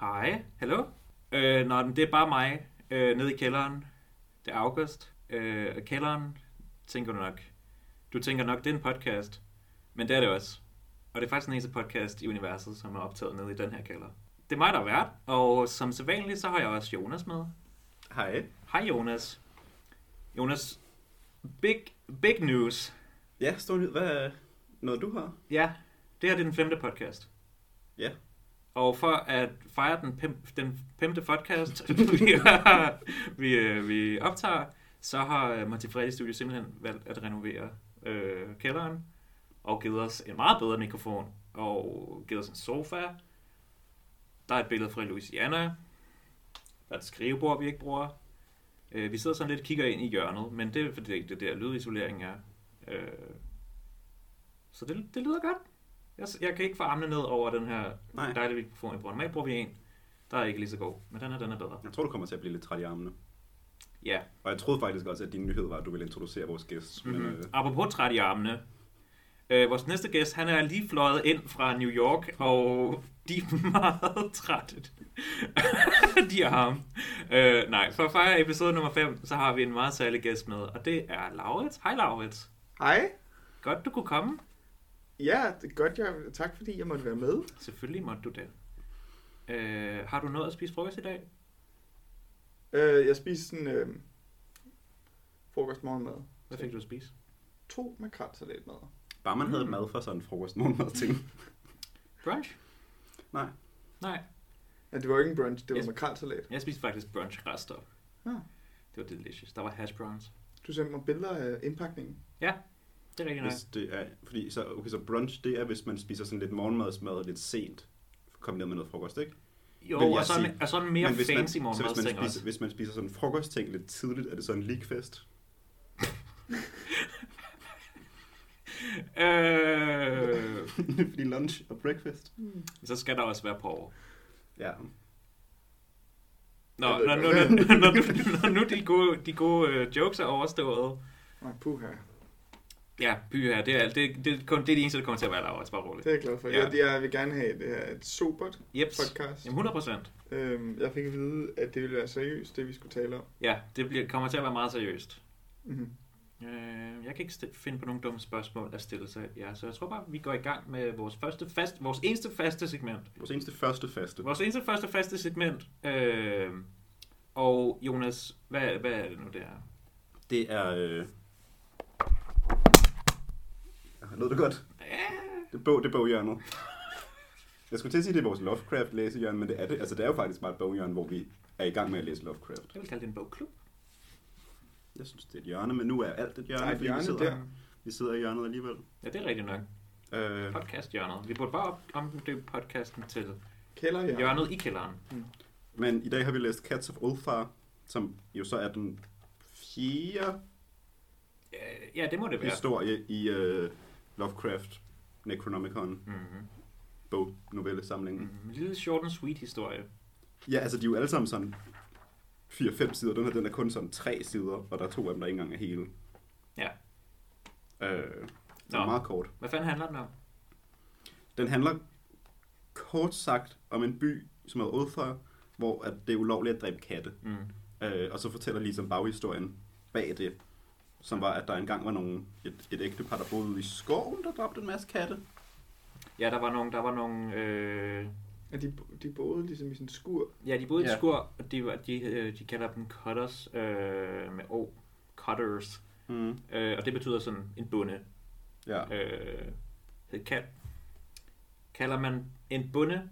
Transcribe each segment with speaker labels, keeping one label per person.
Speaker 1: Hej, hallo. Øh, nå, men det er bare mig øh, nede i kælderen. Det er august. Øh, og kælderen, tænker du nok. Du tænker nok, det er en podcast. Men det er det også. Og det er faktisk den eneste podcast i universet, som er optaget nede i den her kælder. Det er mig, der er vært, og som sædvanligt, så har jeg også Jonas med.
Speaker 2: Hej.
Speaker 1: Hej Jonas. Jonas, big, big news.
Speaker 2: Ja, stor nyhed. Hvad er noget, du har?
Speaker 1: Ja, det her det er den femte podcast.
Speaker 2: Ja.
Speaker 1: Og for at fejre den, pem, den femte podcast, vi, har, vi, øh, vi optager, så har øh, Montefiore Studio simpelthen valgt at renovere øh, kælderen, og givet os en meget bedre mikrofon, og givet os en sofa. Der er et billede fra Louisiana. Der er et skrivebord, vi ikke bruger. Øh, vi sidder sådan lidt og kigger ind i hjørnet, men det er fordi det er der lydisolering er. Øh, så det, det lyder godt. Jeg, jeg kan ikke få armene ned over den her
Speaker 2: Nej.
Speaker 1: dejlige mikrofon, jeg bruger. Normalt bruger vi en, der er ikke lige så god, men den her, den er bedre.
Speaker 2: Jeg tror, du kommer til at blive lidt træt i armene.
Speaker 1: Ja.
Speaker 2: Og jeg troede faktisk også, at din nyhed var, at du ville introducere vores gæst. Men,
Speaker 1: Mm-hmm.
Speaker 2: øh,
Speaker 1: Apropos træt i armene. Øh, vores næste gæst, han er lige fløjet ind fra New York, og de er meget trætte. de er ham. Øh, nej, for at fejre episode nummer 5, så har vi en meget særlig gæst med, og det er Laurits. Hej Laurits.
Speaker 3: Hej.
Speaker 1: Godt, du kunne komme.
Speaker 3: Ja, det er godt. Jeg, tak fordi jeg måtte være med.
Speaker 1: Selvfølgelig måtte du det. Øh, har du noget at spise frokost i dag?
Speaker 3: Øh, jeg spiste sådan øh, frokost morgenmad.
Speaker 1: Hvad fik du at spise?
Speaker 3: To makrelsalatmadder.
Speaker 2: bare man havde
Speaker 1: Mm.
Speaker 2: mad for sådan en frokost morgenmad ting.
Speaker 1: Mhm. Brunch?
Speaker 2: Nej.
Speaker 1: Nej,
Speaker 3: Ja, det var jo ikke en brunch, det var
Speaker 1: Yes.
Speaker 3: yes. makrelsalat.
Speaker 1: jeg spiste faktisk brunch rester.
Speaker 3: Ja.
Speaker 2: Ah.
Speaker 1: Det var delicious. Der var hash browns.
Speaker 3: Du sendte mig billeder af indpakningen.
Speaker 1: Det er rigtig nice.
Speaker 2: Hvis det er, fordi så, okay, så brunch, det er, hvis man spiser sådan lidt morgenmadsmad lidt sent kombineret med noget frokost, ikke?
Speaker 1: Jo,
Speaker 2: vil jeg
Speaker 1: og så, en,
Speaker 2: sige.
Speaker 1: og så en mere
Speaker 2: hvis man,
Speaker 1: fancy
Speaker 2: så hvis man,
Speaker 1: morgenmadsting
Speaker 2: spiser,
Speaker 1: også.
Speaker 2: hvis man spiser sådan en frokostting lidt tidligt, er det så en leakfest?
Speaker 1: Øh,
Speaker 2: fordi lunch og breakfast.
Speaker 1: så skal der også være porre.
Speaker 2: Ja.
Speaker 1: Nå,
Speaker 3: Jeg ved
Speaker 1: når,
Speaker 3: det
Speaker 1: når,
Speaker 3: godt.
Speaker 1: når, når, når nu de gode, de gode øh, jokes er overstået.
Speaker 3: Nej, puha.
Speaker 1: Ja, by her, det er, alt. det, det, er kun, det er det eneste, der kommer til at være der også, bare roligt.
Speaker 3: Det er jeg glad for.
Speaker 1: Ja.
Speaker 3: Ja. Jeg, jeg vil gerne have det her et sobert
Speaker 1: Jeps.
Speaker 3: podcast.
Speaker 1: Jamen 100 procent.
Speaker 3: Øhm, jeg fik at vide, at det ville være seriøst, det vi skulle tale om.
Speaker 1: Ja, det bliver, kommer til at være meget seriøst.
Speaker 3: Mm-hmm.
Speaker 1: Øh, jeg kan ikke sti- finde på nogle dumme spørgsmål at stille sig. Ja, så jeg tror bare, vi går i gang med vores første fast, vores eneste faste segment.
Speaker 2: Vores eneste første faste.
Speaker 1: Vores eneste første faste segment. Øh, og Jonas, hvad, hvad er det nu, det er?
Speaker 2: Det er... Øh... Ah, Lød det godt? Det er bog, det er boghjørnet. Jeg skulle til at sige, at det er vores Lovecraft læsehjørne, men det er det. Altså, det er jo faktisk bare et boghjørne, hvor vi er i gang med at læse Lovecraft.
Speaker 1: Jeg vil kalde det en bogklub.
Speaker 2: Jeg synes, det er et hjørne, men nu er alt et hjørne,
Speaker 3: Nej,
Speaker 2: Ej,
Speaker 3: et
Speaker 2: fordi hjørne, vi,
Speaker 3: hjørne
Speaker 2: sidder, der.
Speaker 3: der.
Speaker 2: vi sidder i hjørnet alligevel.
Speaker 1: Ja, det er rigtigt nok.
Speaker 2: Øh,
Speaker 1: Podcast hjørnet. Vi burde bare op- omdøbe podcasten til
Speaker 3: Kælder, ja.
Speaker 1: hjørnet i kælderen.
Speaker 2: men i dag har vi læst Cats of Ulfar, som jo så er den fjerde
Speaker 1: Øh, Ja, det må det være.
Speaker 2: historie i øh, Lovecraft Necronomicon
Speaker 1: Mm-hmm.
Speaker 2: bognovellesamlingen.
Speaker 1: Mm-hmm. Lille short and sweet historie.
Speaker 2: Ja, altså de er jo alle sammen sådan 4-5 sider. Den her den er kun sådan 3 sider, og der er to af dem, der ikke engang er hele.
Speaker 1: Ja.
Speaker 2: Øh, det
Speaker 1: Nå.
Speaker 2: er meget kort.
Speaker 1: Hvad fanden handler den om?
Speaker 2: Den handler kort sagt om en by, som hedder Odfar, hvor at det er ulovligt at dræbe katte.
Speaker 1: Mm.
Speaker 2: Øh, og så fortæller ligesom baghistorien bag det, som var, at der engang var nogen, et, et ægtepar, der boede ude i skoven, der dræbte en masse katte.
Speaker 1: Ja, der var nogle... Der var nogle øh...
Speaker 3: At de, de boede ligesom i sådan en skur.
Speaker 1: Ja, de boede i et
Speaker 2: Ja.
Speaker 1: skur, og de, var- de, øh, de kalder dem cutters øh, med O. Cutters.
Speaker 2: Mm.
Speaker 1: Øh, og det betyder sådan en bonde.
Speaker 2: Ja.
Speaker 1: øh, hed kald. Kalder man en bunde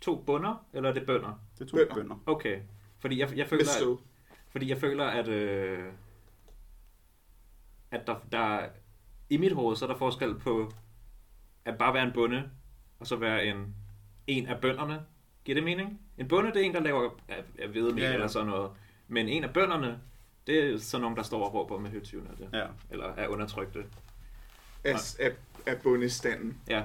Speaker 1: to bunder, eller er det bønder?
Speaker 2: Det tog
Speaker 3: Bønder.
Speaker 2: bønder.
Speaker 1: Okay. Fordi jeg, jeg
Speaker 3: Med
Speaker 1: føler, at,
Speaker 3: stød.
Speaker 1: fordi jeg føler, at, øh, at der, der, i mit hoved, så er der forskel på at bare være en bonde, og så være en, en af bønderne. Giver det mening? En bonde, det er en, der laver af, af vedmel
Speaker 2: Ja,
Speaker 1: ja,
Speaker 2: ja.
Speaker 1: eller sådan noget. Men en af bønderne, det er sådan nogen, der står og råber med højtyven af det.
Speaker 2: Ja.
Speaker 1: Eller er undertrykte.
Speaker 3: Af, af, af bundestanden,
Speaker 1: Ja,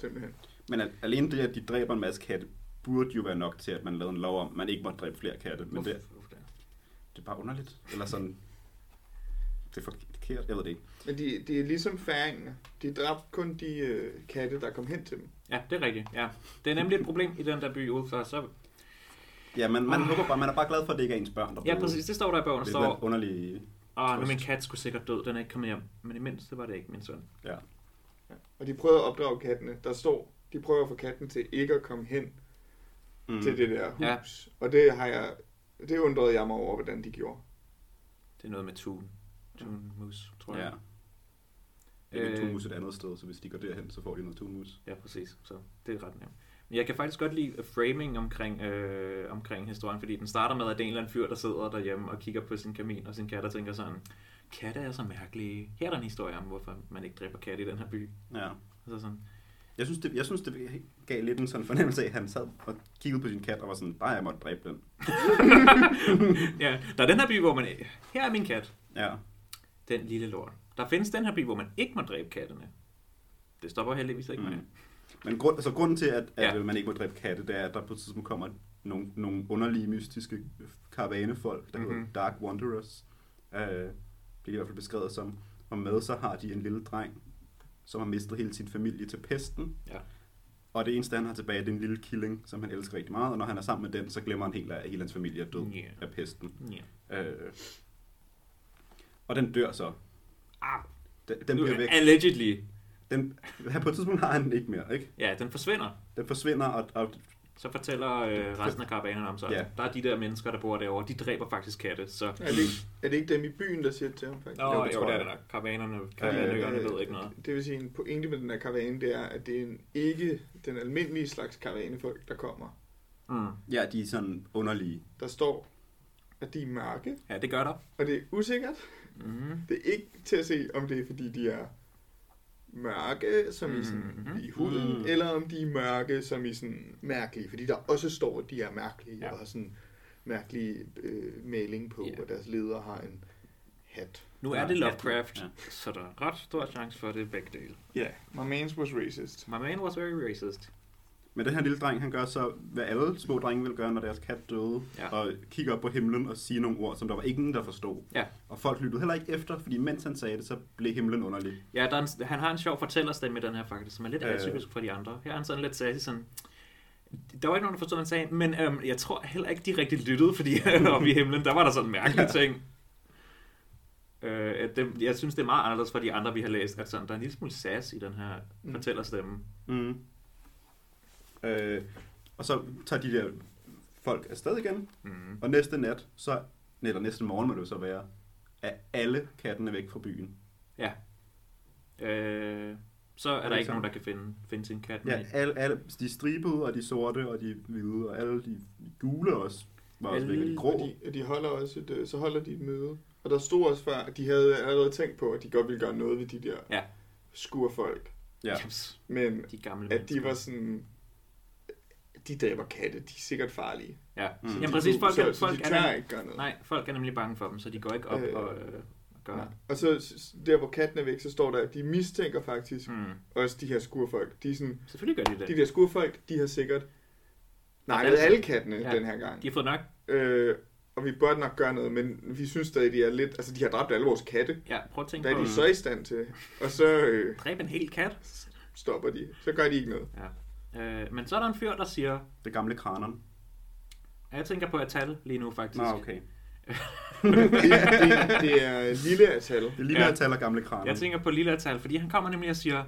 Speaker 3: simpelthen.
Speaker 2: Men al- alene det, at de dræber en masse katte, burde jo være nok til, at man lavede en lov om, at man ikke må dræbe flere katte. Men det,
Speaker 1: Uf, uf,
Speaker 2: det er bare underligt. Eller sådan... Det er forkert, jeg ved det ikke.
Speaker 3: Men de, de er ligesom færingerne. De dræbte kun de øh, katte, der kom hen til dem.
Speaker 1: Ja, det er rigtigt. Ja. Det er nemlig et problem i den der by ude for, så...
Speaker 2: Ja, men man håber bare, man er bare glad for, at det ikke er ens børn, der
Speaker 1: Ja, præcis. Det står der i bogen. Der
Speaker 2: Det er
Speaker 1: står,
Speaker 2: lidt underlige...
Speaker 1: Åh, nu er min
Speaker 2: Trøst.
Speaker 1: kat skulle sikkert død, den er ikke kommet hjem. Men i mindste var det ikke min søn.
Speaker 2: Ja.
Speaker 3: Og de prøvede at opdrage kattene. Der står, de prøver at få katten til ikke at komme hen
Speaker 2: Mm.
Speaker 3: mm. til det der
Speaker 1: Ja.
Speaker 3: hus. Ja. Og det har jeg, det undrede jeg mig over, hvordan de gjorde.
Speaker 1: Det er noget med tun. Tun mus, tror
Speaker 2: Ja.
Speaker 1: jeg.
Speaker 2: Det er
Speaker 1: Øh,
Speaker 2: lidt tunmus et andet sted, så hvis de går derhen, så får de noget tunmus.
Speaker 1: Ja, præcis. Så det er ret nemt. Men jeg kan faktisk godt lide øh, framing omkring, øh, omkring historien, fordi den starter med, at det er en eller anden fyr, der sidder derhjemme og kigger på sin kamin og sin kat og tænker sådan, katte er så mærkelige. Her er der en historie om, hvorfor man ikke dræber katte i den her by.
Speaker 2: Ja.
Speaker 1: Og så sådan,
Speaker 2: Jeg synes, det, jeg synes, det gav lidt en sådan fornemmelse af, at han sad og kiggede på sin kat og var sådan, bare jeg måtte dræbe den.
Speaker 1: ja, der er den her by, hvor man... Her er min kat.
Speaker 2: Ja.
Speaker 1: Den lille lort. Der findes den her by, hvor man ikke må dræbe kattene. Det stopper heldigvis ikke mm. med.
Speaker 2: Mm. Men grund, altså, grunden til, at, at
Speaker 1: Ja.
Speaker 2: ja. man ikke må dræbe katte, det er, at der på et tidspunkt kommer nogle, nogle underlige, mystiske øh, karavanefolk, der mm-hmm.
Speaker 1: Mhm.
Speaker 2: hedder Dark Wanderers. Øh, det er i hvert fald beskrevet som. Og med så har de en lille dreng, som har mistet hele sin familie til pesten.
Speaker 1: Ja.
Speaker 2: Og det eneste, han har tilbage, det er en lille killing, som han elsker rigtig meget. Og når han er sammen med den, så glemmer han helt, at hele hans familie er død
Speaker 1: Ja.
Speaker 2: af pesten.
Speaker 1: Ja.
Speaker 2: Øh, og den dør så.
Speaker 1: Ah,
Speaker 2: Den, den bliver væk.
Speaker 1: Allegedly.
Speaker 2: Den, på et tidspunkt har han den ikke mere, ikke?
Speaker 1: Ja, den forsvinder.
Speaker 2: Den forsvinder, og, og
Speaker 1: Så fortæller øh, resten af karavanerne om sig.
Speaker 2: Ja.
Speaker 1: Ja. Der er de der mennesker, der bor derovre. De dræber faktisk katte. Så...
Speaker 3: Er det, ikke, er det ikke dem i byen, der siger det til ham faktisk?
Speaker 1: Nå, øh,
Speaker 2: Jo,
Speaker 1: jo,
Speaker 2: det
Speaker 1: det,
Speaker 2: tror
Speaker 1: det er
Speaker 2: jeg.
Speaker 1: der. Karavanerne, karavanerne ved ikke noget.
Speaker 3: Det vil sige, en pointe med den her karavane, det er, at det er en, ikke den almindelige slags karavanefolk, der kommer.
Speaker 1: Mm.
Speaker 2: Ja, de er sådan underlige.
Speaker 3: Der står, at de er mørke,
Speaker 1: Ja, det gør der.
Speaker 3: og det er usikkert.
Speaker 1: Mm.
Speaker 3: Det er ikke til at se, om det er, fordi de er mørke, som i, sådan,
Speaker 1: Mhm.
Speaker 3: i huden,
Speaker 2: Mm.
Speaker 3: eller om de er mørke, som i sådan mærkelige. Fordi der også står, at de er mærkelige,
Speaker 1: Ja.
Speaker 3: ja. og har sådan mærkelig øh, maling på,
Speaker 1: Ja.
Speaker 3: og deres leder har en hat.
Speaker 1: Nu er det
Speaker 2: Ja,
Speaker 1: Lovecraft,
Speaker 2: ja.
Speaker 1: så der er ret stor chance for, at det er begge dele.
Speaker 3: Ja, yeah. my man's was racist.
Speaker 1: My man was very racist.
Speaker 2: Men den her lille dreng, han gør så, hvad alle små drenge vil gøre, når deres kat døde,
Speaker 1: Ja.
Speaker 2: og kigger op på himlen og siger nogle ord, som der var ingen, der forstod.
Speaker 1: Ja.
Speaker 2: Og folk lyttede heller ikke efter, fordi mens han sagde det, så blev himlen underlig.
Speaker 1: Ja, der er en, han har en sjov fortællerstemme i den her faktisk, som er lidt
Speaker 2: Øh.
Speaker 1: atypisk for de andre. Her er han sådan lidt sassy, sådan... Der var ikke nogen, der forstod, hvad han sagde, men øhm, jeg tror heller ikke, de rigtig lyttede, fordi oppe i himlen, der var der sådan mærkelige
Speaker 2: Ja.
Speaker 1: ting. Øh, at det, jeg synes, det er meget anderledes fra de andre, vi har læst, at sådan, der er en lille smule sass i den her
Speaker 3: Mm.
Speaker 1: fortællerstemme.
Speaker 2: Mm. Øh, og så tager de der folk afsted igen,
Speaker 1: Mm.
Speaker 2: og næste nat, så, eller næste morgen må det jo så være, er alle kattene væk fra byen.
Speaker 1: Øh, så er der
Speaker 2: det
Speaker 1: ikke
Speaker 2: sådan?
Speaker 1: nogen, der kan finde, finde sin kat.
Speaker 2: Ja,
Speaker 1: men-
Speaker 2: alle, alle, de er stribede, og de er sorte, og de er hvide, og alle de gule også, var også væk, og de
Speaker 1: Alle
Speaker 2: grå.
Speaker 3: Og de, og de holder også et, øh, så holder de et møde. Og der stod også før, at de havde allerede tænkt på, at de godt ville gøre noget ved de der
Speaker 1: Ja.
Speaker 3: skurfolk.
Speaker 2: Ja.
Speaker 1: Jeps,
Speaker 3: Men
Speaker 1: de gamle
Speaker 3: at de
Speaker 1: mennesker.
Speaker 3: var sådan, de dræber katte, de er sikkert farlige.
Speaker 1: Ja,
Speaker 2: Mm.
Speaker 1: mm.
Speaker 2: Så
Speaker 1: Jamen
Speaker 2: de
Speaker 1: præcis, folk,
Speaker 3: så,
Speaker 1: er,
Speaker 3: så
Speaker 1: folk
Speaker 3: de
Speaker 1: er
Speaker 3: tør
Speaker 1: nemlig,
Speaker 3: ikke gøre noget.
Speaker 1: nej, folk er nemlig bange for dem, så de går ikke op
Speaker 3: Øh.
Speaker 1: og øh, gør
Speaker 3: Nej. Og så s- der, hvor katten er væk, så står der, at de mistænker faktisk
Speaker 1: Mm.
Speaker 3: også de her skurfolk. De, er sådan,
Speaker 1: Selvfølgelig gør de det.
Speaker 3: de der skurfolk, de har sikkert
Speaker 1: det
Speaker 3: nakket
Speaker 1: er-
Speaker 3: alle kattene
Speaker 1: Ja.
Speaker 3: ja. den her gang.
Speaker 1: De har fået nok.
Speaker 3: Øh, og vi burde nok gøre noget, men vi synes stadig, de er lidt... Altså, de har dræbt alle vores katte.
Speaker 1: Ja, prøv at tænke
Speaker 3: Hvad er
Speaker 1: på
Speaker 3: de
Speaker 1: at
Speaker 3: så i stand til? Og så øh,
Speaker 1: dræbe en hel kat.
Speaker 3: stopper de. Så gør de ikke noget.
Speaker 1: Øh, men så er der en fyr, der siger,
Speaker 2: Det gamle kraneren.
Speaker 1: at jeg tænker på at tal lige nu faktisk.
Speaker 2: Nå, okay.
Speaker 3: Det, det, det er lille af tal.
Speaker 2: Det er lige med
Speaker 1: Ja.
Speaker 2: at tale om gamle kraner.
Speaker 1: Jeg tænker på lille tal, fordi han kommer nemlig og siger,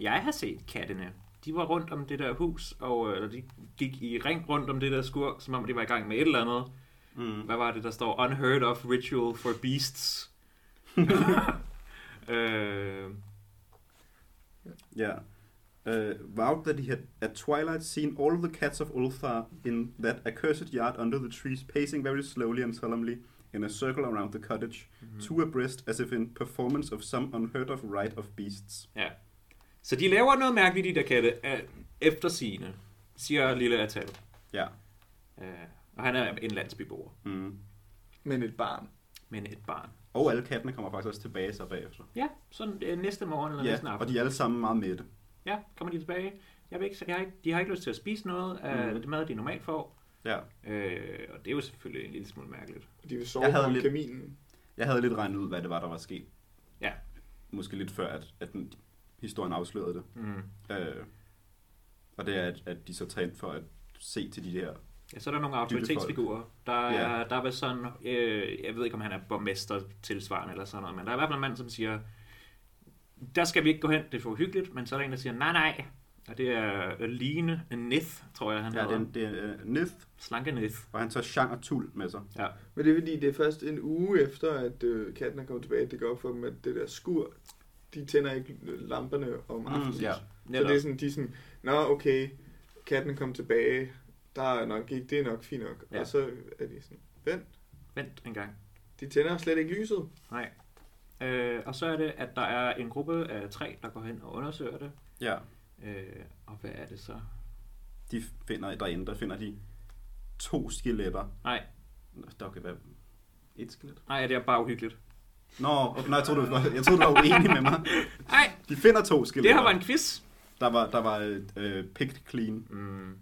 Speaker 1: jeg har set kattene. De var rundt om det der hus, og øh, eller de gik i ring rundt om det der skur, som om de var i gang med et eller andet.
Speaker 2: Mm.
Speaker 1: Hvad var det, der står? Unheard of ritual for beasts. øh,
Speaker 2: Ja. Uh, vowed that he had at twilight seen all of the cats of Ulthar in that accursed yard under the trees, pacing very slowly and solemnly in a circle around the cottage,
Speaker 1: mhm.
Speaker 2: two abreast as if in performance of some unheard of rite of beasts.
Speaker 1: Så de laver noget mærkeligt, de der katte, af eftersigende, siger lille Atal.
Speaker 2: Ja.
Speaker 1: Øh, og han er en landsbyboer,
Speaker 2: Mm.
Speaker 3: Men et barn.
Speaker 1: men et barn.
Speaker 2: Og alle kattene kommer faktisk også tilbage så bagefter.
Speaker 1: Ja, sådan øh, næste morgen eller næste
Speaker 2: Ja, og
Speaker 1: aften.
Speaker 2: de er alle sammen meget mætte.
Speaker 1: Ja, kommer de tilbage. Jeg vil ikke, jeg har ikke, de har ikke lyst til at spise noget af
Speaker 2: Mhm.
Speaker 1: det mad, de normalt får.
Speaker 2: Ja.
Speaker 1: Øh, og det er jo selvfølgelig en lille smule mærkeligt.
Speaker 3: De vil sove
Speaker 2: Jeg havde
Speaker 3: på
Speaker 2: lidt-
Speaker 3: lidt... kaminen.
Speaker 2: Jeg havde lidt regnet ud, hvad det var, der var sket.
Speaker 1: Ja.
Speaker 2: Måske lidt før, at, at den, historien afslørede det.
Speaker 1: Mm.
Speaker 2: Øh, Og det er, at, at de så tager ind for at se til de der...
Speaker 1: Ja, så er der nogle autoritetsfigurer. Der
Speaker 2: Ja.
Speaker 1: er, der er vel sådan, øh, jeg ved ikke om han er borgmester tilsvarende eller sådan noget, men der er i hvert fald en mand, som siger, der skal vi ikke gå hen, det er for hyggeligt, men så er der en, der siger, nej nej, og det er Aline Nith, tror jeg han ja,
Speaker 2: Ja, det er,
Speaker 1: hedder.
Speaker 2: en- det er øh, Nith,
Speaker 1: Slanke Nith.
Speaker 2: og han tager Jean og Tul med sig.
Speaker 1: Ja.
Speaker 3: Men det er fordi, det er først en uge efter, at øh, katten er kommet tilbage, at det går op for dem, at det der skur, de tænder ikke lamperne om
Speaker 2: Mm,
Speaker 3: aftenen.
Speaker 2: ja.
Speaker 3: Så
Speaker 1: Netop.
Speaker 3: det er sådan, de er sådan, nå okay, katten kom tilbage, der er nok ikke, det er nok fint nok.
Speaker 1: Ja.
Speaker 3: Ja. Og så er de sådan, vent,
Speaker 1: Vent en gang.
Speaker 3: de tænder slet ikke lyset.
Speaker 1: Nej. Øh, og så er det, at der er en gruppe af tre, der går hen og undersøger det.
Speaker 2: Ja,
Speaker 1: Øh, og hvad er det så?
Speaker 2: de finder derinde, der finder de to skeletter.
Speaker 1: Nej.
Speaker 2: Nå, Der kan være et skelet.
Speaker 1: Nej, det er bare uhyggeligt.
Speaker 2: Nå, okay, nej, jeg troede, du var, jeg troede, du var uenig med mig.
Speaker 1: Nej,
Speaker 2: De finder to
Speaker 1: det
Speaker 2: skeletter.
Speaker 1: her var en quiz.
Speaker 2: Der var, der var øh, picked clean,
Speaker 1: Mm.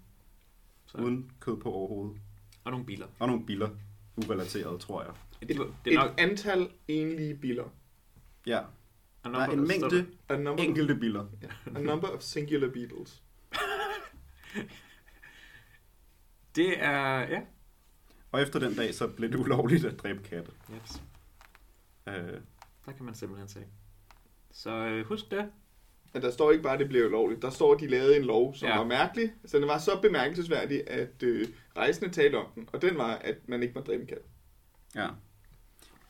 Speaker 1: Så.
Speaker 2: uden kød på overhovedet.
Speaker 1: Og nogle biler.
Speaker 2: Og nogle biller, urelateret, tror jeg.
Speaker 1: Det,
Speaker 3: Et,
Speaker 1: det,
Speaker 3: det
Speaker 1: er
Speaker 3: et
Speaker 1: nok,
Speaker 3: nok... antal enlige biler.
Speaker 2: Ja,
Speaker 1: og
Speaker 2: der er en mængde
Speaker 3: A number,
Speaker 2: enkelte biller.
Speaker 3: a number of singular beetles.
Speaker 1: Det er, ja.
Speaker 2: Og efter den dag, så blev det ulovligt at dræbe katte.
Speaker 1: Yes.
Speaker 2: Øh,
Speaker 1: Der kan man simpelthen se. Så øh, husk det.
Speaker 3: At der står ikke bare, at det blev ulovligt. Der står, at de lavede en lov, som
Speaker 1: Ja.
Speaker 3: ja. var mærkelig. Så den var så bemærkelsesværdig, at øh, rejsende talte om den. Og den var, at man ikke må dræbe en kat.
Speaker 2: ja.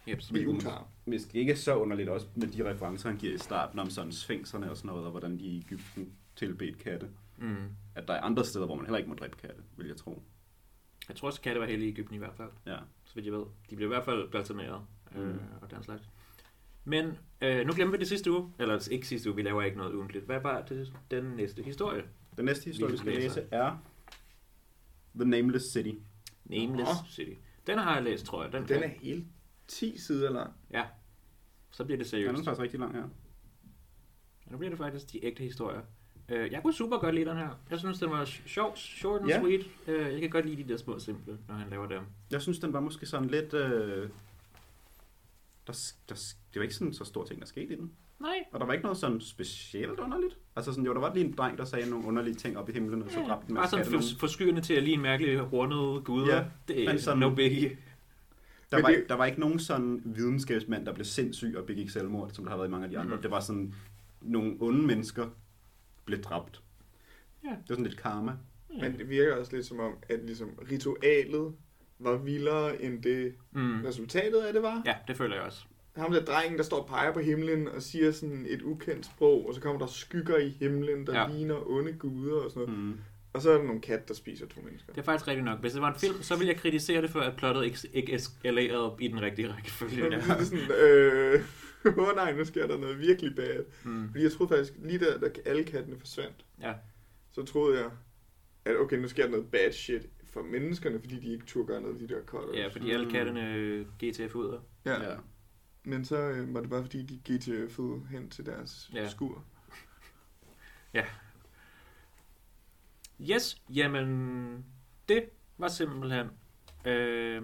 Speaker 1: Jeps.
Speaker 3: Vi utager.
Speaker 2: Måske ikke så underligt også med de referencer, han giver i starten om sådan sfænkserne og sådan noget, og hvordan de i Ægypten tilbedte katte.
Speaker 1: Mm.
Speaker 2: At der er andre steder, hvor man heller ikke må dræbe katte, vil jeg tro.
Speaker 1: Jeg tror også, katte var heldige i Ægypten i hvert fald.
Speaker 2: Ja.
Speaker 1: Så vidt jeg ved. De blev i hvert fald balsameret øh,
Speaker 2: Mm.
Speaker 1: og den slags. Men øh, nu glemte vi det sidste uge. Eller ikke sidste uge, vi laver ikke noget ugentligt. Hvad var det, den næste historie?
Speaker 2: Den næste historie, vi skal
Speaker 1: Hvilken
Speaker 2: læse, er The Nameless City.
Speaker 1: Nameless
Speaker 3: Nå.
Speaker 1: City. Den har jeg læst, tror jeg. Den,
Speaker 3: Den er hele 10 sider lang.
Speaker 1: Så bliver det
Speaker 2: Den er
Speaker 1: seriøst.
Speaker 2: faktisk rigtig lang her.
Speaker 1: Og nu bliver det faktisk de ægte historier. Øh, jeg kunne super godt lide den her. Jeg synes, den var sj- sjov, short and
Speaker 2: Ja.
Speaker 1: sweet. Øh, jeg kan godt lide de der små simple, når han laver dem.
Speaker 2: Jeg synes, den var måske sådan lidt... Øh, der, s- der, s- det var ikke sådan så stor ting, der skete i den.
Speaker 1: Nej,
Speaker 2: Og der var ikke noget sådan specielt underligt. Altså sådan, jo, der var lige en dreng, der sagde nogle underlige ting op i himlen, og så dræbte en
Speaker 1: bare
Speaker 2: masse
Speaker 1: sådan
Speaker 2: katte. nogen.
Speaker 1: for, forskyende til at lige en mærkelig rundet guder.
Speaker 2: Ja,
Speaker 1: det er
Speaker 2: men
Speaker 1: sådan,
Speaker 2: sådan-
Speaker 1: no biggie.
Speaker 2: Der
Speaker 3: Men
Speaker 2: var,
Speaker 3: det-
Speaker 2: ikke, der var ikke nogen sådan videnskabsmand, der blev sindssyg og begik selvmord, som der har været i mange af de andre.
Speaker 1: Mhm.
Speaker 2: Det var sådan, nogle onde mennesker blev dræbt.
Speaker 1: Ja.
Speaker 2: Det var sådan lidt karma.
Speaker 1: Mm.
Speaker 3: Men det virker også lidt som om, at ligesom ritualet var vildere end det
Speaker 1: Mm.
Speaker 3: resultatet af det var.
Speaker 1: Ja, det føler jeg også.
Speaker 3: Ham der drengen, der står og peger på himlen og siger sådan et ukendt sprog, og så kommer der skygger i himlen, der
Speaker 1: Ja.
Speaker 3: ja. ligner onde guder og sådan noget.
Speaker 2: Mm.
Speaker 3: Og så er der nogle kat, der spiser to mennesker.
Speaker 1: Det er faktisk rigtigt nok. Hvis det var en film, så ville jeg kritisere det for, at plottet ikke, ikke eskalerede i den rigtige rækkefølge.
Speaker 3: Ja. Det er sådan, øh, åh nej, nu sker der noget virkelig bad.
Speaker 1: Mm.
Speaker 3: Fordi jeg troede faktisk, lige da, da alle kattene forsvandt,
Speaker 1: Ja.
Speaker 3: så troede jeg, at okay, nu sker der noget bad shit for menneskerne, fordi de ikke turde gøre noget af de der kotter.
Speaker 1: ja, fordi alle kattene GTF ud.
Speaker 3: ja.
Speaker 2: Ja.
Speaker 3: Men så øh, var det bare fordi, de GTF'ede hen til deres
Speaker 1: Ja.
Speaker 3: ja. skur.
Speaker 1: Yes, jamen, det var simpelthen... Øh,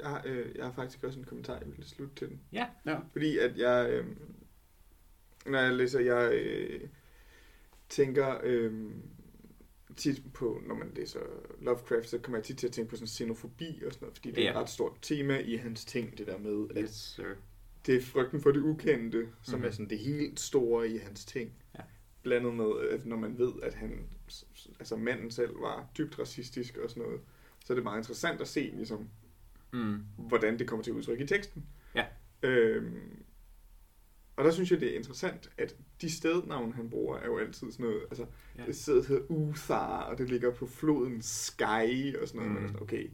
Speaker 3: Jeg har, øh, jeg har faktisk også en kommentar, jeg ville slutte til den.
Speaker 1: Ja.
Speaker 2: Ja.
Speaker 3: Fordi at jeg, øh, når jeg læser, jeg øh, tænker øh, tit på, når man læser Lovecraft, så kommer jeg tit til at tænke på sådan xenofobi og sådan noget, fordi det er et
Speaker 1: Ja.
Speaker 3: ret stort tema i hans ting, det der med, at
Speaker 1: yes, sir.
Speaker 3: det er frygten for det ukendte, som
Speaker 1: Mhm.
Speaker 3: mm. er sådan det helt store i hans ting.
Speaker 1: Ja.
Speaker 3: Blandet med, at når man ved, at han, altså manden selv var dybt racistisk og sådan noget, så er det meget interessant at se, ligesom,
Speaker 1: Mm.
Speaker 3: hvordan det kommer til udtryk i teksten.
Speaker 1: Ja.
Speaker 3: Øhm, og der synes jeg, det er interessant, at de stednavne, han bruger, er jo altid sådan noget, altså,
Speaker 1: Ja.
Speaker 3: ja. det stedet hedder Uthar, og det ligger på floden Sky, og sådan
Speaker 1: Mm.
Speaker 3: noget, mm. men er sådan, okay,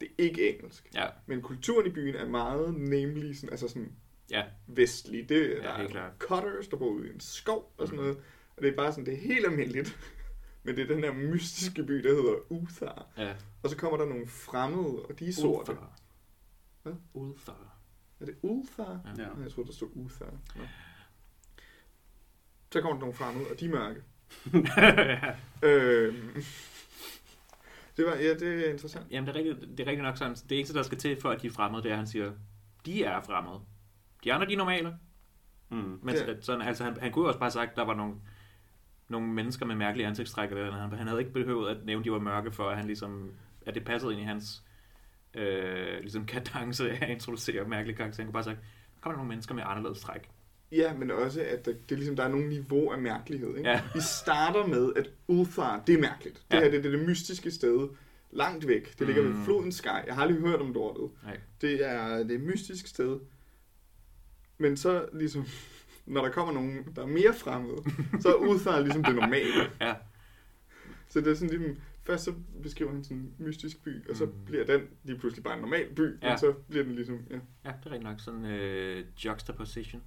Speaker 3: det er ikke engelsk.
Speaker 1: Ja,
Speaker 3: Men kulturen i byen er meget nemlig sådan, altså sådan
Speaker 1: Ja.
Speaker 3: vestlig. Det,
Speaker 1: Ja,
Speaker 3: der
Speaker 1: helt
Speaker 3: er
Speaker 1: klart.
Speaker 3: cutters, der bor ude i en skov og sådan
Speaker 1: Mhm.
Speaker 3: noget. Og det er bare sådan, det er helt almindeligt. Men det er den her mystiske by, der hedder Uthar.
Speaker 1: ja.
Speaker 3: Og så kommer der nogle fremmede, og de er sorte. Uthar. Hvad?
Speaker 1: Udfar.
Speaker 3: Er det Uthar?
Speaker 1: Ja.
Speaker 2: Ja.
Speaker 3: Ja. Jeg tror, der stod Uthar. Nå. Så kommer der nogle fremmede, og de er mørke. øhm. Det var, ja, det er interessant.
Speaker 1: Jamen, det er, rigtigt, det er rigtigt nok sådan. Det eneste, der skal til, for at de er fremmede, det er, at han siger, de er fremmede. De andre, de er normale.
Speaker 2: Mm.
Speaker 1: Men
Speaker 3: Ja.
Speaker 1: sådan, altså, han, han kunne jo også bare have sagt, at der var nogle, nogle mennesker med mærkelige ansigtstræk eller noget. andet. Han havde ikke behøvet at nævne, at de var mørke, for at, han ligesom, at det passede ind i hans øh, ligesom kadence af at introducere mærkelige karakterer. Han kunne bare sagt, der kommer nogle mennesker med anderledes træk.
Speaker 3: Ja, men også, at der, det er ligesom, der er nogle niveau af mærkelighed. Ikke?
Speaker 1: Ja.
Speaker 3: Vi starter med, at Ulfar, det er mærkeligt. Det
Speaker 1: Ja.
Speaker 3: her det, er det, det mystiske sted. Langt væk. Det ligger
Speaker 1: Mm.
Speaker 3: ved flodens sky. Jeg har aldrig hørt om lortet.
Speaker 1: Nej.
Speaker 3: Det er det er et mystisk sted. Men så ligesom, når der kommer nogen, der er mere fremmede, så er Ulfar ligesom det normale.
Speaker 1: Ja.
Speaker 3: Så det er sådan ligesom, først så beskriver han sådan en mystisk by, og så
Speaker 1: Mm.
Speaker 3: bliver den lige pludselig bare en normal by, ja.
Speaker 1: Ja.
Speaker 3: men så bliver den ligesom, ja.
Speaker 1: Ja, det er rigtig nok sådan øh, juxtaposition.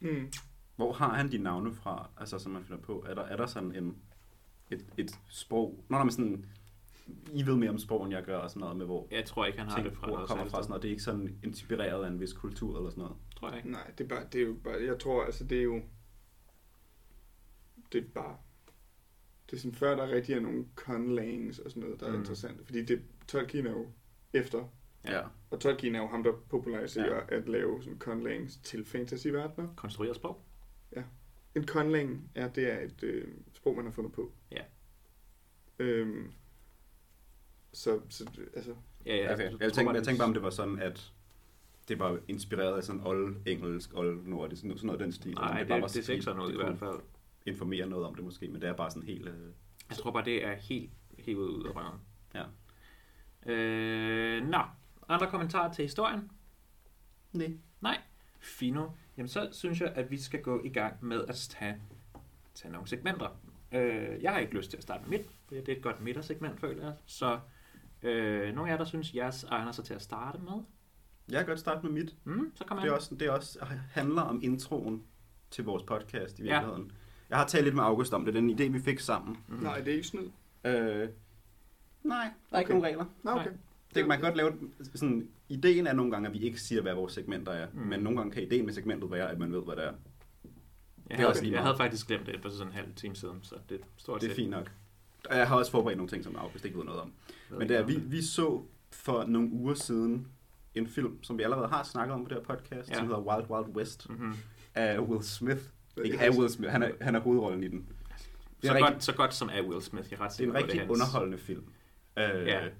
Speaker 3: Mm.
Speaker 2: Hvor har han de navne fra, altså, som man finder på? Er der, er der sådan en, et, et sprog? Nå, nej, men sådan, I ved mere om sprog, end jeg gør, og sådan noget med, hvor
Speaker 1: Jeg tror ikke, han har det
Speaker 2: ting,
Speaker 1: fra
Speaker 2: ord
Speaker 1: noget
Speaker 2: kommer
Speaker 1: særligt
Speaker 2: fra.
Speaker 1: sted.
Speaker 2: Sådan noget. Det er ikke sådan inspireret af en vis kultur eller sådan noget.
Speaker 1: Tror jeg ikke.
Speaker 3: Nej, det er bare, det er jo bare, jeg tror, altså det er jo, det er bare, det er sådan før, der rigtig er nogle conlangs og sådan noget, der er
Speaker 1: Mm.
Speaker 3: mm. interessant, fordi det, Tolkien er jo efter,
Speaker 1: Ja.
Speaker 3: og Tolkien er jo ham, der populariserer ja. at lave sådan conlangs til fantasyverdener.
Speaker 1: Konstrueret sprog.
Speaker 3: En conlang er, det er et øh, sprog, man har fundet på.
Speaker 1: Ja.
Speaker 3: Øhm, så, så, det- altså,
Speaker 1: Ja, ja.
Speaker 2: Okay.
Speaker 1: tror
Speaker 2: Jeg, tænkte,
Speaker 1: bare,
Speaker 2: jeg tænkte bare, om det var sådan, at det var inspireret af sådan old engelsk, old nordisk, sådan sådan noget af den stil.
Speaker 1: Nej,
Speaker 2: Sådan,
Speaker 1: det,
Speaker 2: bare
Speaker 1: det,
Speaker 2: var
Speaker 1: det ser ikke
Speaker 2: skridt,
Speaker 1: sådan ud i
Speaker 2: det
Speaker 1: hvert
Speaker 2: kunne
Speaker 1: fald.
Speaker 2: informere noget om det måske, men det er bare sådan helt... Øh,
Speaker 1: Jeg tror bare, det er helt hævet ud af røven.
Speaker 2: Ja.
Speaker 1: Øh, nå, andre kommentarer til historien?
Speaker 2: Nej.
Speaker 1: Nej. Fino. Jamen så synes jeg, at vi skal gå i gang med at tage, tage nogle segmenter. Øh, jeg har ikke lyst til at starte med mit, for det er et godt midtersegment, føler jeg. Så øh, nogle af jer, der synes, jeres egner sig til at starte med,
Speaker 2: jeg kan godt starte med mit.
Speaker 1: mm, så kommer
Speaker 2: Det, er
Speaker 1: jeg.
Speaker 2: også, det er også handler om introen til vores podcast i virkeligheden. Ja. Jeg har talt lidt med August om det. Den idé, vi fik sammen.
Speaker 1: Mm.
Speaker 3: nej, det er ikke snyd.
Speaker 2: Øh, nej, der er ikke
Speaker 3: Okay.
Speaker 2: nogen regler.
Speaker 3: Nå, okay.
Speaker 2: Det, man kan godt lave sådan, ideen er nogle gange, at vi ikke siger, hvad vores segmenter er,
Speaker 1: Mm.
Speaker 2: mm. men nogle gange kan ideen med segmentet være, at man ved, hvad det er.
Speaker 1: Jeg,
Speaker 2: det er
Speaker 1: havde,
Speaker 2: også lige
Speaker 1: jeg
Speaker 2: meget.
Speaker 1: havde faktisk glemt det for sådan en halv time siden, så det er stort
Speaker 2: Det er
Speaker 1: set-
Speaker 2: fint nok. Og jeg har også forberedt nogle ting, som August ikke ved noget om.
Speaker 1: ved
Speaker 2: Men
Speaker 1: ikke
Speaker 2: det er,
Speaker 1: noget
Speaker 2: vi,
Speaker 1: om det.
Speaker 2: vi så for nogle uger siden en film, som vi allerede har snakket om på det her podcast,
Speaker 1: Ja.
Speaker 2: ja. som hedder Wild Wild West
Speaker 1: Mhm.
Speaker 2: af Will Smith.
Speaker 3: Det
Speaker 2: Ikke
Speaker 3: har
Speaker 2: af
Speaker 3: jeg-
Speaker 2: Will Smith, han er, han er hovedrollen i den. Det
Speaker 1: Så,
Speaker 2: er,
Speaker 1: rigtig...
Speaker 2: rigtig,
Speaker 1: godt, så godt som er Will Smith, jeg er ret
Speaker 2: det er
Speaker 1: sikker
Speaker 2: en
Speaker 1: på,
Speaker 2: rigtig
Speaker 1: hans.
Speaker 2: underholdende film. Øh,
Speaker 1: Ja.
Speaker 2: og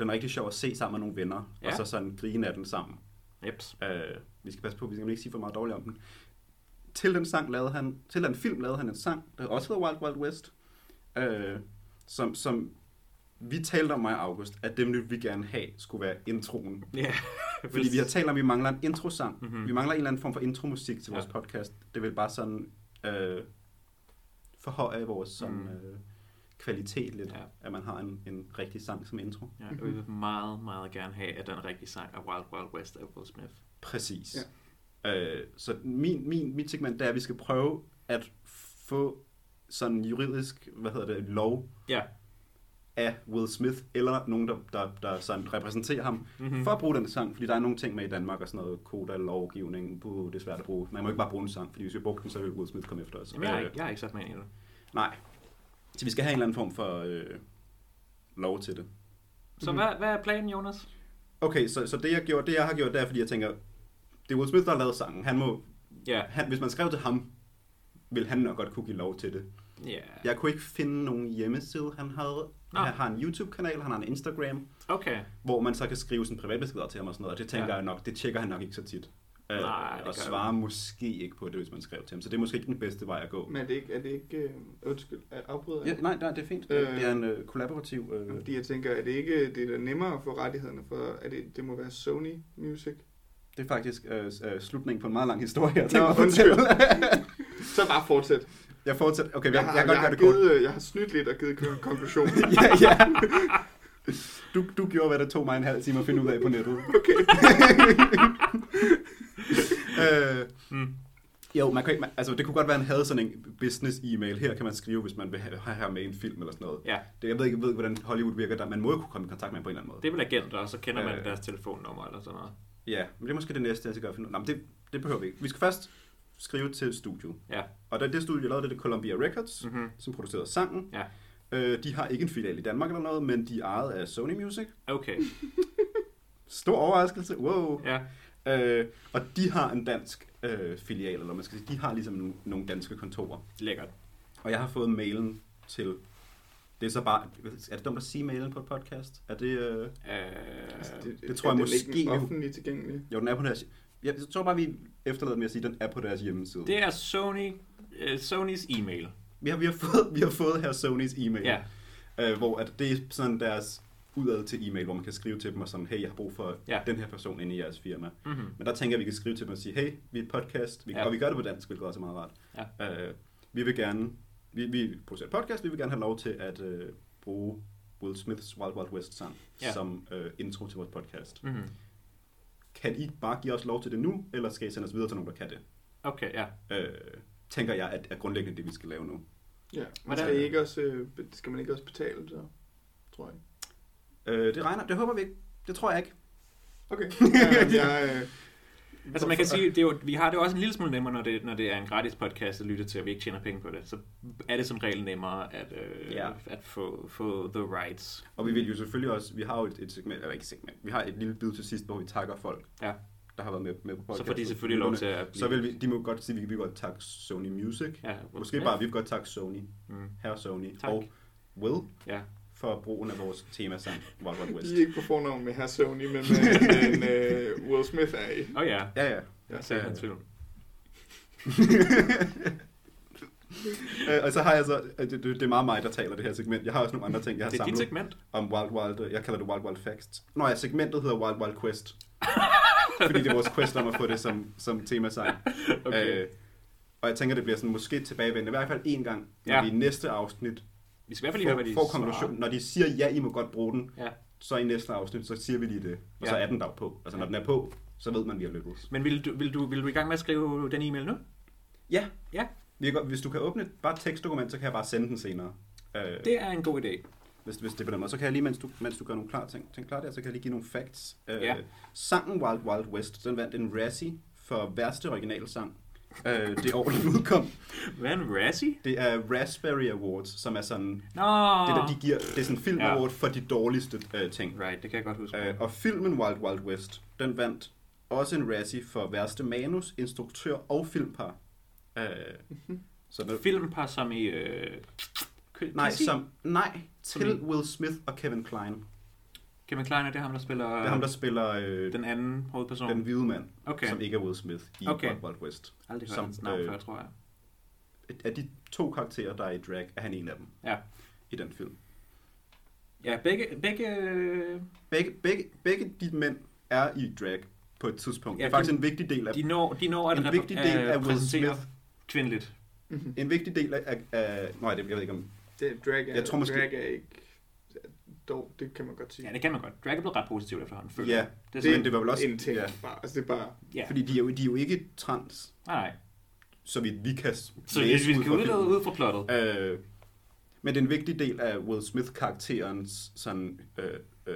Speaker 2: Den er rigtig sjov at se sammen med nogle venner,
Speaker 1: Ja.
Speaker 2: og så sådan grine af den sammen.
Speaker 1: Jeps.
Speaker 2: Øh, vi skal passe på, vi skal ikke sige for meget dårligt om den. Til den, sang lavede han, til den film lavede han en sang, der også hedder Wild Wild West, øh, som, som vi talte om mig og August, at dem ville vi gerne have, skulle være introen.
Speaker 1: Ja.
Speaker 2: Fordi vi har talt om, at vi mangler en introsang.
Speaker 1: Mhm.
Speaker 2: Mm-hmm. Vi mangler en eller anden form for intromusik til vores
Speaker 1: Ja.
Speaker 2: ja. podcast. Det vil bare sådan øh, forhøje vores sådan,
Speaker 1: Mm.
Speaker 2: øh, kvalitet lidt,
Speaker 1: Ja.
Speaker 2: ja. at man har en, en rigtig sang som intro.
Speaker 1: Ja, og vi vil meget, meget gerne have, at den rigtige sang af Wild Wild West af Will Smith.
Speaker 2: Præcis. Ja. Øh, så min, min, mit segment det er, at vi skal prøve at få sådan juridisk, hvad hedder det, lov
Speaker 1: Ja.
Speaker 2: af Will Smith, eller nogen, der, der, der sådan repræsenterer ham,
Speaker 1: Mhm.
Speaker 2: mm-hmm. for at bruge den sang, fordi der er nogle ting med i Danmark og sådan noget, koda, lovgivning, buh, det er svært at bruge. Man må ikke bare bruge en sang, fordi hvis vi brugte den, så ville Will Smith komme efter os.
Speaker 1: Jamen, jeg, har
Speaker 2: Øh,
Speaker 1: ikke- jeg har ikke sat mig ind i det.
Speaker 2: Nej. Så vi skal have en eller anden form for øh, lov til det.
Speaker 1: Så
Speaker 3: Mhm.
Speaker 1: hvad, hvad er planen, Jonas?
Speaker 2: Okay, så, så det, jeg gjorde, det jeg har gjort, det er, fordi jeg tænker, det er Will Smith, der har lavet sangen. Han må
Speaker 1: Ja.
Speaker 2: han, hvis man skrev til ham, ville han nok godt kunne give lov til det.
Speaker 1: Ja.
Speaker 2: Jeg kunne ikke finde nogen hjemmeside, han havde.
Speaker 1: Nå.
Speaker 2: Han har en YouTube-kanal, han har en Instagram,
Speaker 1: Okay.
Speaker 2: hvor man så kan skrive sådan privatbeskeder til ham og sådan noget. Og det tænker
Speaker 1: Ja.
Speaker 2: ja. jeg nok, det tjekker han nok ikke så tit. Øh,
Speaker 1: Nej, det gør
Speaker 2: og
Speaker 1: jeg
Speaker 2: svarer måske ikke på det, hvis man skrev til ham. Så det er måske ikke den bedste vej at gå.
Speaker 3: Men er det ikke, er det ikke øh, undskyld, at afbryder
Speaker 2: Ja, nej, nej, det er fint.
Speaker 3: Øh.
Speaker 2: Øh, det er en øh, kollaborativ... Øh,
Speaker 3: Fordi jeg tænker, er det ikke det er da nemmere at få rettighederne for, at det, det må være Sony Music?
Speaker 2: det er faktisk øh, s- øh, slutningen på en meget lang historie. Jeg,
Speaker 3: Nå,
Speaker 2: tænker,
Speaker 3: undskyld.
Speaker 2: undskyld.
Speaker 3: Så bare fortsæt.
Speaker 2: jeg fortsætter. Okay, jeg, jeg,
Speaker 3: har,
Speaker 2: jeg, jeg,
Speaker 3: jeg,
Speaker 2: jeg,
Speaker 3: har
Speaker 2: jeg, det kort.
Speaker 3: givet, øh, jeg har snydt lidt og givet kon- konklusion.
Speaker 2: ja, ja. Du, du gjorde, hvad der tog mig en halv time at finde ud af på nettet.
Speaker 3: Okay.
Speaker 2: øh,
Speaker 1: Mm.
Speaker 2: jo, man kan, ikke- man, altså, det kunne godt være, at han havde sådan en business-e-mail. Her kan man skrive, hvis man vil have, have her med i en film eller sådan noget.
Speaker 1: Ja,
Speaker 2: Det, jeg ved ikke, jeg ved ikke, hvordan Hollywood virker der. Man må jo kunne komme i kontakt med ham på en eller anden måde.
Speaker 1: det er vel agenter, og så kender man
Speaker 2: Øh.
Speaker 1: deres telefonnummer eller sådan noget.
Speaker 2: Ja, men det er måske det næste, jeg skal gøre. Nå, men det, det behøver vi ikke. Vi skal først skrive til studiet.
Speaker 1: Ja.
Speaker 2: Og da det studie, jeg lavede, det er det Columbia Records,
Speaker 1: Mhm.
Speaker 2: som producerede sangen.
Speaker 1: Ja.
Speaker 2: Øh, de har ikke en filial i Danmark eller noget, men de er ejet af Sony Music.
Speaker 1: Okay.
Speaker 2: Stor overraskelse. Wow.
Speaker 1: Ja.
Speaker 2: Øh, og de har en dansk øh, filial, eller man skal sige, de har ligesom nogle danske kontorer.
Speaker 1: Lækkert.
Speaker 2: Og jeg har fået mailen til... Det er så bare... Er det dumt at sige mailen på et podcast? Er det... Øh...
Speaker 1: Øh,
Speaker 3: Altså,
Speaker 2: det tror jeg
Speaker 3: er den
Speaker 2: måske,
Speaker 3: ikke
Speaker 2: vi-
Speaker 3: offentligt tilgængelig.
Speaker 2: Jo, den er på deres... Jeg tror bare, vi efterlader med at sige, at den er på deres hjemmeside.
Speaker 1: det er Sony, øh, Sonys e-mail.
Speaker 2: Vi, har, vi, har fået, vi har fået her Sonys e-mail,
Speaker 1: Ja,
Speaker 2: øh, hvor at det er sådan deres udad til e-mail, hvor man kan skrive til dem og sådan, hey, jeg har brug for
Speaker 1: Ja.
Speaker 2: ja. den her person inde i jeres firma.
Speaker 1: mm-hmm.
Speaker 2: Men der tænker jeg, at vi kan skrive til dem og sige, hey, vi er et podcast, vi,
Speaker 1: Ja.
Speaker 2: ja. og vi gør det på dansk, hvilket også er meget rart. Ja. Øh, vi vil gerne, vi, vi producerer et podcast, vi vil gerne have lov til at øh, bruge Will Smiths Wild Wild West sang
Speaker 1: Ja.
Speaker 2: ja. som øh, intro til vores podcast.
Speaker 1: Mm-hmm.
Speaker 2: Kan I bare give os lov til det nu, eller skal I sende os videre til nogen, der kan det?
Speaker 1: Okay, ja.
Speaker 2: Øh, tænker jeg, at er grundlæggende det, vi skal lave nu.
Speaker 3: Ja, men
Speaker 1: Hvordan-
Speaker 3: skal, I ikke også, øh, be- skal man ikke også betale så, tror jeg.
Speaker 2: Øh, det regner, det håber vi ikke. Det tror jeg ikke.
Speaker 3: Okay. Ja, men jeg, øh,
Speaker 1: Altså man kan sige, det er jo, vi har det jo også en lille smule nemmere, når det, når det er en gratis podcast at lytte til, og vi ikke tjener penge på det. Så er det som regel nemmere at, øh,
Speaker 2: Ja.
Speaker 1: at få, få the rights.
Speaker 2: Og vi vil jo selvfølgelig også, vi har jo et, et segment, eller ikke segment, vi har et lille bid til sidst, hvor vi takker folk,
Speaker 1: Ja.
Speaker 2: der har været med, med på
Speaker 1: Så
Speaker 2: podcasten.
Speaker 1: får de selvfølgelig lov til at blive...
Speaker 2: Så vil vi, de må godt sige, vi vil godt takke Sony Music.
Speaker 1: Ja,
Speaker 2: Måske bare, vi vil godt takke Sony,
Speaker 1: Mm,
Speaker 2: herre Sony,
Speaker 1: Tak.
Speaker 2: og Will,
Speaker 1: ja.
Speaker 2: for brugen af vores temasang, Wild Wild West.
Speaker 3: De er ikke på fornavn med herr Sony, men med en, øh, Will Smith er i.
Speaker 1: Åh oh, ja,
Speaker 2: Ja, ja.
Speaker 1: jeg sagde han tvivl.
Speaker 2: Øh, og så har jeg så, øh, det, det, det er meget mig, der taler det her segment. Jeg har også nogle andre ting, jeg har
Speaker 1: Det er dit
Speaker 2: samlet
Speaker 1: segment.
Speaker 2: om Wild Wild, øh, jeg kalder det Wild Wild Facts. Nå ja, segmentet hedder Wild Wild Quest. fordi det er vores quest om at få det som, som temasang.
Speaker 1: Okay.
Speaker 2: Øh, og jeg tænker, det bliver sådan måske tilbagevendende, i hvert fald en gang, når
Speaker 1: Ja.
Speaker 2: ja. vi i næste afsnit
Speaker 1: Vi skal i hvert fald lige høre, hvad de
Speaker 2: får, får
Speaker 1: svarer.
Speaker 2: konklusionen. Når de siger, ja, I må godt bruge den,
Speaker 1: Ja.
Speaker 2: så i næste afsnit, så siger vi lige det. Og så
Speaker 1: Ja.
Speaker 2: er den dag på. Altså, når
Speaker 1: Ja.
Speaker 2: den er på, så ved man, vi har lykkedes.
Speaker 1: Men vil du, vil, du, vil du i gang med at skrive den e-mail nu?
Speaker 2: Ja.
Speaker 1: Ja.
Speaker 2: Vi kan, godt- hvis du kan åbne et bare et tekstdokument, så kan jeg bare sende den senere. Øh,
Speaker 1: Det er en god idé.
Speaker 2: hvis, hvis det er på den måde. Så kan jeg lige, mens du, mens du gør nogle klar ting, ting klar der, så kan jeg lige give nogle facts. Øh,
Speaker 1: Ja.
Speaker 2: Sangen Wild Wild West, den vandt en Razzie for værste originalsang. Øh, det år, den udkom.
Speaker 1: Hvad er en Razzie?
Speaker 2: Det er Raspberry Awards, som er sådan
Speaker 1: Nå!
Speaker 2: Det der, de giver, det er sådan en film
Speaker 1: Ja.
Speaker 2: award for de dårligste øh, ting.
Speaker 1: Right, det kan jeg godt huske.
Speaker 2: Øh, og filmen Wild Wild West, den vandt også en Razzie for værste manus, instruktør og filmpar. Øh,
Speaker 1: Mhm.
Speaker 2: så den,
Speaker 1: Filmpar som i... Øh, Kø-
Speaker 2: nej,
Speaker 1: Kissy?
Speaker 2: som, nej,
Speaker 1: Som
Speaker 2: til
Speaker 1: i-
Speaker 2: Will Smith og Kevin Klein. Det
Speaker 1: Kevin Klein, er det ham, der spiller
Speaker 2: er ham, der spiller øh, den,
Speaker 1: Um, den anden hovedperson?
Speaker 2: den hvide mand,
Speaker 1: okay,
Speaker 2: okay. som ikke er Will Smith i
Speaker 1: Okay.
Speaker 2: okay. Wild Wild West.
Speaker 1: aldrig hørt
Speaker 2: som,
Speaker 1: hans navn
Speaker 2: øh,
Speaker 1: før, tror jeg.
Speaker 2: Af de to karakterer, der er i drag, er han en af dem
Speaker 1: Ja.
Speaker 2: i den film.
Speaker 1: Ja, begge... begge øh,
Speaker 2: Begge, begge, begge de mænd er i drag på et tidspunkt.
Speaker 1: Ja,
Speaker 2: Ja, det er faktisk en vigtig del af
Speaker 1: de når, de når at
Speaker 2: en
Speaker 1: repr-
Speaker 2: vigtig del
Speaker 1: øh,
Speaker 2: af Will
Speaker 1: præsentere
Speaker 2: Smith
Speaker 1: kvindeligt.
Speaker 3: Mhm.
Speaker 2: En vigtig del af... af nej, det, jeg ved ikke om...
Speaker 3: Det er drag er,
Speaker 2: Jeg tror måske-
Speaker 3: drag er ikke... Dog, det kan man godt sige.
Speaker 1: Ja, det kan man godt. Drag er blevet ret positivt efterhånden, føler
Speaker 2: Ja,
Speaker 1: jeg. det er
Speaker 2: det,
Speaker 1: sådan,
Speaker 2: men det var vel også...
Speaker 3: en ting.
Speaker 2: Ja,
Speaker 3: Bare, altså, det er bare...
Speaker 1: ja.
Speaker 2: fordi de er, jo, de er jo ikke trans,
Speaker 1: Nej, nej.
Speaker 2: så vidt vi kan
Speaker 1: Så hvis vi kan udlede ud fra plottet.
Speaker 2: Øh, men det er en vigtig del af Will Smith-karakterens sådan, øh, øh,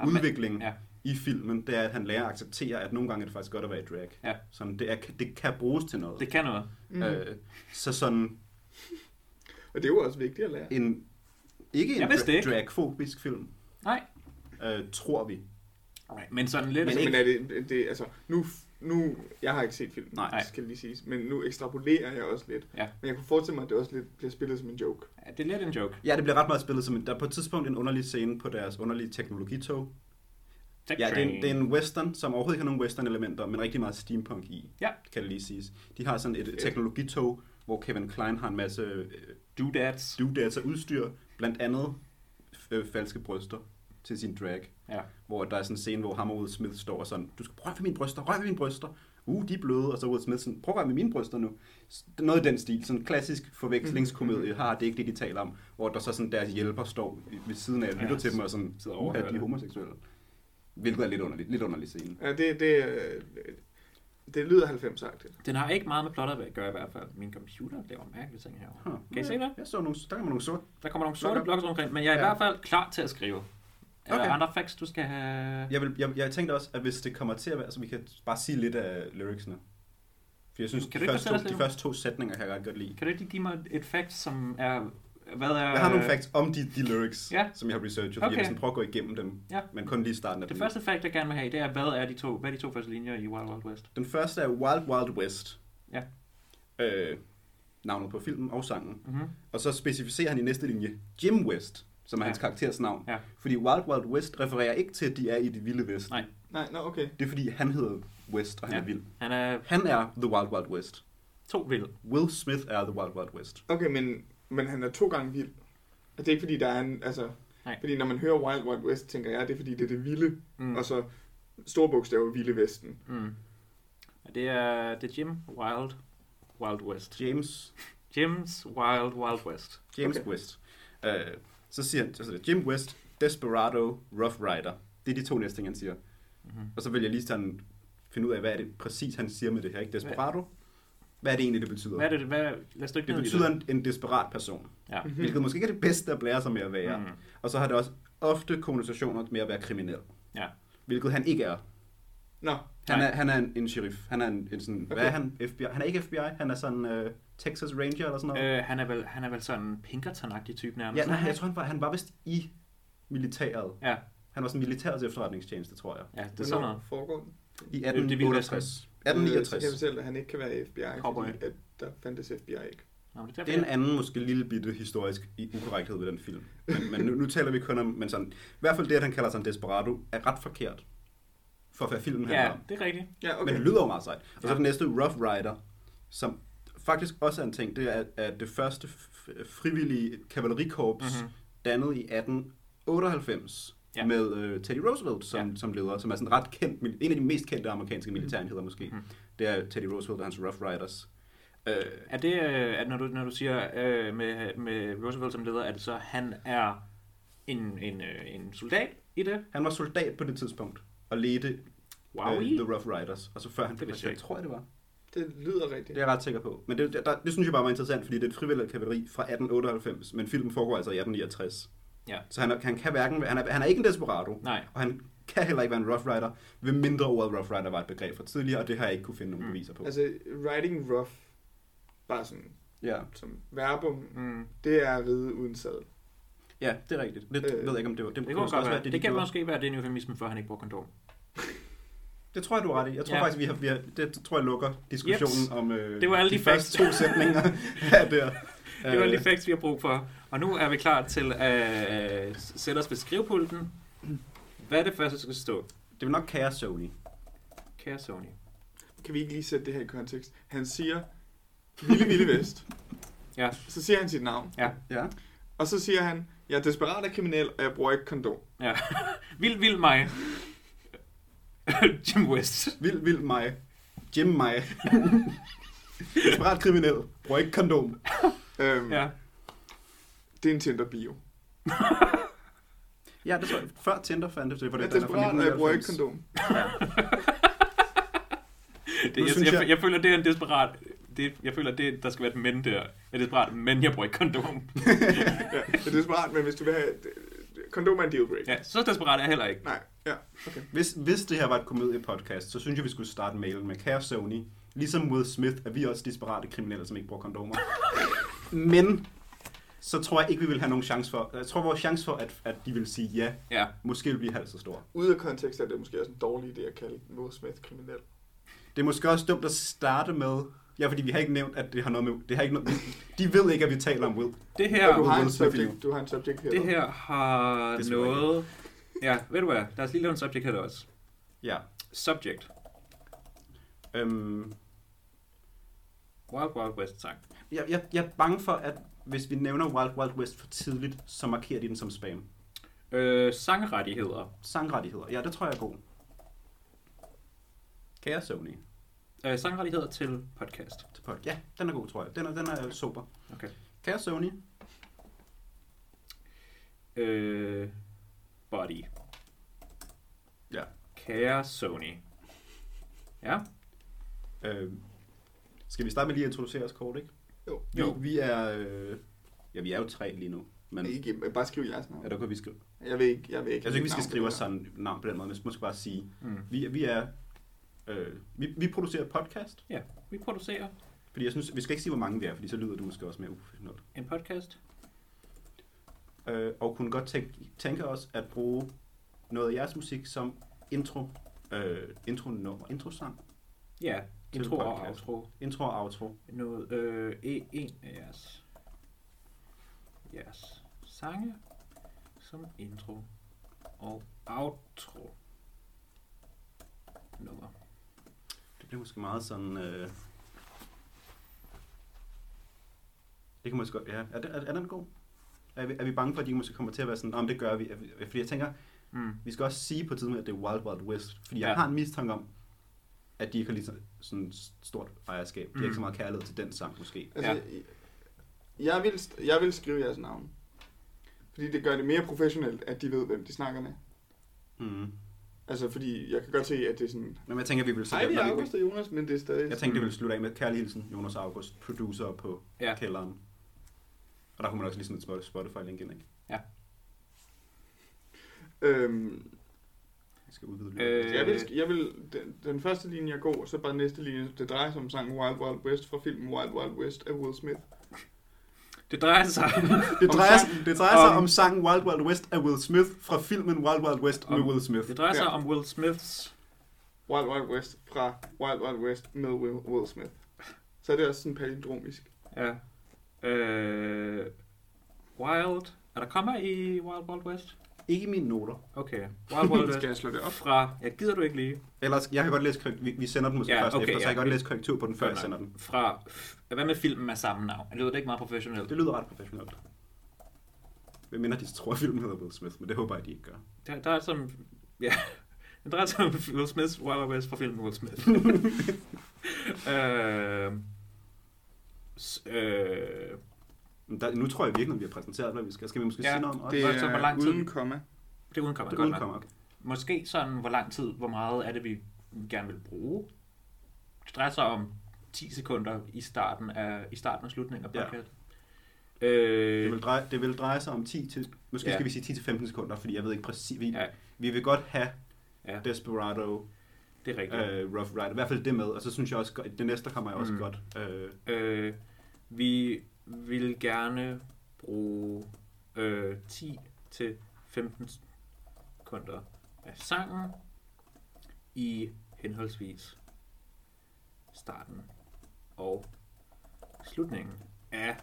Speaker 1: Jamen,
Speaker 2: udvikling
Speaker 1: ja.
Speaker 2: i filmen, det er, at han lærer at acceptere, at nogle gange er det faktisk godt at være i drag.
Speaker 1: Ja.
Speaker 2: Sådan, det, er, det kan bruges til noget.
Speaker 1: Det kan noget.
Speaker 3: Mm.
Speaker 2: Øh, så sådan
Speaker 3: Og det er jo også vigtigt at lære.
Speaker 2: en... Ikke en
Speaker 1: Jeg vidste det
Speaker 2: dra-
Speaker 1: ikke.
Speaker 2: dragfobisk film,
Speaker 1: Nej.
Speaker 2: øh, tror vi.
Speaker 1: Alright. Men sådan lidt...
Speaker 3: Men, altså,
Speaker 2: ikke-
Speaker 3: men er det, det, altså, nu, nu, jeg har ikke set filmen,
Speaker 2: Nej.
Speaker 3: det skal lige siges, men nu ekstrapolerer jeg også lidt.
Speaker 1: Ja.
Speaker 3: Men jeg kunne forestille mig, at det også lidt bliver spillet som en joke.
Speaker 1: Ja, det er lidt en joke.
Speaker 2: Ja, det bliver ret meget spillet som en, der er på et tidspunkt en underlig scene på deres underlige teknologitog.
Speaker 1: Tech
Speaker 2: Ja, det er, en,
Speaker 1: train.
Speaker 2: det er en western, som overhovedet ikke har nogen western-elementer, men rigtig meget steampunk i,
Speaker 1: Ja.
Speaker 2: kan det lige siges. De har sådan et teknologitog, hvor Kevin Klein har en masse øh,
Speaker 1: Doodads.
Speaker 2: doodads og udstyr, blandt andet øh, falske bryster til sin drag.
Speaker 1: Ja.
Speaker 2: Hvor der er sådan en scene, hvor ham og Will Smith står og sådan, du skal prøve ved mine bryster, rør ved mine bryster. Uh, de er bløde, og så Will Smith sådan, prøv at røre ved mine bryster nu. S- Noget i den stil, sådan en klassisk
Speaker 1: Mm-hmm.
Speaker 2: forvekslingskomedie, har det er ikke det, de taler om. Hvor der så sådan deres hjælper står ved siden af og lytter
Speaker 1: Ja,
Speaker 2: til dem og sådan,
Speaker 1: sidder og
Speaker 2: uh,
Speaker 1: overhører
Speaker 2: de er
Speaker 1: det."
Speaker 2: homoseksuelle. Hvilket er lidt underligt, lidt underlig scene.
Speaker 3: Ja, det, det, øh, det lyder 90-agtigt.
Speaker 1: Den har ikke meget med plottet at gøre i hvert fald. Min computer laver mærkelige ting herovre.
Speaker 2: Huh.
Speaker 1: Kan I se det?
Speaker 2: Jeg så nogle, der kommer nogle sorte.
Speaker 1: Der kommer nogle sorte
Speaker 2: Blokker.
Speaker 1: blokke rundt omkring, men jeg er i
Speaker 2: Ja.
Speaker 1: hvert fald klar til at skrive. Er der
Speaker 2: Okay.
Speaker 1: andre facts, du skal have?
Speaker 2: Jeg, vil, jeg, jeg tænkte også, at hvis det kommer til at være, så vi kan bare sige lidt af lyricsene. For jeg synes,
Speaker 1: Kan du
Speaker 2: de,
Speaker 1: ikke
Speaker 2: første
Speaker 1: fortælle os
Speaker 2: to,
Speaker 1: lidt
Speaker 2: de
Speaker 1: om-
Speaker 2: første to sætninger kan jeg ret godt lide.
Speaker 1: Kan du ikke lige give mig et fact, som er... Hvad er...
Speaker 2: Jeg har nogle facts om de, de lyrics,
Speaker 1: Øh, Ja.
Speaker 2: ja. som jeg har researchet, fordi okay.
Speaker 1: Okay.
Speaker 2: jeg vil sådan prøve at gå igennem dem,
Speaker 1: Ja.
Speaker 2: men kun lige starten af
Speaker 1: Det
Speaker 2: dem.
Speaker 1: første fact, jeg gerne vil have, det er, hvad er de to, hvad er de to første linjer i Wild Wild West?
Speaker 2: Den første er Wild Wild West.
Speaker 1: Ja.
Speaker 2: Øh, navnet på filmen og sangen.
Speaker 1: Mm-hmm.
Speaker 2: Og så specificerer han i næste linje Jim West, som er
Speaker 1: Ja.
Speaker 2: ja. hans karakteres navn.
Speaker 1: Ja.
Speaker 2: Fordi Wild Wild West refererer ikke til, at de er i det vilde vest.
Speaker 1: Nej.
Speaker 3: Nej, nå, okay.
Speaker 2: Det er fordi, han hedder West, og han
Speaker 1: Ja.
Speaker 2: ja. er vild.
Speaker 1: Han er
Speaker 2: Han er The Wild Wild West.
Speaker 1: to vild.
Speaker 2: Will Smith er The Wild Wild West.
Speaker 3: Okay, men, men han er to gange vild. Og det er ikke fordi, der er en, altså...
Speaker 1: Nej.
Speaker 3: Fordi når man hører Wild Wild West, tænker jeg, det er fordi, det er det vilde.
Speaker 1: Mm.
Speaker 3: Mm. Og så store bogstaver, vilde vesten.
Speaker 1: Mm. Og Det er, det er Jim Wild Wild West.
Speaker 2: James,
Speaker 1: Jim's Wild Wild West.
Speaker 2: James
Speaker 3: Okay.
Speaker 2: okay. West. Øh, så siger han, så siger det, Jim West, Desperado, Rough Rider. Det er de to næste ting, han siger.
Speaker 1: Mm-hmm.
Speaker 2: Og så vil jeg lige sådan finde ud af, hvad er det præcis, han siger med det her. Ikke Desperado? Hvad er det egentlig, det betyder?
Speaker 1: Hvad er det, hvad, lad os dykke
Speaker 2: Det
Speaker 1: ned i
Speaker 2: betyder en, en desperat person,
Speaker 1: Ja.
Speaker 3: Mhm.
Speaker 2: hvilket måske ikke er det bedste at blære sig med at være.
Speaker 1: Mm.
Speaker 2: Og så har det også ofte konnotationer med at være kriminel,
Speaker 1: Ja.
Speaker 2: hvilket han ikke er.
Speaker 3: Nå,
Speaker 2: Han
Speaker 1: Nej.
Speaker 2: er, han er en, en sheriff. Han er en, en sådan, okay. hvad
Speaker 3: Okay.
Speaker 2: er han? FBI? Han er ikke FBI, han er sådan uh, Texas Ranger eller sådan noget.
Speaker 1: Øh, han, er vel, han er vel sådan en Pinkerton-agtig type nærmest.
Speaker 2: ja, nej, jeg tror, han var, han var vist i militæret.
Speaker 1: Ja,
Speaker 2: Han var sådan militærets efterretningstjeneste, tror jeg.
Speaker 1: ja det er sådan noget.
Speaker 3: foregår den?
Speaker 2: I
Speaker 1: er Vildt Vesten.
Speaker 2: 1868.
Speaker 3: Øh, Så kan jeg
Speaker 2: 1869.
Speaker 3: fortælle, at han ikke kan være i FBI,
Speaker 1: Cowboy.
Speaker 3: fordi at der fandtes FBI ikke.
Speaker 1: Nå, men det er derfor,
Speaker 2: Det er en
Speaker 1: jeg-
Speaker 2: anden, måske lille bitte historisk i- ukorrekthed ved den film. Men, men nu, nu taler vi kun om, men sådan, i hvert fald det, at han kalder sig en desperado, er ret forkert for hvad filmen handler om.
Speaker 1: Ja, det er rigtigt.
Speaker 3: Ja,
Speaker 2: Okay.
Speaker 3: okay.
Speaker 2: Men det lyder jo meget sejt. Og så
Speaker 1: Ja.
Speaker 2: den næste, Rough Rider, som faktisk også er en ting, det er, at det første f- frivillige kavalerikorps
Speaker 1: Mhm.
Speaker 2: mm-hmm. dannet i 1898
Speaker 1: Ja.
Speaker 2: ja. med øh, Teddy Roosevelt
Speaker 1: Ja.
Speaker 2: som, ja. som leder, som er sådan ret kendt, mil- en af de mest kendte amerikanske militærenheder måske.
Speaker 1: Mhm.
Speaker 2: Mm-hmm. Det er Teddy Roosevelt og hans Rough Riders. Øh,
Speaker 1: Er det, øh, at når du, når du siger øh, med, med Roosevelt som leder, er det så, at han er en, en, øh, en soldat i det?
Speaker 2: han var soldat på det tidspunkt og ledte
Speaker 1: Wow.
Speaker 2: øh, The Rough Riders, og så før han
Speaker 1: Det
Speaker 2: blev
Speaker 1: vidste jeg
Speaker 2: præsident,
Speaker 1: ikke.
Speaker 2: tror jeg det var.
Speaker 3: Det lyder
Speaker 2: Det
Speaker 3: rigtigt.
Speaker 2: er jeg ret sikker på. Men det, det, der, det synes jeg bare var interessant, fordi det er et frivilligt kavaleri fra 1898, men filmen foregår altså i 1869.
Speaker 1: Ja.
Speaker 2: Så han, er- han kan hverken, han er, han er ikke en desperado,
Speaker 1: Nej.
Speaker 2: og han kan heller ikke være en rough rider, ved mindre ordet rough rider var et begreb fra tidligere, og det har jeg ikke kunne finde nogen
Speaker 1: Mm.
Speaker 2: beviser på.
Speaker 3: Altså, riding rough, bare sådan
Speaker 2: Ja,
Speaker 3: som verbum,
Speaker 1: Mm.
Speaker 3: det er at ride uden sadel.
Speaker 2: ja, det er rigtigt. Det
Speaker 3: Øh,
Speaker 2: øh, ved jeg ikke, om det var. Det,
Speaker 1: Det,
Speaker 2: kunne
Speaker 1: kunne
Speaker 2: også
Speaker 1: godt
Speaker 2: være,
Speaker 1: være.
Speaker 2: det, de
Speaker 1: det kan
Speaker 2: gjorde.
Speaker 1: måske være, at det er en eufemisme for, at han ikke bruger kondom.
Speaker 2: det tror jeg, du har ret i. Jeg tror
Speaker 1: Ja.
Speaker 2: ja. faktisk, vi har, vi har, det tror jeg lukker diskussionen
Speaker 1: Jeps.
Speaker 2: om øh,
Speaker 1: Det var alle
Speaker 2: de
Speaker 1: de
Speaker 2: første to
Speaker 1: facts.
Speaker 2: sætninger. ja, der. Øh.
Speaker 1: Det var lige facts, vi har brug for. Og nu er vi klar til at øh, sætte os ved skrivepulten. Hvad er det første, der skal stå?
Speaker 2: det var nok Kære Sony.
Speaker 1: Kære Sony.
Speaker 3: Kan vi ikke lige sætte det her i kontekst? Han siger, Ville Ville Vest.
Speaker 1: Ja.
Speaker 3: Så siger han sit navn.
Speaker 2: Ja.
Speaker 3: Og så siger han, jeg er desperat og kriminel, og jeg bruger ikke kondom.
Speaker 1: Ja. Vild, vild mig. Jim West.
Speaker 2: Vild, vild mig. Jim mig. Desperat kriminel. Bruger ikke kondom. Mm.
Speaker 3: Øhm,
Speaker 1: Ja.
Speaker 3: Det er en Tinder-bio.
Speaker 2: Ja, det tror jeg. Før Tinder fandt det, for
Speaker 3: Jeg
Speaker 2: det
Speaker 3: er desperat, og jeg bruger ikke kondom.
Speaker 1: Det,
Speaker 2: Nu
Speaker 1: jeg,
Speaker 2: synes
Speaker 1: jeg, jeg,
Speaker 2: jeg-
Speaker 1: føler, det er en desperat... Det, jeg føler, det, der skal være et men der. Jeg er desperat, men jeg bruger ikke kondom.
Speaker 3: Ja, det er desperat, men hvis du vil have... Kondom er en dealbreaker.
Speaker 1: Ja, så desperat er jeg heller ikke.
Speaker 3: Nej, ja.
Speaker 2: Hvis, hvis det her var et komediepodcast, så synes jeg, vi skulle starte mailen med Kære Sony. Ligesom Will Smith er vi også desperate kriminelle, som ikke bruger kondomer. Men så tror jeg ikke, vi vil have nogen chance for... Jeg tror, vores chance for, at, at de vil sige ja,
Speaker 1: Ja.
Speaker 2: måske vil blive halvt så stor.
Speaker 3: Ude af kontekst er det måske også en dårlig idé at kalde Will Smith kriminel.
Speaker 2: Det er måske også dumt at starte med... Ja, fordi vi har ikke nævnt, at det har noget med... Det har ikke noget, de ved ikke, at vi taler om Will.
Speaker 1: Det
Speaker 3: Ja, du
Speaker 1: her,
Speaker 2: Will
Speaker 3: har en
Speaker 2: Smith er
Speaker 3: subject,
Speaker 2: jo-
Speaker 3: du har en subject her.
Speaker 1: det her har
Speaker 2: Det er super
Speaker 1: noget... Ja, ved du hvad? Lad os lige lave en subject her også.
Speaker 2: Ja.
Speaker 1: Subject.
Speaker 2: Øhm,
Speaker 1: Wild Wild West sang.
Speaker 2: Jeg, jeg, jeg er bange for, at hvis vi nævner Wild Wild West for tidligt, så markerer de den som spam.
Speaker 1: Øh, sangrettigheder.
Speaker 2: Sangrettigheder. Ja, det tror jeg er god. Kære Sony.
Speaker 1: Øh, sangrettigheder til podcast.
Speaker 2: til pod- Ja, den er god, tror jeg. Den er, den er super.
Speaker 1: Okay.
Speaker 2: Kære Sony.
Speaker 1: Øh, body.
Speaker 2: Ja.
Speaker 1: Kære Sony. Ja.
Speaker 2: Øh, skal vi starte med lige at introducere os kort, ikke?
Speaker 3: Jo.
Speaker 2: Vi,
Speaker 1: Jo.
Speaker 2: vi er... Øh, ja, vi er jo tre lige nu. Men
Speaker 3: Men ikke, bare skriv jeres navn.
Speaker 2: er der godt, vi skal...
Speaker 3: Jeg ved ikke, jeg ved ikke.
Speaker 2: Jeg synes ikke, vi
Speaker 3: navn
Speaker 2: skal
Speaker 3: på
Speaker 2: skrive
Speaker 3: det
Speaker 2: os
Speaker 3: her.
Speaker 2: sådan navn på den måde, men måske bare sige...
Speaker 1: Mm.
Speaker 2: Vi, vi er... Øh, vi, vi producerer podcast,
Speaker 1: Ja, vi producerer
Speaker 2: fordi jeg synes, vi skal ikke sige, hvor mange vi er, fordi så lyder du måske også mere ufindet.
Speaker 1: en podcast.
Speaker 2: øh, og kunne godt tænke, tænke os at bruge noget af jeres musik som intro, øh, intro nummer, intro sang.
Speaker 1: Ja,
Speaker 2: til
Speaker 1: Intro og
Speaker 2: podcasten.
Speaker 1: outro.
Speaker 2: Intro og outro.
Speaker 1: noget, øh, e- en af jeres, jeres sange som intro og outro nummer.
Speaker 2: Det bliver måske meget sådan... Øh... Det kan måske godt... Ja. Er, det, er, er den god? Er vi, er vi bange for, at de måske kommer til at være sådan, om det gør vi? Er vi- Fordi jeg tænker,
Speaker 1: Mm.
Speaker 2: vi skal også sige på et tidspunkt, at det er Wild Wild West. Fordi jeg
Speaker 1: Ja.
Speaker 2: har en mistanke om, at de ikke har lige så, sådan stort ejerskab. De har
Speaker 1: Mm.
Speaker 2: ikke så meget kærlighed til den sang, måske.
Speaker 3: Altså, ja. jeg, vil, jeg vil skrive jeres navn. Fordi det gør det mere professionelt, at de ved, hvem de snakker med.
Speaker 2: Mm.
Speaker 3: Altså, fordi jeg kan godt se, at det er sådan...
Speaker 2: Men jeg tænker, vi vil
Speaker 3: Hej, vi
Speaker 2: når
Speaker 3: er August og Jonas, men det er stadig...
Speaker 2: Jeg tænkte, det ville slutte af med kærlig hilsen, Jonas August, producer på ja.
Speaker 1: Ja.
Speaker 2: kælderen. Og der kunne man også lige sådan et Spotify-link ind, ikke?
Speaker 3: Øhm,
Speaker 2: Jeg skal udvide
Speaker 1: Øh.
Speaker 2: lyden.
Speaker 3: jeg vil, jeg vil den, den første linje er god, og så bare den næste linje. Det drejer sig om sangen Wild Wild West fra filmen Wild Wild West af Will Smith.
Speaker 1: Det drejer sig
Speaker 2: Det
Speaker 3: om
Speaker 2: drejer,
Speaker 3: sangen-
Speaker 2: det drejer sig
Speaker 1: om-
Speaker 2: om sangen Wild Wild West af Will Smith fra filmen Wild Wild West med
Speaker 1: Om-
Speaker 2: Will Smith.
Speaker 1: det drejer sig
Speaker 3: Ja.
Speaker 1: om Will Smiths
Speaker 3: Wild Wild West fra Wild Wild West med Will, Will Smith. Så er det også sådan palindromisk.
Speaker 1: ja, øh, Wild. Er der kommer i Wild Wild West?
Speaker 2: Ikke i mine noter.
Speaker 1: Okay. Wild Wild
Speaker 3: Skal jeg
Speaker 1: West
Speaker 3: slå det op?
Speaker 1: fra, ja, gider du ikke lige,
Speaker 2: Ellers, jeg kan godt læse korrekt- vi, vi sender den måske
Speaker 1: Ja,
Speaker 2: først
Speaker 1: okay,
Speaker 2: efter, så
Speaker 1: ja.
Speaker 2: jeg kan godt læse korrektur på den, før
Speaker 1: Fair
Speaker 2: jeg
Speaker 1: nok.
Speaker 2: sender den.
Speaker 1: fra, hvad med filmen af samme navn? Det lyder da ikke meget professionelt.
Speaker 2: Det lyder ret professionelt. Hvem minder, de tror, at filmen hedder Will Smith, men det håber jeg, de ikke gør.
Speaker 1: Der, der er som... Ja, der er som Will Smiths Wild Wild West fra filmen Will Smith. øh, s- øh,
Speaker 2: Men der, nu tror jeg virkelig, at vi har præsenteret, hvad vi skal. Skal vi måske
Speaker 1: Ja,
Speaker 2: sige noget om os?
Speaker 3: Det
Speaker 1: Hvor- så hvor
Speaker 3: er
Speaker 1: lang tid?
Speaker 3: uden komma.
Speaker 1: det udkommer
Speaker 2: det
Speaker 1: godt
Speaker 2: udkommer.
Speaker 1: nok.
Speaker 2: Okay.
Speaker 1: Måske sådan, hvor lang tid, hvor meget er det, vi gerne vil bruge. Det drejer sig om 10 sekunder i starten af, i starten og slutningen af
Speaker 2: Ja.
Speaker 1: podcast.
Speaker 2: Det
Speaker 1: Øh,
Speaker 2: vil, dreje, det vil dreje sig om 10 til, måske ja.
Speaker 1: Ja.
Speaker 2: skal vi sige 10 til 15 sekunder, fordi jeg ved ikke præcis, vi, ja.
Speaker 1: ja,
Speaker 2: vi vil godt have
Speaker 1: Ja.
Speaker 2: Desperado,
Speaker 1: det er rigtigt.
Speaker 2: øh, Rough Rider, i hvert fald det med, og så synes jeg også, godt- det næste kommer jeg også mm.
Speaker 1: Mm.
Speaker 2: godt. Øh,
Speaker 1: Øh, vi vil gerne bruge øh, 10 til 15 sekunder af sangen i henholdsvis starten og slutningen af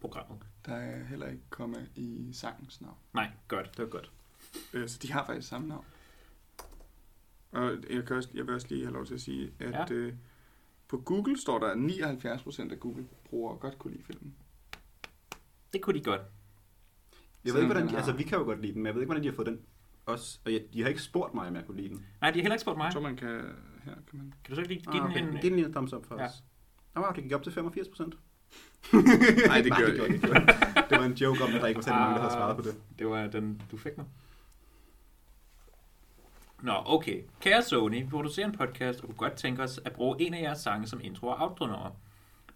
Speaker 1: programmet.
Speaker 3: Der er heller ikke komma i sangens navn.
Speaker 1: Nej, godt.
Speaker 2: det var godt.
Speaker 3: Øh, så de har faktisk samme navn. Og jeg, kan også, jeg vil også lige have lov til at sige, at ja.
Speaker 1: Ja.
Speaker 3: øh, på Google står der, at 79% af Google-brugere godt kunne lide filmen.
Speaker 1: Det kunne de godt.
Speaker 2: Jeg ved
Speaker 3: Sådan
Speaker 2: ikke, hvordan
Speaker 3: den
Speaker 2: de,
Speaker 3: har-
Speaker 2: altså vi kan jo godt lide den, men jeg ved ikke, hvordan de har fået den også. Og jeg, de har ikke spurgt mig, om jeg kunne lide den.
Speaker 1: Nej, de har heller ikke spurgt mig.
Speaker 3: Så man kan... Her kan man...
Speaker 1: Kan du så ikke lige give
Speaker 2: Ah,
Speaker 1: ah, okay. den en...
Speaker 2: Men Giv den lige en thumbs up for
Speaker 1: Ja.
Speaker 2: os. Nå, wow, det gik op til 85 procent.
Speaker 3: Nej, det gør
Speaker 2: det
Speaker 3: jeg ikke.
Speaker 2: Det var en joke om, at der ikke var særlig mange, der havde
Speaker 1: Ah.
Speaker 2: svaret på det.
Speaker 1: Det var den, du fik mig. Nå, okay. Kære Sony, vi producerer en podcast, og kunne godt tænke os at bruge en af jeres sange som intro og outro nummer.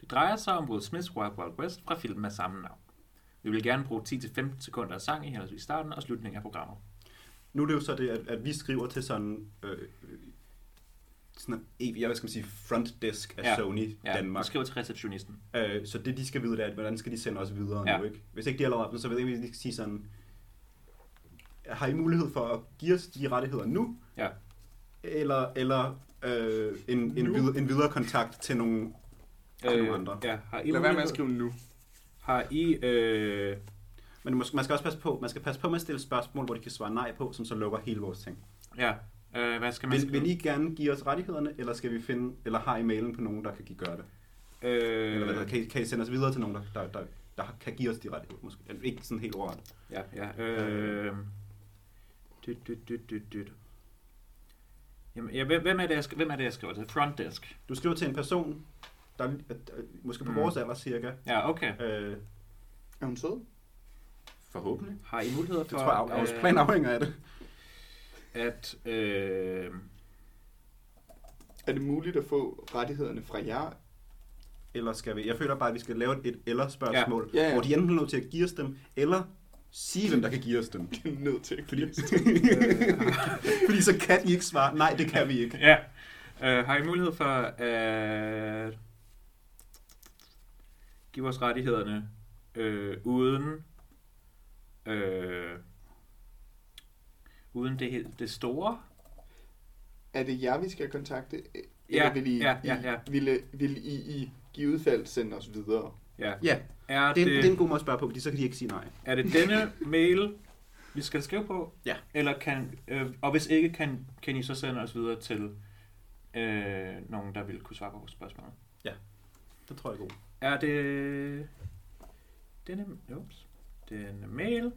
Speaker 1: Det drejer sig om Will Smiths Wild Wild West fra filmen af samme navn. Vi vil gerne bruge 10-15 sekunder af sang i henholdsvis starten og slutningen af programmet.
Speaker 2: Nu er det jo så det, at, at vi skriver til sådan... Øh, øh, sådan en, evig- jeg hvad skal man sige, frontdesk af ja.
Speaker 1: Ja.
Speaker 2: Sony ja.
Speaker 1: vi
Speaker 2: Danmark.
Speaker 1: skriver til receptionisten.
Speaker 2: Øh, så det, de skal vide, det er, at hvordan skal de sende os videre ja.
Speaker 1: Ja.
Speaker 2: nu, ikke? Hvis ikke de allerede har dem, så ved jeg ikke, om de skal sige sådan, har I mulighed for at give os de rettigheder nu?
Speaker 1: Ja.
Speaker 2: Eller, eller øh, en, en,
Speaker 3: Nu?
Speaker 2: vid- en videre kontakt til nogle... Og nogle andre.
Speaker 1: Øh, Ja, har I,
Speaker 3: Lad være med at
Speaker 1: mulighed,
Speaker 3: skrive nu.
Speaker 1: har I øh,
Speaker 2: Men man skal, man skal også passe på, man skal passe på med at stille spørgsmål, hvor de kan svare nej på, som så lukker hele vores ting.
Speaker 1: ja, øh, hvad skal man
Speaker 2: Vil,
Speaker 1: skrive?
Speaker 2: vil I gerne give os rettighederne, eller skal vi finde, eller har I mailen på nogen, der kan give gøre det? Øh. Eller hvad,
Speaker 1: øh,
Speaker 2: hedder det? kan, I, kan I sende os videre til nogen, der, der, der, der kan give os de rettigheder, måske? Eller Ikke sådan helt ordret.
Speaker 1: Ja, ja. Øh, dyt, dyt, dyt, dyt, dyt. Jamen, ja, hvem, hvem, er det, jeg, sk- hvem er det, jeg skriver til? Front desk.
Speaker 2: Du skriver til en person, der er, øh, måske på mm.
Speaker 1: Mm.
Speaker 2: vores alder cirka,
Speaker 1: Ja, okay.
Speaker 2: Øh,
Speaker 3: Er hun sød?
Speaker 2: forhåbentlig.
Speaker 1: Har I muligheder
Speaker 2: Det
Speaker 1: for
Speaker 2: tror jeg, af- vores
Speaker 1: øh,
Speaker 2: plan afhænger af det.
Speaker 1: at... Øh,
Speaker 3: Er det muligt at få rettighederne fra jer?
Speaker 2: Eller skal vi? Jeg føler bare, at vi skal lave et eller-spørgsmål,
Speaker 3: Ja. Ja, ja.
Speaker 2: hvor de enten er nødt til at give os dem, eller sige, hvem der kan give os dem.
Speaker 3: Det er nødt til.
Speaker 2: Fordi,
Speaker 3: Fordi...
Speaker 2: fordi så kan de ikke svare, nej, det kan vi ikke.
Speaker 1: ja. Øh, har I mulighed for at give os rettighederne øh, uden øh, uden det, he- det store?
Speaker 3: Er det jer, vi skal kontakte? Eller vil I,
Speaker 1: ja, ja,
Speaker 3: I-
Speaker 1: ja.
Speaker 3: Ville, ville I i givet fald sende os videre?
Speaker 1: ja.
Speaker 2: Ja,
Speaker 1: Er,
Speaker 2: det, er, det er en
Speaker 1: det,
Speaker 2: god måde at spørge på, fordi så kan de ikke sige nej.
Speaker 1: er det denne mail, vi skal skrive på?
Speaker 2: Ja.
Speaker 1: Eller kan, øh, og hvis ikke, kan, kan I så sende os videre til øh, nogen, der vil kunne svare på vores spørgsmål?
Speaker 2: Det tror jeg er god.
Speaker 1: Er det denne, ups, denne mail,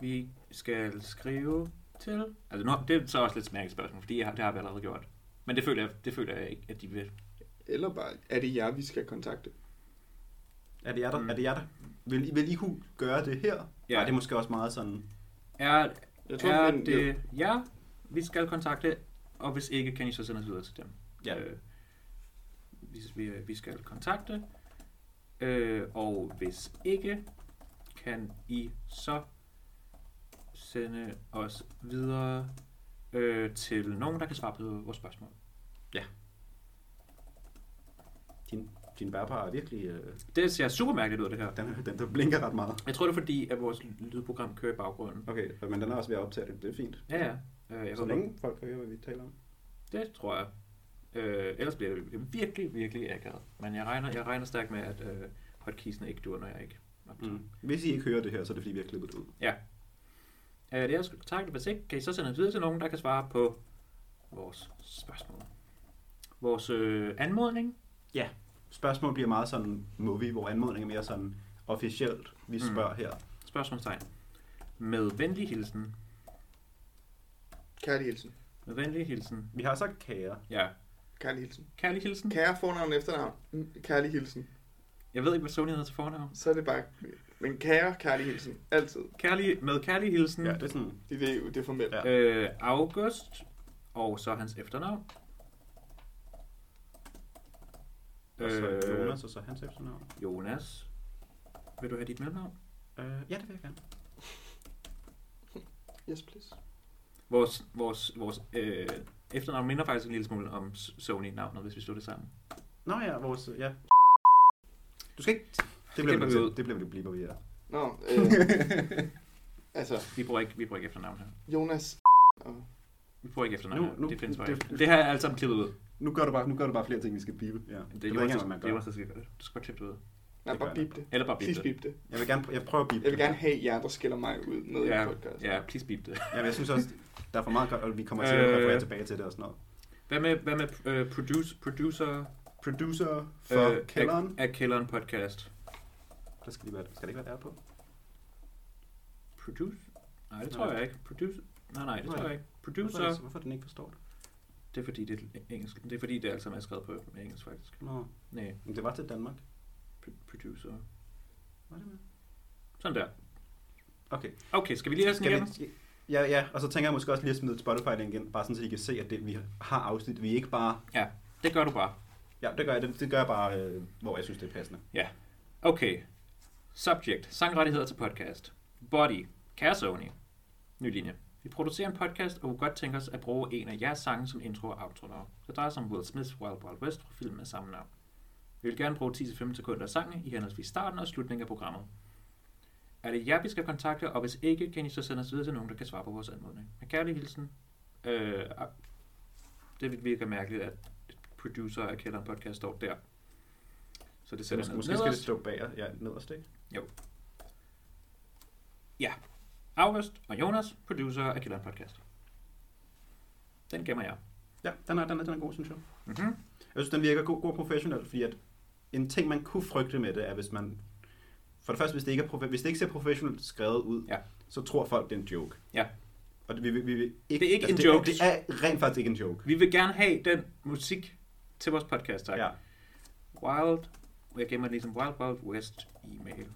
Speaker 1: vi skal skrive til? Altså nu, det er så også lidt smærkeligt spørgsmål, fordi jeg, har- det har vi allerede gjort. Men det føler, jeg, det føler jeg ikke, at de vil.
Speaker 3: Eller bare, er det jer, vi skal kontakte?
Speaker 2: Er det jer, der?
Speaker 1: Mm.
Speaker 2: Mm. Er det jer, der? Vil, I- vil I kunne gøre det her?
Speaker 1: Ja.
Speaker 2: Nej, det er måske også meget sådan...
Speaker 1: Er,
Speaker 3: Jeg
Speaker 1: er
Speaker 3: men-
Speaker 1: det ja, vi skal kontakte, og hvis ikke, kan I så sende os videre til dem.
Speaker 2: Ja.
Speaker 1: Øh, vi, vi, vi skal kontakte, øh, og hvis ikke, kan I så sende os videre øh, til nogen, der kan svare på vores spørgsmål.
Speaker 2: Din, din bærbare er virkelig... Øh,
Speaker 1: Det ser super mærkeligt ud, det her.
Speaker 2: den, den, den blinker ret meget.
Speaker 1: Jeg tror, det er fordi, at vores lydprogram kører i baggrunden.
Speaker 2: Okay, men den er også ved at optage det. Det er fint.
Speaker 1: Ja, ja. Øh, jeg
Speaker 2: Så
Speaker 1: håber-
Speaker 2: længe folk kan høre, hvad vi taler om.
Speaker 1: Det tror jeg. Øh, ellers bliver det virkelig, virkelig akavet. Men jeg regner, jeg regner stærkt med, at øh, hotkeysene ikke dur, når jeg ikke optager. Mm.
Speaker 2: Mm. Hvis I ikke hører det her, så er det fordi, vi har klippet det ud.
Speaker 1: Øh, det er også kontaktet, hvis ikke, kan I så sende det videre til nogen, der kan svare på vores spørgsmål. Vores øh, anmodning.
Speaker 2: Spørgsmål bliver meget sådan movie, hvor anmodningen er mere sådan officielt. Vi
Speaker 1: Mm.
Speaker 2: spørger her.
Speaker 1: Spørgsmålstegn. Med venlig hilsen.
Speaker 3: Kærlig hilsen.
Speaker 1: Med venlig hilsen.
Speaker 2: Vi har sagt kære.
Speaker 1: Ja.
Speaker 3: Kærlig hilsen.
Speaker 1: Kærlig hilsen.
Speaker 3: Kære fornavn efternavn. Mm, Kærlig hilsen.
Speaker 1: Jeg ved ikke, hvad Sony hedder til fornavn.
Speaker 3: Så er det bare... Men kære, kærlig hilsen. Altid.
Speaker 1: Kærlig, med kærlig hilsen.
Speaker 2: Ja, det er sådan...
Speaker 3: Det, det, er jo- det er formelt.
Speaker 2: Ja.
Speaker 1: Øh, August, og så hans efternavn.
Speaker 2: Og så
Speaker 1: Øh.
Speaker 2: Jonas, og så hans efternavn.
Speaker 1: Jonas. Vil du have dit mellemnavn?
Speaker 2: Øh, ja, det vil jeg gerne.
Speaker 3: Yes, please.
Speaker 1: Vores, vores, vores øh, efternavn minder faktisk en lille smule om S- Sony-navnet, hvis vi slår det sammen.
Speaker 2: Nå ja, vores... Ja. Du skal ikke... Det bliver
Speaker 1: klipper
Speaker 2: vi
Speaker 1: vi ud.
Speaker 2: til. Det bliver vi blive på, vi er.
Speaker 3: Nå, øh, altså,
Speaker 1: Vi bruger ikke, vi bruger ikke efternavn her.
Speaker 3: Jonas og
Speaker 1: Vi bruger ikke efternavn
Speaker 2: Nu-
Speaker 1: her.
Speaker 2: nu-
Speaker 1: det findes bare
Speaker 2: det-
Speaker 1: ikke. Det her er alt sammen klippet ud.
Speaker 2: Nu gør du bare, nu gør du bare flere ting, vi skal bibe.
Speaker 1: Det
Speaker 2: Ja. ved
Speaker 1: er
Speaker 2: jeg ikke engang,
Speaker 1: Jonas,
Speaker 2: hvad man
Speaker 1: det
Speaker 2: gør.
Speaker 1: er Jonas, der skal gøre det. Du skal bare klippe det ud.
Speaker 3: Nej,
Speaker 2: Det
Speaker 3: bare
Speaker 2: gør
Speaker 3: bip det.
Speaker 1: Eller bare
Speaker 3: Please
Speaker 1: bip det.
Speaker 3: bip det.
Speaker 2: Jeg vil gerne, jeg prøver at bibe.
Speaker 3: Jeg vil gerne have jer, der skiller mig ud med
Speaker 1: Ja,
Speaker 3: i podcast.
Speaker 1: ja, please bip det.
Speaker 2: Ja, men jeg synes også, der er for meget godt, og vi kommer til at
Speaker 1: Øh.
Speaker 2: referere tilbage til det og sådan noget.
Speaker 1: Hvad med, hvad med øh, produce, producer
Speaker 2: Producer for
Speaker 1: øh,
Speaker 2: øh, kælderen.
Speaker 1: af, af Kælderen podcast?
Speaker 2: Der skal, lige være, skal det ikke være der på?
Speaker 1: Produce? Nej, det
Speaker 2: Nej.
Speaker 1: tror jeg ikke. Produce? Nej, nej, det
Speaker 2: Nej.
Speaker 1: tror jeg ikke.
Speaker 2: Hvorfor, er det,
Speaker 1: Producer?
Speaker 2: hvorfor er den ikke forstår det?
Speaker 1: Det er fordi, det er engelsk. Det er fordi, det alt sammen er skrevet på engelsk, faktisk.
Speaker 2: Nå,
Speaker 1: Nej,
Speaker 2: men det var til Danmark.
Speaker 1: pro- producer.
Speaker 2: Var det med?
Speaker 1: Sådan der.
Speaker 2: Okay.
Speaker 1: Okay, skal vi lige have sådan igen?
Speaker 2: vi, ja, ja, og så tænker jeg måske også lige at smide et Spotify link ind, bare sådan, så I kan se, at det, vi har afsnit. Vi er ikke bare...
Speaker 1: Det gør du bare.
Speaker 2: Ja, det gør jeg, det, det gør jeg bare, øh, hvor jeg synes, det er passende.
Speaker 1: Okay. Subject. Sangrettigheder til podcast. Body. Kære Sony. Ny linje. Vi producerer en podcast, og kunne godt tænke os at bruge en af jeres sange som intro og outro nummer. Det drejer sig om Will Smiths Wild Wild West fra filmen af samme navn. Vi vil gerne bruge 10-15 sekunder af sangen i henholdsvis starten og slutningen af programmet. Er det jer, vi skal kontakte, og hvis ikke, kan I så sende os videre til nogen, der kan svare på vores anmodning. Med kærlig hilsen. Øh, ah. det virker mærkeligt, at producer af Kælderen Podcast står der. Så det
Speaker 2: Så
Speaker 1: sætter
Speaker 2: måske,
Speaker 1: ned-
Speaker 2: måske skal det
Speaker 1: nederst.
Speaker 2: stå bag, ja, nederst, ikke?
Speaker 1: August og Jonas, producer af Killeren Podcast. Den gemmer jeg.
Speaker 2: Ja, den er, den er, den er god, synes jeg.
Speaker 1: Mm-hmm.
Speaker 2: Jeg synes, den virker god, god professionel, fordi at en ting, man kunne frygte med det, er, hvis man... For det første, hvis det ikke, er profe- hvis det ikke ser professionelt skrevet ud,
Speaker 1: Ja.
Speaker 2: så tror folk, det er en joke.
Speaker 1: Ja.
Speaker 2: Og det, vi, vi, vi, vi ikke, altså,
Speaker 1: Det er ikke en
Speaker 2: det,
Speaker 1: joke.
Speaker 2: Det er rent faktisk ikke en joke.
Speaker 1: Vi vil gerne have den musik til vores podcast, tak.
Speaker 2: Ja.
Speaker 1: Wild, jeg gemmer ligesom Wild Wild West e-mail.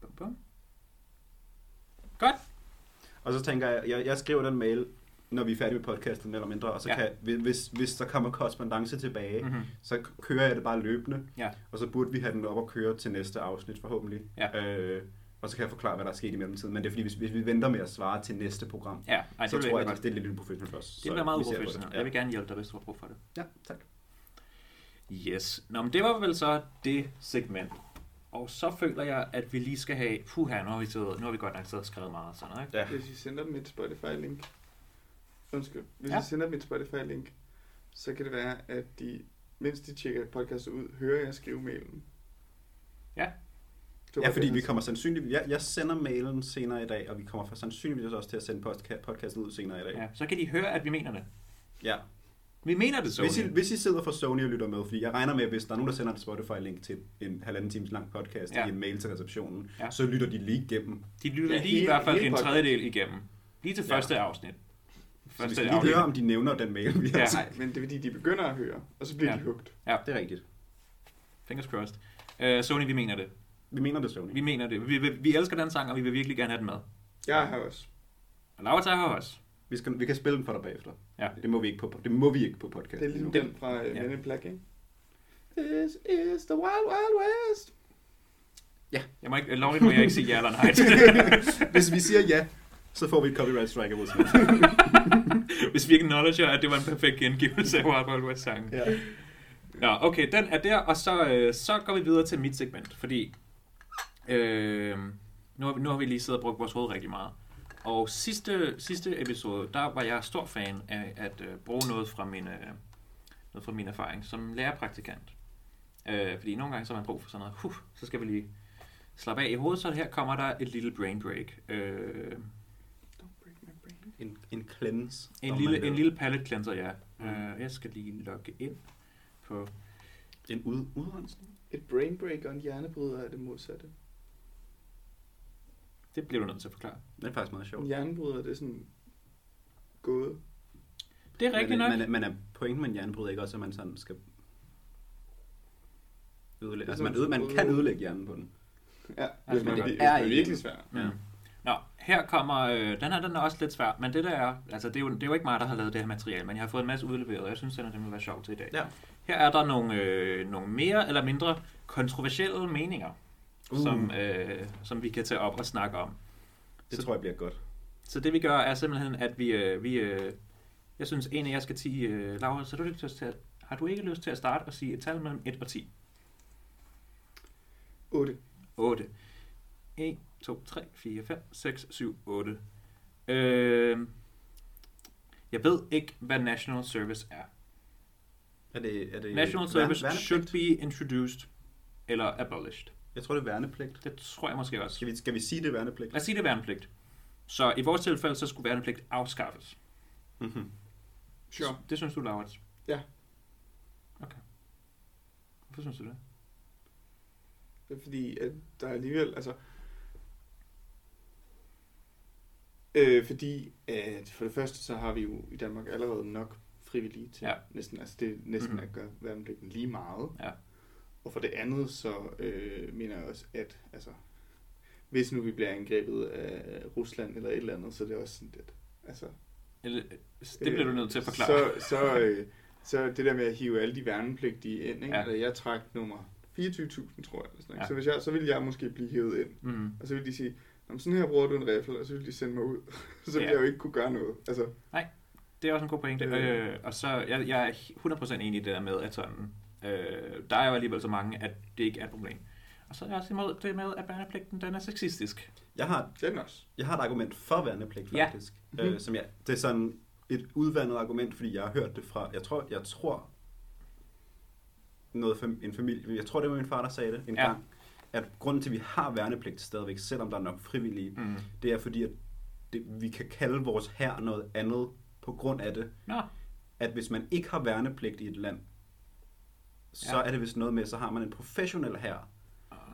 Speaker 1: Bum, bum. Godt.
Speaker 2: Og så tænker jeg, jeg, jeg skriver den mail, når vi er færdige med podcasten, eller mindre, og så
Speaker 1: Ja.
Speaker 2: ja. kan, hvis- hvis, hvis der kommer korrespondence tilbage, mm.
Speaker 1: Mm-hmm.
Speaker 2: så k- kører jeg det bare løbende,
Speaker 1: Ja.
Speaker 2: og så burde vi have den op og køre til næste afsnit forhåbentlig.
Speaker 1: Ja.
Speaker 2: Øh, og så kan jeg forklare, hvad der er sket i mellemtiden. Men det er fordi, hvis, hvis vi venter med at svare til næste program,
Speaker 1: Ja, ej,
Speaker 2: Ej,
Speaker 1: det,
Speaker 2: så
Speaker 1: vil
Speaker 2: tror jeg
Speaker 1: ikke-
Speaker 2: faktisk, det er lidt uprofessionelt for os.
Speaker 1: det
Speaker 2: så
Speaker 1: bliver meget
Speaker 2: vi ser på det.
Speaker 1: uprofessionelt. Jeg vil gerne hjælpe dig, hvis du har brug for det.
Speaker 2: Ja, tak.
Speaker 1: Yes. Nå, men det var vel så det segment. Og så føler jeg, at vi lige skal have... Puh, her, nu har vi, siddet, nu har vi godt nok siddet og skrevet meget og sådan noget, ikke?
Speaker 2: Ja.
Speaker 3: Hvis I sender dem et Spotify-link. Undskyld. Hvis
Speaker 1: Ja.
Speaker 3: ja. jeg sender mit Spotify-link, så kan det være, at de, mens de tjekker podcasten ud, hører jeg skrive mailen.
Speaker 1: Ja.
Speaker 3: Det var
Speaker 2: Ja,
Speaker 3: bare
Speaker 2: fordi
Speaker 3: det,
Speaker 2: vi
Speaker 3: han
Speaker 2: kommer sandsynligvis... Jeg, jeg sender mailen senere i dag, og vi kommer for sandsynligvis også til at sende postka- podcasten ud senere i dag. Ja.
Speaker 1: Ja, så kan de høre, at vi mener det.
Speaker 2: ja.
Speaker 1: Vi mener det, Sony.
Speaker 2: Hvis, I, hvis I sidder for Sony og lytter med, fordi jeg regner med, at hvis der er nogen, der sender et Spotify-link til en halvanden times lang podcast
Speaker 1: Ja.
Speaker 2: ja. i en mail til receptionen,
Speaker 1: Ja.
Speaker 2: ja. så lytter de lige igennem.
Speaker 1: De lytter
Speaker 3: Ja,
Speaker 1: lige i
Speaker 3: hele-
Speaker 1: hvert fald
Speaker 3: hele
Speaker 1: en
Speaker 3: podcasten.
Speaker 1: tredjedel igennem. Lige til
Speaker 2: Ja.
Speaker 1: første afsnit.
Speaker 2: Så vi
Speaker 1: Første
Speaker 2: skal lige høre, om de nævner den mail, vi
Speaker 1: Ja.
Speaker 2: har ja.
Speaker 3: sender. Nej, men det er fordi, de begynder at høre, og så bliver
Speaker 1: Ja.
Speaker 3: ja. de hugt.
Speaker 2: Det er rigtigt.
Speaker 1: Fingers crossed. Uh, Sony, vi mener det.
Speaker 2: Vi mener det, Sony.
Speaker 1: Vi mener det. Vi, vi, vi elsker den sang, og vi vil virkelig gerne have den med.
Speaker 3: Jeg har også.
Speaker 1: Og Laura tager os.
Speaker 2: Vi, skal, vi kan spille den for dig bagefter.
Speaker 1: Ja.
Speaker 2: Det må vi ikke på, det må vi ikke på podcast.
Speaker 3: Det er ligesom
Speaker 2: nu.
Speaker 3: den fra
Speaker 1: Ja.
Speaker 3: ja. Men in Black, ikke? This is the wild, wild west.
Speaker 1: Jeg må ikke, Laura, må jeg ikke sige ja eller nej.
Speaker 2: Hvis vi siger ja, så får vi et copyright strike af Will Smith.
Speaker 1: Hvis vi ikke acknowledger, at det var en perfekt gengivelse af Wild Wild West sangen.
Speaker 2: ja.
Speaker 1: Nå, okay, den er der, og så, øh, så går vi videre til mit segment, fordi øh, nu, har vi, nu har vi lige siddet og brugt vores hoved rigtig meget. Og sidste, sidste episode, der var jeg stor fan af at øh, bruge noget fra, min, øh, noget fra min erfaring som lærerpraktikant. Øh, fordi nogle gange så har man brug for sådan noget, huh, så skal vi lige slappe af i hovedet, så her kommer der et lille brain break. Øh,
Speaker 3: Don't break my brain.
Speaker 2: En, en cleanse.
Speaker 1: en,
Speaker 2: om man
Speaker 1: lille,
Speaker 2: vil.
Speaker 1: en lille palette cleanser, ja.
Speaker 2: Mm.
Speaker 1: Øh, jeg skal lige logge ind på
Speaker 2: En ud, udrensning?
Speaker 3: Et brain break og en hjernebryder er det modsatte.
Speaker 1: Det bliver du nødt til at forklare.
Speaker 2: Det er faktisk meget
Speaker 3: En
Speaker 2: sjovt.
Speaker 3: hjernebryder, det er sådan gåde.
Speaker 1: Det er rigtigt
Speaker 2: men,
Speaker 1: nok.
Speaker 2: Men, men er pointen med en hjernebryder ikke også, at man sådan skal... Ødelægge.
Speaker 3: Det
Speaker 2: Altså,
Speaker 3: er sådan
Speaker 2: man, øde, man
Speaker 3: en-
Speaker 2: kan ødelægge hjernen på den.
Speaker 3: Ja,
Speaker 1: men
Speaker 3: hvis man,
Speaker 1: det
Speaker 3: det
Speaker 2: er
Speaker 3: er,
Speaker 2: ikke-
Speaker 3: virkelig svært.
Speaker 1: Ja. Mm. Nå, her kommer, øh, den her den er også lidt svær, men det der er, altså det er, jo, det er jo ikke mig, der har lavet det her materiale, men jeg har fået en masse udleveret, og jeg synes, at den vil være sjov til i dag.
Speaker 2: Ja.
Speaker 1: Her er der nogle, øh, nogle mere eller mindre kontroversielle meninger, uh.
Speaker 2: Uh.
Speaker 1: som, øh, som vi kan tage op og snakke om.
Speaker 2: Det
Speaker 1: Så-
Speaker 2: så, tror jeg bliver godt.
Speaker 1: Så det vi gør er simpelthen, at vi, øh, vi øh, jeg synes, en af jer skal sige, øh, Laura, så har du ikke lyst til at, har du ikke lyst til at starte og sige et tal mellem 1 og 10?
Speaker 3: 8.
Speaker 1: 8. 1, 2, 3, 4, 5, 6, 7, 8. Øh, jeg ved ikke, hvad National Service er.
Speaker 2: Er det, Øh, er det
Speaker 1: National Service
Speaker 2: værne-
Speaker 1: should be introduced eller abolished.
Speaker 2: Jeg tror, det er værnepligt.
Speaker 1: Det tror jeg måske også.
Speaker 2: Skal vi, skal vi sige, det er værnepligt?
Speaker 1: Lad os sige, det er værnepligt. Så i vores tilfælde, så skulle værnepligt afskaffes.
Speaker 2: Mm-hmm.
Speaker 3: Sure.
Speaker 1: Det synes du, Laurits?
Speaker 3: Ja.
Speaker 1: Okay. Hvorfor synes du det?
Speaker 3: Det er fordi, at der alligevel, altså... Øh, fordi, at for det første, så har vi jo i Danmark allerede nok frivillige til
Speaker 1: Ja.
Speaker 3: næsten, altså det er næsten
Speaker 1: Mhm.
Speaker 3: mm. at gøre værnepligten lige meget.
Speaker 1: Ja.
Speaker 3: Og for det andet, så øh, mener jeg også, at altså, hvis nu vi bliver angrebet af Rusland eller et eller andet, så er det også sådan lidt, altså...
Speaker 1: Eller, det bliver du nødt til at forklare.
Speaker 3: Øh, Så, så, øh, så det der med at hive alle de værnepligtige ind, ikke?
Speaker 1: Ja.
Speaker 3: Ja. Altså, jeg trak nummer 24.000, tror jeg. Eller sådan, ikke?
Speaker 1: Ja.
Speaker 3: Ja. Så, hvis jeg, så ville jeg måske blive hivet ind.
Speaker 1: Mm.
Speaker 3: Og så ville de sige, "Nå, men sådan her bruger du en riffel, og så ville de sende mig ud. så ville
Speaker 1: Ja.
Speaker 3: ja. jeg jo ikke kunne gøre noget. Altså,
Speaker 1: Det er også en god pointe.
Speaker 3: Øh.
Speaker 1: Øh, og så, jeg, jeg er 100% enig i det der med, at sådan, øh, der er jo alligevel så mange, at det ikke er et problem. Og så er jeg også imod det med, at værnepligten den er sexistisk.
Speaker 2: Jeg har,
Speaker 3: den også.
Speaker 2: jeg har et argument for værnepligt,
Speaker 1: Ja.
Speaker 2: faktisk.
Speaker 3: Mhm.
Speaker 2: Ja. Øh, som jeg, det er sådan et udvandet argument, fordi jeg har hørt det fra... Jeg tror, jeg tror noget fam, en familie... Jeg tror, det var min far, der sagde det en
Speaker 1: Ja.
Speaker 2: ja. gang. At grunden til, at vi har værnepligt stadigvæk, selvom der er nok frivillige,
Speaker 1: Mm.
Speaker 2: det er fordi, at det, vi kan kalde vores hær noget andet på grund af det.
Speaker 1: Nå,
Speaker 2: At hvis man ikke har værnepligt i et land, så
Speaker 1: Ja.
Speaker 2: ja. er det vist noget med, så har man en professionel hær.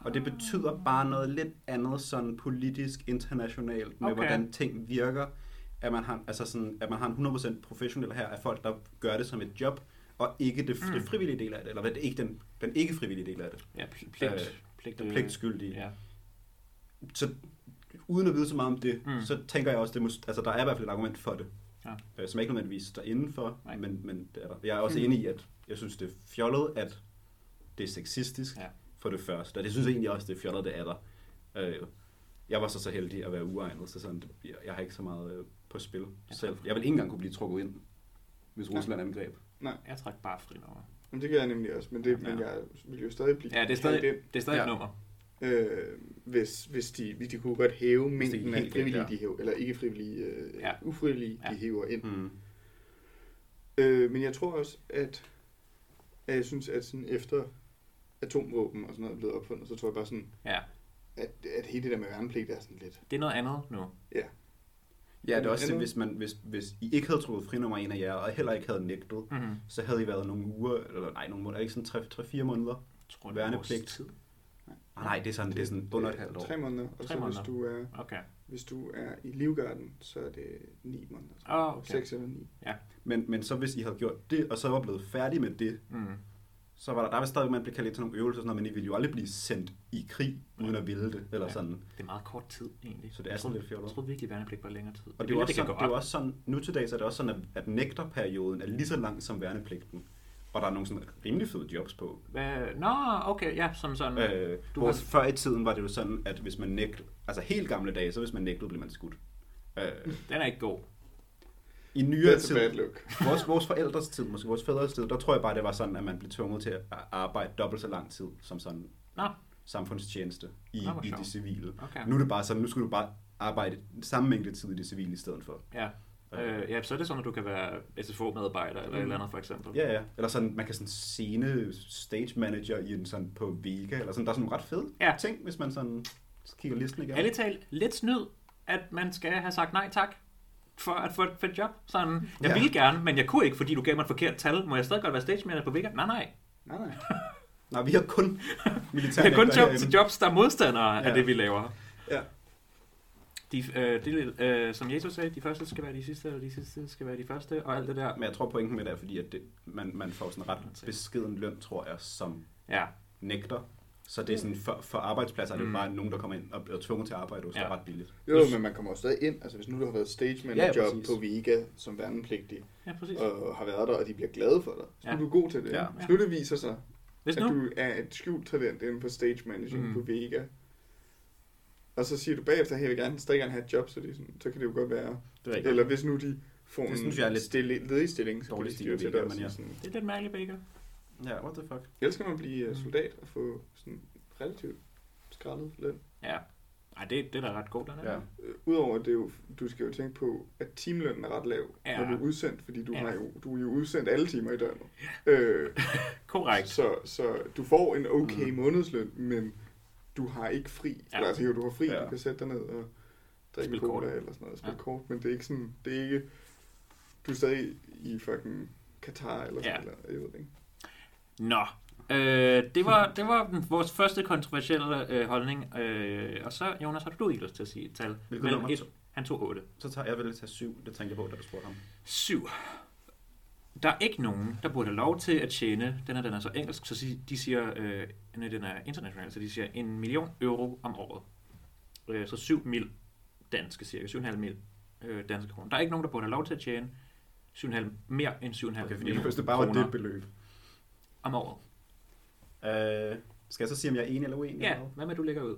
Speaker 2: Og det betyder bare noget lidt andet sådan politisk, internationalt, med
Speaker 1: Okay.
Speaker 2: okay. hvordan ting virker. At man har, altså sådan, at man har en 100% professionel her af folk, der gør det som et job, og ikke det,
Speaker 1: Mm.
Speaker 2: mm. det frivillige del af det, eller hvad det ikke den, den ikke frivillige del af det,
Speaker 1: ja, pl- pligt.
Speaker 2: Øh,
Speaker 1: pligt,
Speaker 2: den
Speaker 1: øh,
Speaker 2: pligtskyldige.
Speaker 1: Ja.
Speaker 2: så uden at vide så meget om det,
Speaker 1: Mm.
Speaker 2: mm. så tænker jeg også, det måske, altså der er i hvert fald et argument for det,
Speaker 1: Ja.
Speaker 2: øh, som jeg ikke nødvendigvis står indenfor,
Speaker 1: Nej.
Speaker 2: men, men det er der. Jeg er også
Speaker 3: Mm.
Speaker 2: mm. enig i, at jeg synes, det er fjollet, at det er sexistisk
Speaker 1: Ja.
Speaker 2: ja. for det første, og det synes jeg egentlig også, det er fjollet, det er der. Øh, jeg var så så heldig at være uegnet, så sådan, jeg, jeg har ikke så meget øh, på spil
Speaker 1: Ja.
Speaker 2: ja. selv. Jeg vil ikke engang kunne blive trukket ind, hvis
Speaker 3: Nej.
Speaker 2: Rusland angreb.
Speaker 1: Jeg trækker bare fri nummer.
Speaker 3: Men det gør jeg nemlig også, men, det,
Speaker 2: Ja.
Speaker 3: men jeg ville jo stadig blive
Speaker 1: Ja, det er
Speaker 3: kaldt
Speaker 1: stadig,
Speaker 3: ind,
Speaker 1: det er stadig ja. et
Speaker 2: Ja.
Speaker 1: nummer.
Speaker 3: øh, hvis, hvis de, hvis de kunne godt hæve
Speaker 2: Hvis det gik
Speaker 3: mængden af
Speaker 2: helt galt,
Speaker 3: frivillige,
Speaker 2: ja.
Speaker 3: de hæver, eller ikke frivillige, øh,
Speaker 1: Ja.
Speaker 3: ja. ufrivillige,
Speaker 1: Ja.
Speaker 3: ja. de hæver ind.
Speaker 2: Mm.
Speaker 3: Øh, men jeg tror også, at, at jeg synes, at sådan efter atomvåben og sådan noget er blevet opfundet, så tror jeg bare sådan,
Speaker 1: Ja.
Speaker 3: at, at hele det der med værnepligt er sådan lidt...
Speaker 1: Det er noget andet nu.
Speaker 3: Ja.
Speaker 2: Ja, det er også det,
Speaker 3: Andet?
Speaker 2: hvis, man, hvis, hvis I ikke havde troet frinummer en af jer, og heller ikke havde nægtet,
Speaker 1: Mm-hmm.
Speaker 2: så havde I været nogle uger, eller nej, nogle måneder, ikke sådan 3-4 måneder.
Speaker 1: Tror,
Speaker 2: Værnepligt.
Speaker 1: Tid.
Speaker 2: Ah, nej, det er sådan, det er sådan under et halvt år.
Speaker 3: Øh, Tre måneder, og
Speaker 1: Tre
Speaker 3: så
Speaker 1: måneder.
Speaker 3: hvis du, er,
Speaker 1: Okay.
Speaker 3: hvis du er i livgarden, så er det ni måneder. tror jeg.
Speaker 1: Oh, okay.
Speaker 3: Seks eller ni.
Speaker 2: Men, men så hvis I havde gjort det, og så var blevet færdig med det,
Speaker 1: Mm.
Speaker 2: så var der, der var stadig, man blev kaldt ind til nogle øvelser, og sådan noget, men I ville jo aldrig blive sendt i krig, uden at ville det, eller
Speaker 1: Ja.
Speaker 2: sådan.
Speaker 1: Det er meget kort tid, egentlig.
Speaker 2: Så det er
Speaker 1: Jeg
Speaker 2: sådan
Speaker 1: troede-
Speaker 2: lidt fjollet.
Speaker 1: Jeg troede virkelig, at værnepligt var længere tid.
Speaker 2: Og det, er
Speaker 1: ville,
Speaker 2: jo
Speaker 1: at
Speaker 2: også
Speaker 1: kan
Speaker 2: sådan,
Speaker 1: gå
Speaker 2: det er jo
Speaker 1: op.
Speaker 2: også sådan, nu til dags er det også sådan, at, at nægterperioden er lige så lang som værnepligten. Og der er nogle sådan rimelig fede jobs på.
Speaker 1: Hvad? Nå, okay, ja, som sådan. Øh. Du
Speaker 2: Øh, du hvor
Speaker 1: har-
Speaker 2: før i tiden var det jo sådan, at hvis man nægtede, altså helt gamle dage, så hvis man nægtede, blev man skudt. Øh,
Speaker 1: Den er ikke god.
Speaker 2: I nyere
Speaker 3: That's a
Speaker 2: tid,
Speaker 3: bad look.
Speaker 2: vores, vores forældres tid, måske vores fædres tid, der tror jeg bare, det var sådan, at man blev tvunget til at arbejde dobbelt så lang tid som sådan
Speaker 1: Nå,
Speaker 2: samfundstjeneste i,
Speaker 1: Nå, Ah, hvor
Speaker 2: i
Speaker 1: sjovt.
Speaker 2: det civile.
Speaker 1: okay.
Speaker 2: Nu er det bare sådan, nu skulle du bare arbejde samme mængde tid i det civile i stedet for.
Speaker 1: Ja. Øh, ja, så er det sådan, at du kan være SFO-medarbejder eller et eller andet, for eksempel.
Speaker 2: Mm. Ja, ja. Eller sådan, man kan sådan scene stage manager i en sådan på Vega, eller sådan, der er sådan nogle ret fede
Speaker 1: Ja.
Speaker 2: ting, hvis man sådan kigger listen igennem.
Speaker 1: Ærligt talt, lidt snyd, at man skal have sagt nej tak for at få et fedt job. Sådan, jeg
Speaker 2: Ja.
Speaker 1: ville gerne, men jeg kunne ikke, fordi du gav mig et forkert tal. Må jeg stadig godt være stage manager på Vega? Nej, nej.
Speaker 3: Nej, nej.
Speaker 2: Nej, vi har kun militære
Speaker 1: Det er kun
Speaker 2: nægter
Speaker 1: job
Speaker 2: herinde.
Speaker 1: til jobs, der er modstandere ja. af
Speaker 2: Ja.
Speaker 1: det, vi laver.
Speaker 3: Ja.
Speaker 1: De, øh, de, øh, som Jesus sagde, de første skal være de sidste, og de sidste skal være de første, og alt det der.
Speaker 2: Men jeg tror pointen med det er, fordi at det, man, man får sådan en ret beskeden løn, tror jeg, som
Speaker 1: Ja,
Speaker 2: nægter. Så det er sådan, for, for arbejdspladser er det jo bare nogen, der kommer ind og er tvunget til at arbejde, hos,
Speaker 1: Ja.
Speaker 2: Mm. ja. ret billigt.
Speaker 3: Jo, men man kommer jo stadig ind. Altså, hvis nu du har været stage manager
Speaker 2: Ja,
Speaker 3: ja,
Speaker 2: præcis.
Speaker 3: på Vega som værnepligtig,
Speaker 1: ja præcis.
Speaker 3: og har været der, og de bliver glade for dig, så
Speaker 1: Ja.
Speaker 3: ja. er du god til det.
Speaker 2: Ja.
Speaker 3: Ja. Hvis nu det viser sig,
Speaker 1: Hvis
Speaker 3: at
Speaker 1: nu,
Speaker 3: du er et skjult talent inden for stage managing
Speaker 1: Mm.
Speaker 3: mm. på Vega, og så siger du bagefter, at jeg vil gerne, stadig gerne have et job, så, det er sådan, så kan det jo godt være.
Speaker 2: Det er rigtigt.
Speaker 3: Eller hvis nu de får
Speaker 2: Det
Speaker 3: en
Speaker 2: synes jeg er lidt
Speaker 3: stille, ledig stilling, så kan
Speaker 2: dårlig
Speaker 3: de
Speaker 2: stil
Speaker 3: styre
Speaker 2: af
Speaker 3: til
Speaker 2: Vega,
Speaker 3: dig. og
Speaker 2: men
Speaker 3: sige
Speaker 2: ja.
Speaker 3: Sådan,
Speaker 1: det er lidt mærkeligt, Baker.
Speaker 2: Ja, what the fuck.
Speaker 3: ellers kan man blive
Speaker 1: Mm.
Speaker 3: øh, soldat og få sådan relativt skrællet løn.
Speaker 1: Ja. Ej, det, det er da ret godt, den er.
Speaker 2: Ja.
Speaker 3: Øh, Udover det er jo, du skal jo tænke på, at timelønnen er ret lav,
Speaker 1: Ja.
Speaker 3: ja. når du er udsendt, fordi du,
Speaker 1: Ja.
Speaker 3: ja. har jo, du er jo udsendt alle timer i døgnet. Øh,
Speaker 1: Korrekt.
Speaker 3: så, så du får en okay
Speaker 2: Mm.
Speaker 3: mm. månedsløn, men du har ikke fri.
Speaker 1: Ja.
Speaker 3: Ja. Eller, altså, jo, du har fri,
Speaker 2: Ja.
Speaker 3: ja. du kan sætte dig ned og drikke
Speaker 1: Spille
Speaker 3: en
Speaker 1: kort.
Speaker 3: cola eller sådan noget, og spille
Speaker 1: Ja.
Speaker 3: ja. kort, men det er ikke sådan, det er ikke, du er stadig i fucking Katar eller sådan
Speaker 1: Ja.
Speaker 3: ja. eller jeg ved det ikke.
Speaker 1: Nå, øh, det, var, det var den- vores første kontroversielle øh, holdning. Øh, og så, Jonas, har du ikke lyst til at sige et tal?
Speaker 2: Hvilket
Speaker 1: Mellem
Speaker 2: nummer?
Speaker 1: et- Han tog 8.
Speaker 2: Så tager jeg vel til syv, det tænkte jeg på, da du spurgte ham.
Speaker 1: 7. Der er ikke nogen, der burde have lov til at tjene, den her den er så engelsk, så si- de siger, øh, nej, den er international, så de siger en million euro om året. Øh, så 7 mil danske cirka, 7,5 mil øh, danske kroner. Der er ikke nogen, der burde have lov til at tjene 7,5, mere end 7,5
Speaker 2: Okay, fordi
Speaker 1: mil
Speaker 2: hvis det bare var
Speaker 1: kroner
Speaker 2: det beløb.
Speaker 1: om året.
Speaker 2: Øh, skal jeg så sige, om jeg er enig eller uenig?
Speaker 1: Ja,
Speaker 2: eller hvad?
Speaker 1: hvad med du lægger ud?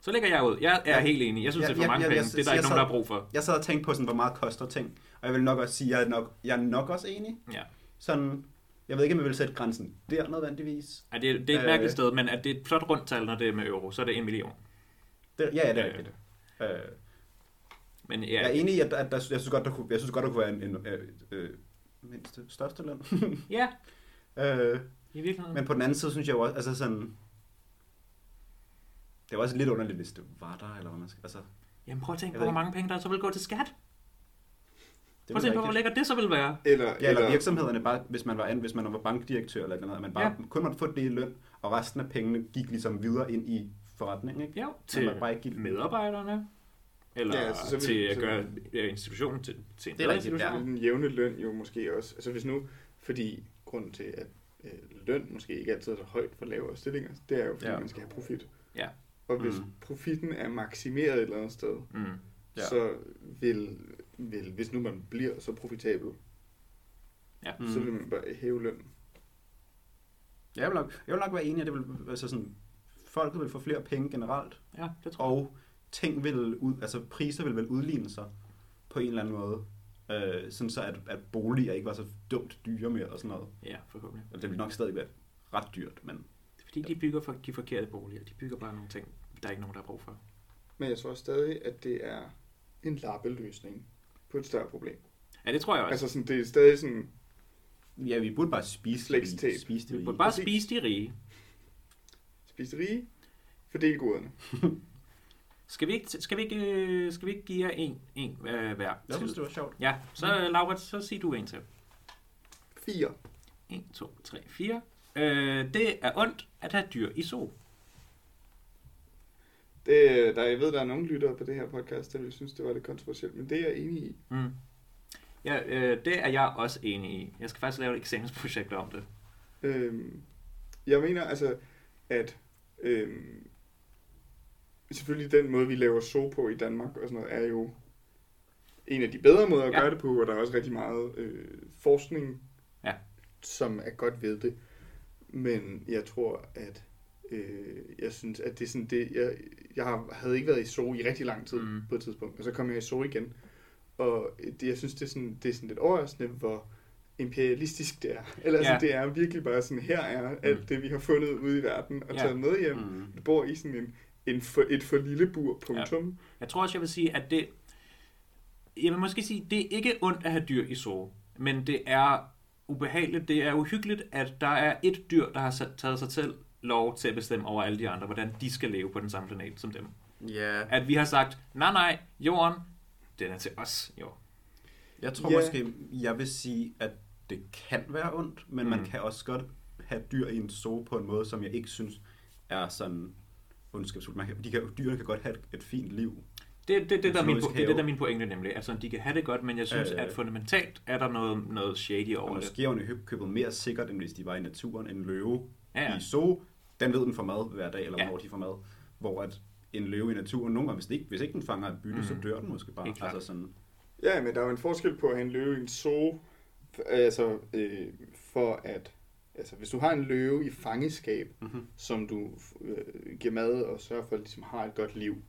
Speaker 1: Så lægger jeg ud. Jeg er
Speaker 2: Ja.
Speaker 1: helt enig. Jeg synes,
Speaker 2: Ja,
Speaker 1: det er for
Speaker 2: ja,
Speaker 1: mange
Speaker 2: ja,
Speaker 1: penge.
Speaker 2: jeg-
Speaker 1: Det er der
Speaker 2: jeg
Speaker 1: ikke nogen,
Speaker 2: sad-
Speaker 1: der har brug for.
Speaker 2: Jeg sad og tænkte på, sådan, hvor meget koster ting, og jeg vil nok også sige, at jeg er nok, jeg er nok også enig.
Speaker 1: Ja.
Speaker 2: Sådan, jeg ved ikke, om jeg vil sætte grænsen der nødvendigvis.
Speaker 1: Ej, det, er- det er et
Speaker 2: Øh.
Speaker 1: mærkeligt sted, men at det er et flot rundt tal, når det er med euro, så er det en million.
Speaker 2: Det, ja, ja, det er
Speaker 1: Øh,
Speaker 2: rigtigt. Øh,
Speaker 1: Men ja,
Speaker 2: jeg er enig i, at, at der, jeg, synes godt, der kunne, jeg synes godt, der kunne være en, en øh, øh, mindste, største løn.
Speaker 1: ja
Speaker 2: øh,
Speaker 1: i virkeligheden.
Speaker 2: men på den anden side, synes jeg jo også, altså sådan, det var også lidt underligt, hvis det var der, eller hvad man skal, altså, det
Speaker 1: Jamen prøv at tænke
Speaker 2: Jeg
Speaker 1: på,
Speaker 2: ved
Speaker 1: hvor mange penge, der så vil gå til skat. Prøv
Speaker 2: er
Speaker 1: at tænke på, hvor
Speaker 2: rigtigt.
Speaker 1: lækkert det så vil være.
Speaker 3: Eller,
Speaker 2: Ja, eller virksomhederne bare, hvis man var, an, hvis man var bankdirektør eller et eller andet, at man bare ja. kun måtte få det i løn, og resten af pengene gik ligesom videre ind i forretningen, ikke?
Speaker 1: Jo,
Speaker 2: Så
Speaker 1: til
Speaker 2: man bare ikke give
Speaker 1: medarbejderne. Eller
Speaker 3: Ja,
Speaker 1: ja,
Speaker 3: altså, så vil-
Speaker 1: til at
Speaker 3: så-
Speaker 1: gøre ja, institutionen til, til en
Speaker 2: Det er
Speaker 1: bedre
Speaker 2: rigtigt,
Speaker 1: institution.
Speaker 3: ja. den jævne løn jo måske også, altså hvis nu, fordi grunden til, at øh, løn måske ikke altid er så højt for lavere stillinger, det er jo, fordi
Speaker 2: Ja.
Speaker 3: ja. man skal have profit.
Speaker 1: Ja.
Speaker 3: Og hvis
Speaker 2: Mm.
Speaker 3: mm. profitten er maksimeret et eller andet sted,
Speaker 1: Mm.
Speaker 2: Ja.
Speaker 3: ja. så vil, vil, hvis nu man bliver så profitabel,
Speaker 1: Ja.
Speaker 3: mm. så vil man bare hæve lønnen.
Speaker 2: Ja, jeg, vil nok, jeg vil nok være enig, at det vil, altså sådan, folket vil få flere penge generelt,
Speaker 1: ja, det tror jeg.
Speaker 2: og ting vil ud, altså priser vil vel udligne sig på en eller anden måde. Øh, sådan så, at, at boliger ikke var så dumt dyre mere og sådan noget.
Speaker 1: Ja, forhåbentlig.
Speaker 2: Og det vil nok stadig være ret dyrt, men
Speaker 1: Det er fordi, de bygger for, de forkerte boliger. De bygger bare nogle ting, der er ikke nogen, der har brug for.
Speaker 3: Men jeg tror stadig, at det er en lappeløsning på et større problem.
Speaker 1: Ja, det tror jeg også.
Speaker 3: Altså sådan, det er stadig sådan,
Speaker 2: Ja, vi burde bare spise
Speaker 3: Flex
Speaker 2: det.
Speaker 3: tape.
Speaker 2: i- Spise det.
Speaker 1: vi
Speaker 2: Altså, i.
Speaker 1: burde bare
Speaker 3: Præcis.
Speaker 1: spise de rige.
Speaker 3: spis rige, fordel goderne.
Speaker 1: Skal vi ikke, skal vi ikke, øh, skal vi ikke give jer en, en øh, hver?
Speaker 2: Jeg synes, det var sjovt.
Speaker 1: Ja, så øh, Laura, så sig du en til.
Speaker 3: Fire.
Speaker 1: 1, 2, 3, 4. Øh, det er ondt at have dyr i sol.
Speaker 3: Det, øh, der, jeg ved, der er nogle lyttere på det her podcast, der ville synes, det var lidt kontroversielt, men det er jeg enig i.
Speaker 1: Mm. Ja, øh, det er jeg også enig i. Jeg skal faktisk lave et eksamensprojekt om det.
Speaker 3: Øhm, jeg mener altså, at øhm, selvfølgelig den måde, vi laver so på i Danmark og sådan noget, er jo en af de bedre måder at
Speaker 1: Ja.
Speaker 3: ja. gøre det på, og der er også rigtig meget øh, forskning,
Speaker 1: Ja.
Speaker 3: som er godt ved det. Men jeg tror, at øh, jeg synes, at det er sådan det, jeg, jeg har- havde ikke været i so i rigtig lang tid
Speaker 1: Mm.
Speaker 3: mm. på et tidspunkt, og så kom jeg i so igen. Og det, jeg synes, det er, sådan, det er sådan lidt overraskende, hvor imperialistisk det er. Eller ja.
Speaker 1: Ja.
Speaker 3: altså, det er virkelig bare sådan, her er
Speaker 1: Mm.
Speaker 3: alt det, vi har fundet ude i verden og
Speaker 1: Ja.
Speaker 3: ja. taget med
Speaker 1: Øhm.
Speaker 3: hjem.
Speaker 2: Mm.
Speaker 3: Du bor i sådan en, en for, et for lille bur, punktum.
Speaker 1: Jeg tror også, jeg vil sige, at det... Jeg vil måske sige, det er ikke ondt at have dyr i sove, men det er ubehageligt, det er uhyggeligt, at der er et dyr, der har sat- taget sig selv lov til at bestemme over alle de andre, hvordan de skal leve på den samme planet som dem.
Speaker 2: Ja,
Speaker 1: At vi har sagt, nej nej, jorden, den er til os. Jo.
Speaker 2: jeg tror
Speaker 3: Ja.
Speaker 2: måske, jeg vil sige, at det kan være ondt, men man
Speaker 1: Mm.
Speaker 2: kan også godt have dyr i en zoo på en måde, som jeg ikke synes er sådan ondskabsfuldt. Man kan, de kan, dyrene kan godt have et, et fint liv.
Speaker 1: Det, det, det, det, der er min,
Speaker 2: Zoologisk
Speaker 1: det, er det, der er
Speaker 2: have.
Speaker 1: min pointe nemlig. Altså, de kan have det godt, men jeg synes, øh,
Speaker 2: Øh.
Speaker 1: at fundamentalt er der noget, noget shady
Speaker 2: Og
Speaker 1: over det.
Speaker 2: måske er købet mere sikkert, end hvis de var i naturen. En løve
Speaker 1: Ja,
Speaker 2: ja.
Speaker 1: ja.
Speaker 2: i zoo, den ved den får mad hver dag, eller
Speaker 1: Ja.
Speaker 2: ja. hvornår de får mad. Hvor at en løve i naturen, nogle gange, hvis, det ikke, hvis ikke den fanger et bytte,
Speaker 1: Mm.
Speaker 2: mm. så dør den måske bare.
Speaker 1: Helt klart.
Speaker 2: Altså sådan,
Speaker 3: Ja, men der er jo en forskel på at have en løve i en zoo, altså øh, for at, altså hvis du har en løve i fangeskab,
Speaker 1: Mhm.
Speaker 2: mm-hmm.
Speaker 3: som du øh, giver mad og sørger for, at ligesom har et godt liv.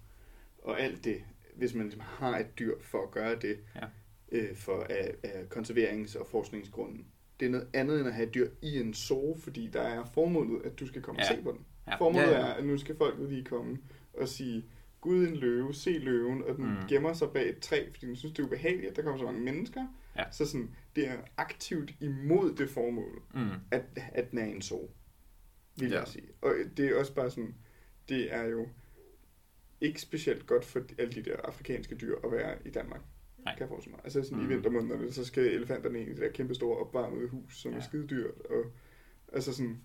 Speaker 3: Og alt det, hvis man ligesom har et dyr for at gøre det,
Speaker 1: Ja.
Speaker 3: øh, for af, af konserverings- og forskningsgrunden. Det er noget andet end at have et dyr i en zoo, fordi der er formålet, at du skal komme
Speaker 1: Ja.
Speaker 3: og se på den.
Speaker 1: Ja.
Speaker 3: Formålet
Speaker 2: Ja, ja.
Speaker 3: er, at nu skal folket lige komme og sige, Gud en løve, se løven, og den
Speaker 1: Mm.
Speaker 3: mm. gemmer sig bag et træ, fordi den synes, det er ubehageligt, at der kommer så mange mennesker.
Speaker 1: Ja.
Speaker 3: Så sådan, det er aktivt imod det formål
Speaker 1: Mm.
Speaker 3: at, at den er en sol, vil ja.
Speaker 2: Ja.
Speaker 3: jeg sige. Og det er også bare sådan, det er jo ikke specielt godt for alle de der afrikanske dyr at være i Danmark.
Speaker 1: Nej.
Speaker 3: Kan jeg forestille mig. Altså sådan mm.
Speaker 2: Mhm.
Speaker 3: i vintermånederne, så skal elefanterne ind i det der kæmpe store opvarmede hus, som
Speaker 1: Ja.
Speaker 3: ja. er skide dyrt. Og, altså sådan,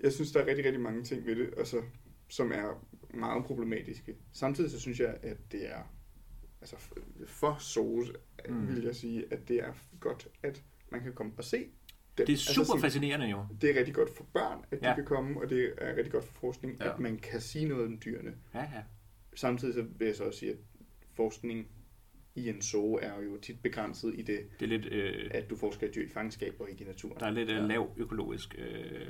Speaker 3: jeg synes, der er rigtig, rigtig mange ting ved det, og så, som er meget problematiske. Samtidig så synes jeg, at det er altså f- for sols,
Speaker 1: Mm.
Speaker 3: mm. vil jeg sige, at det er godt, at man kan komme og se dem.
Speaker 1: Det er super
Speaker 3: sådan-
Speaker 1: fascinerende jo.
Speaker 3: det er rigtig godt for børn, at de
Speaker 1: Ja.
Speaker 3: ja. kan komme, og det er rigtig godt for forskning,
Speaker 2: Ja.
Speaker 3: ja. at man kan sige noget om dyrene.
Speaker 1: Ja, ja.
Speaker 3: Samtidig så vil jeg så også sige, at forskning i en zoo er jo tit begrænset i det,
Speaker 1: Det er lidt, øh,
Speaker 3: at du forsker i dyr i fangenskab og ikke i naturen.
Speaker 1: der er lidt
Speaker 2: Ja.
Speaker 1: øh, lav økologisk øh,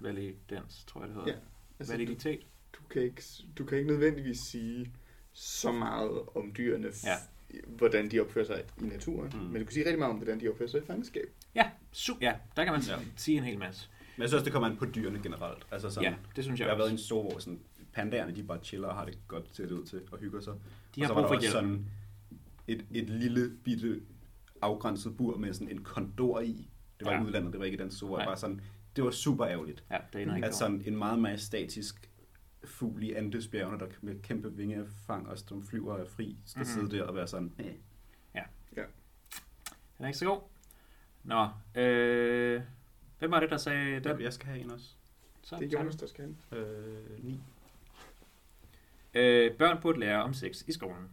Speaker 1: validans, tror jeg det hedder.
Speaker 3: Ja,
Speaker 1: Ja,
Speaker 3: Altså, du,
Speaker 1: Validitet.
Speaker 3: du, kan ikke, du kan ikke nødvendigvis sige så meget om dyrene, f-
Speaker 1: Ja.
Speaker 3: hvordan de opfører sig i naturen,
Speaker 2: Mm.
Speaker 3: mm. men du kan sige rigtig meget om, hvordan de opfører sig i fangenskab.
Speaker 1: Ja, su- ja, der kan man ja.
Speaker 2: Ja.
Speaker 1: sige en hel masse.
Speaker 2: Men jeg synes også, det kommer an på dyrene generelt. Altså sådan,
Speaker 1: Ja, det synes jeg
Speaker 2: Jeg har været i
Speaker 1: også.
Speaker 2: en zoo, hvor sådan, pandaerne de bare chiller og har det godt til det ud til og hygger sig.
Speaker 1: De
Speaker 2: og
Speaker 1: har
Speaker 2: så
Speaker 1: brug
Speaker 2: var
Speaker 1: for
Speaker 2: der også
Speaker 1: hjælp.
Speaker 2: sådan et, et lille bitte afgrænset bur med sådan en kondor i. Det var
Speaker 1: Ja.
Speaker 2: ja. i udlandet, det var ikke i den zoo, hvor
Speaker 1: Nej.
Speaker 2: jeg bare sådan, det var super ærgerligt.
Speaker 1: Ja, det er ikke
Speaker 2: At
Speaker 1: altså,
Speaker 2: sådan en meget majestatisk fugl i Andesbjergene, der med kæmpe vingefang og som flyver og er fri, skal
Speaker 1: Mhm.
Speaker 2: mm-hmm. sidde der og være sådan, "Næh."
Speaker 1: Den er ikke så god. Nå, øh, hvem var det, der sagde den?
Speaker 2: jeg skal have en også.
Speaker 1: Så,
Speaker 3: Det er Jonas, der skal have den.
Speaker 2: Øh, ni.
Speaker 1: tak. Øh, børn burde lære om sex i skolen.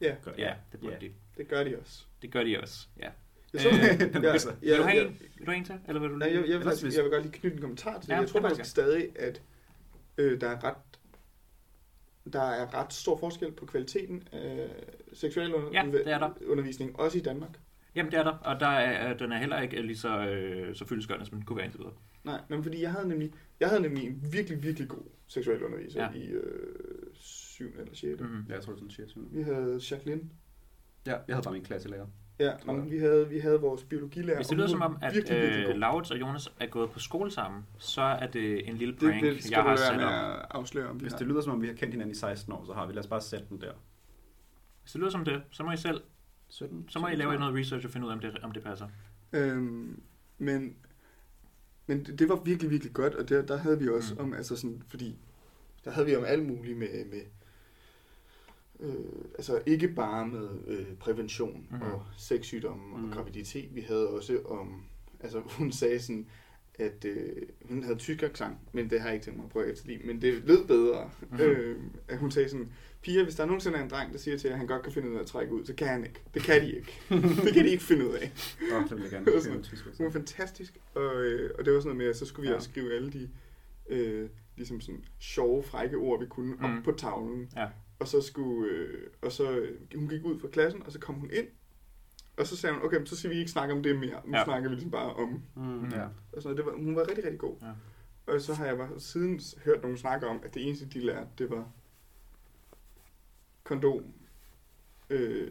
Speaker 3: Ja,
Speaker 2: Gør jeg.
Speaker 1: Ja, det burde
Speaker 2: Ja.
Speaker 1: de.
Speaker 3: det gør de også.
Speaker 1: Det gør de også, ja.
Speaker 3: Jeg så,
Speaker 1: Øh,
Speaker 2: den
Speaker 3: ja,
Speaker 2: passer.
Speaker 1: Vil du
Speaker 3: ja,
Speaker 1: have
Speaker 3: ja,
Speaker 1: en? Vil du have en til? Eller vil du
Speaker 3: Nej, jeg, jeg, vil,
Speaker 2: Ellers
Speaker 3: faktisk,
Speaker 2: hvis-
Speaker 3: jeg vil godt lige knytte en kommentar til det.
Speaker 1: Ja,
Speaker 3: Ja, jeg tror
Speaker 1: det må
Speaker 3: faktisk stadig, at øh, der er ret der er ret stor forskel på kvaliteten af seksuel under-
Speaker 1: Ja, det er der.
Speaker 3: undervisning, også i Danmark.
Speaker 1: Jamen, det er der, og der er, øh, den er heller ikke lige så, øh, så fyldeskørende, som den kunne være indtil videre.
Speaker 3: Nej, men fordi jeg havde nemlig, jeg havde nemlig en virkelig, virkelig god seksuel underviser
Speaker 1: Ja.
Speaker 3: ja. i øh, 7. eller 6. Mm.
Speaker 1: Mm.
Speaker 2: Ja, jeg tror, det er sådan 24.
Speaker 3: Vi havde Jacqueline.
Speaker 2: Ja, jeg havde bare min klasselærer.
Speaker 3: Ja,
Speaker 2: Tror jeg.
Speaker 3: og vi havde, vi havde vores biologilærer.
Speaker 1: Hvis
Speaker 3: og
Speaker 1: det lyder
Speaker 3: hun
Speaker 1: som
Speaker 3: var
Speaker 1: om, at
Speaker 3: virkelig, virkelig
Speaker 1: øh,
Speaker 3: god.
Speaker 1: Laurits og Jonas er gået på skole sammen, så er det en lille
Speaker 3: det,
Speaker 1: prank,
Speaker 3: det skal
Speaker 1: jeg
Speaker 3: jeg du
Speaker 1: har
Speaker 3: lade være
Speaker 1: sat op.
Speaker 3: med at afsløre, om vi
Speaker 2: Hvis
Speaker 3: har.
Speaker 2: det lyder som om, vi har kendt hinanden i 16 år, så har vi. Lad os bare sætte den der.
Speaker 1: Hvis det lyder som det, så må I selv
Speaker 2: 17,
Speaker 1: Så må I lave noget research og finde ud af, om det, om det passer.
Speaker 3: Øhm, men men det, det var virkelig, virkelig godt, og der, der havde vi også
Speaker 1: Mm.
Speaker 3: mm. om, altså sådan, fordi der havde vi om alt muligt med, med øh, altså ikke bare med øh, prævention
Speaker 1: Mhm.
Speaker 3: mm. og sexsygdomme og
Speaker 1: Mhm.
Speaker 3: graviditet, vi havde også om, altså hun sagde sådan, at øh, hun havde tyskerklang, men det har jeg ikke tænkt mig at prøve at efterligne, men det lød bedre.
Speaker 1: Mhm.
Speaker 3: Mm. Øh, at hun sagde sådan, piger, hvis der nogensinde er en dreng, der siger til jer, at han godt kan finde ud af at trække ud, så kan han ikke. Det kan de ikke. det kan de ikke finde ud af.
Speaker 2: Åh, det vil jeg gerne.
Speaker 3: Det var
Speaker 2: Det
Speaker 3: sådan-
Speaker 2: var tysk,
Speaker 3: Hun var fantastisk, og, øh, og det var sådan noget med, at så skulle vi
Speaker 2: Ja.
Speaker 3: ja. også skrive alle de øh, ligesom sådan sjove, frække ord, vi kunne mm.
Speaker 1: Mm.
Speaker 3: op på tavlen.
Speaker 1: Ja.
Speaker 3: Og så skulle, øh, og så, øh, hun gik ud fra klassen, og så kom hun ind, og så sagde hun, okay, men så skal vi ikke snakke om det mere, nu
Speaker 1: Ja.
Speaker 3: ja. snakker vi ligesom bare om,
Speaker 2: Mm, ja.
Speaker 3: og sådan noget. Det var, hun var rigtig, rigtig god.
Speaker 1: Ja.
Speaker 3: Og så har jeg bare siden hørt nogen snakke om, at det eneste, de lærte, det var kondom. Øh,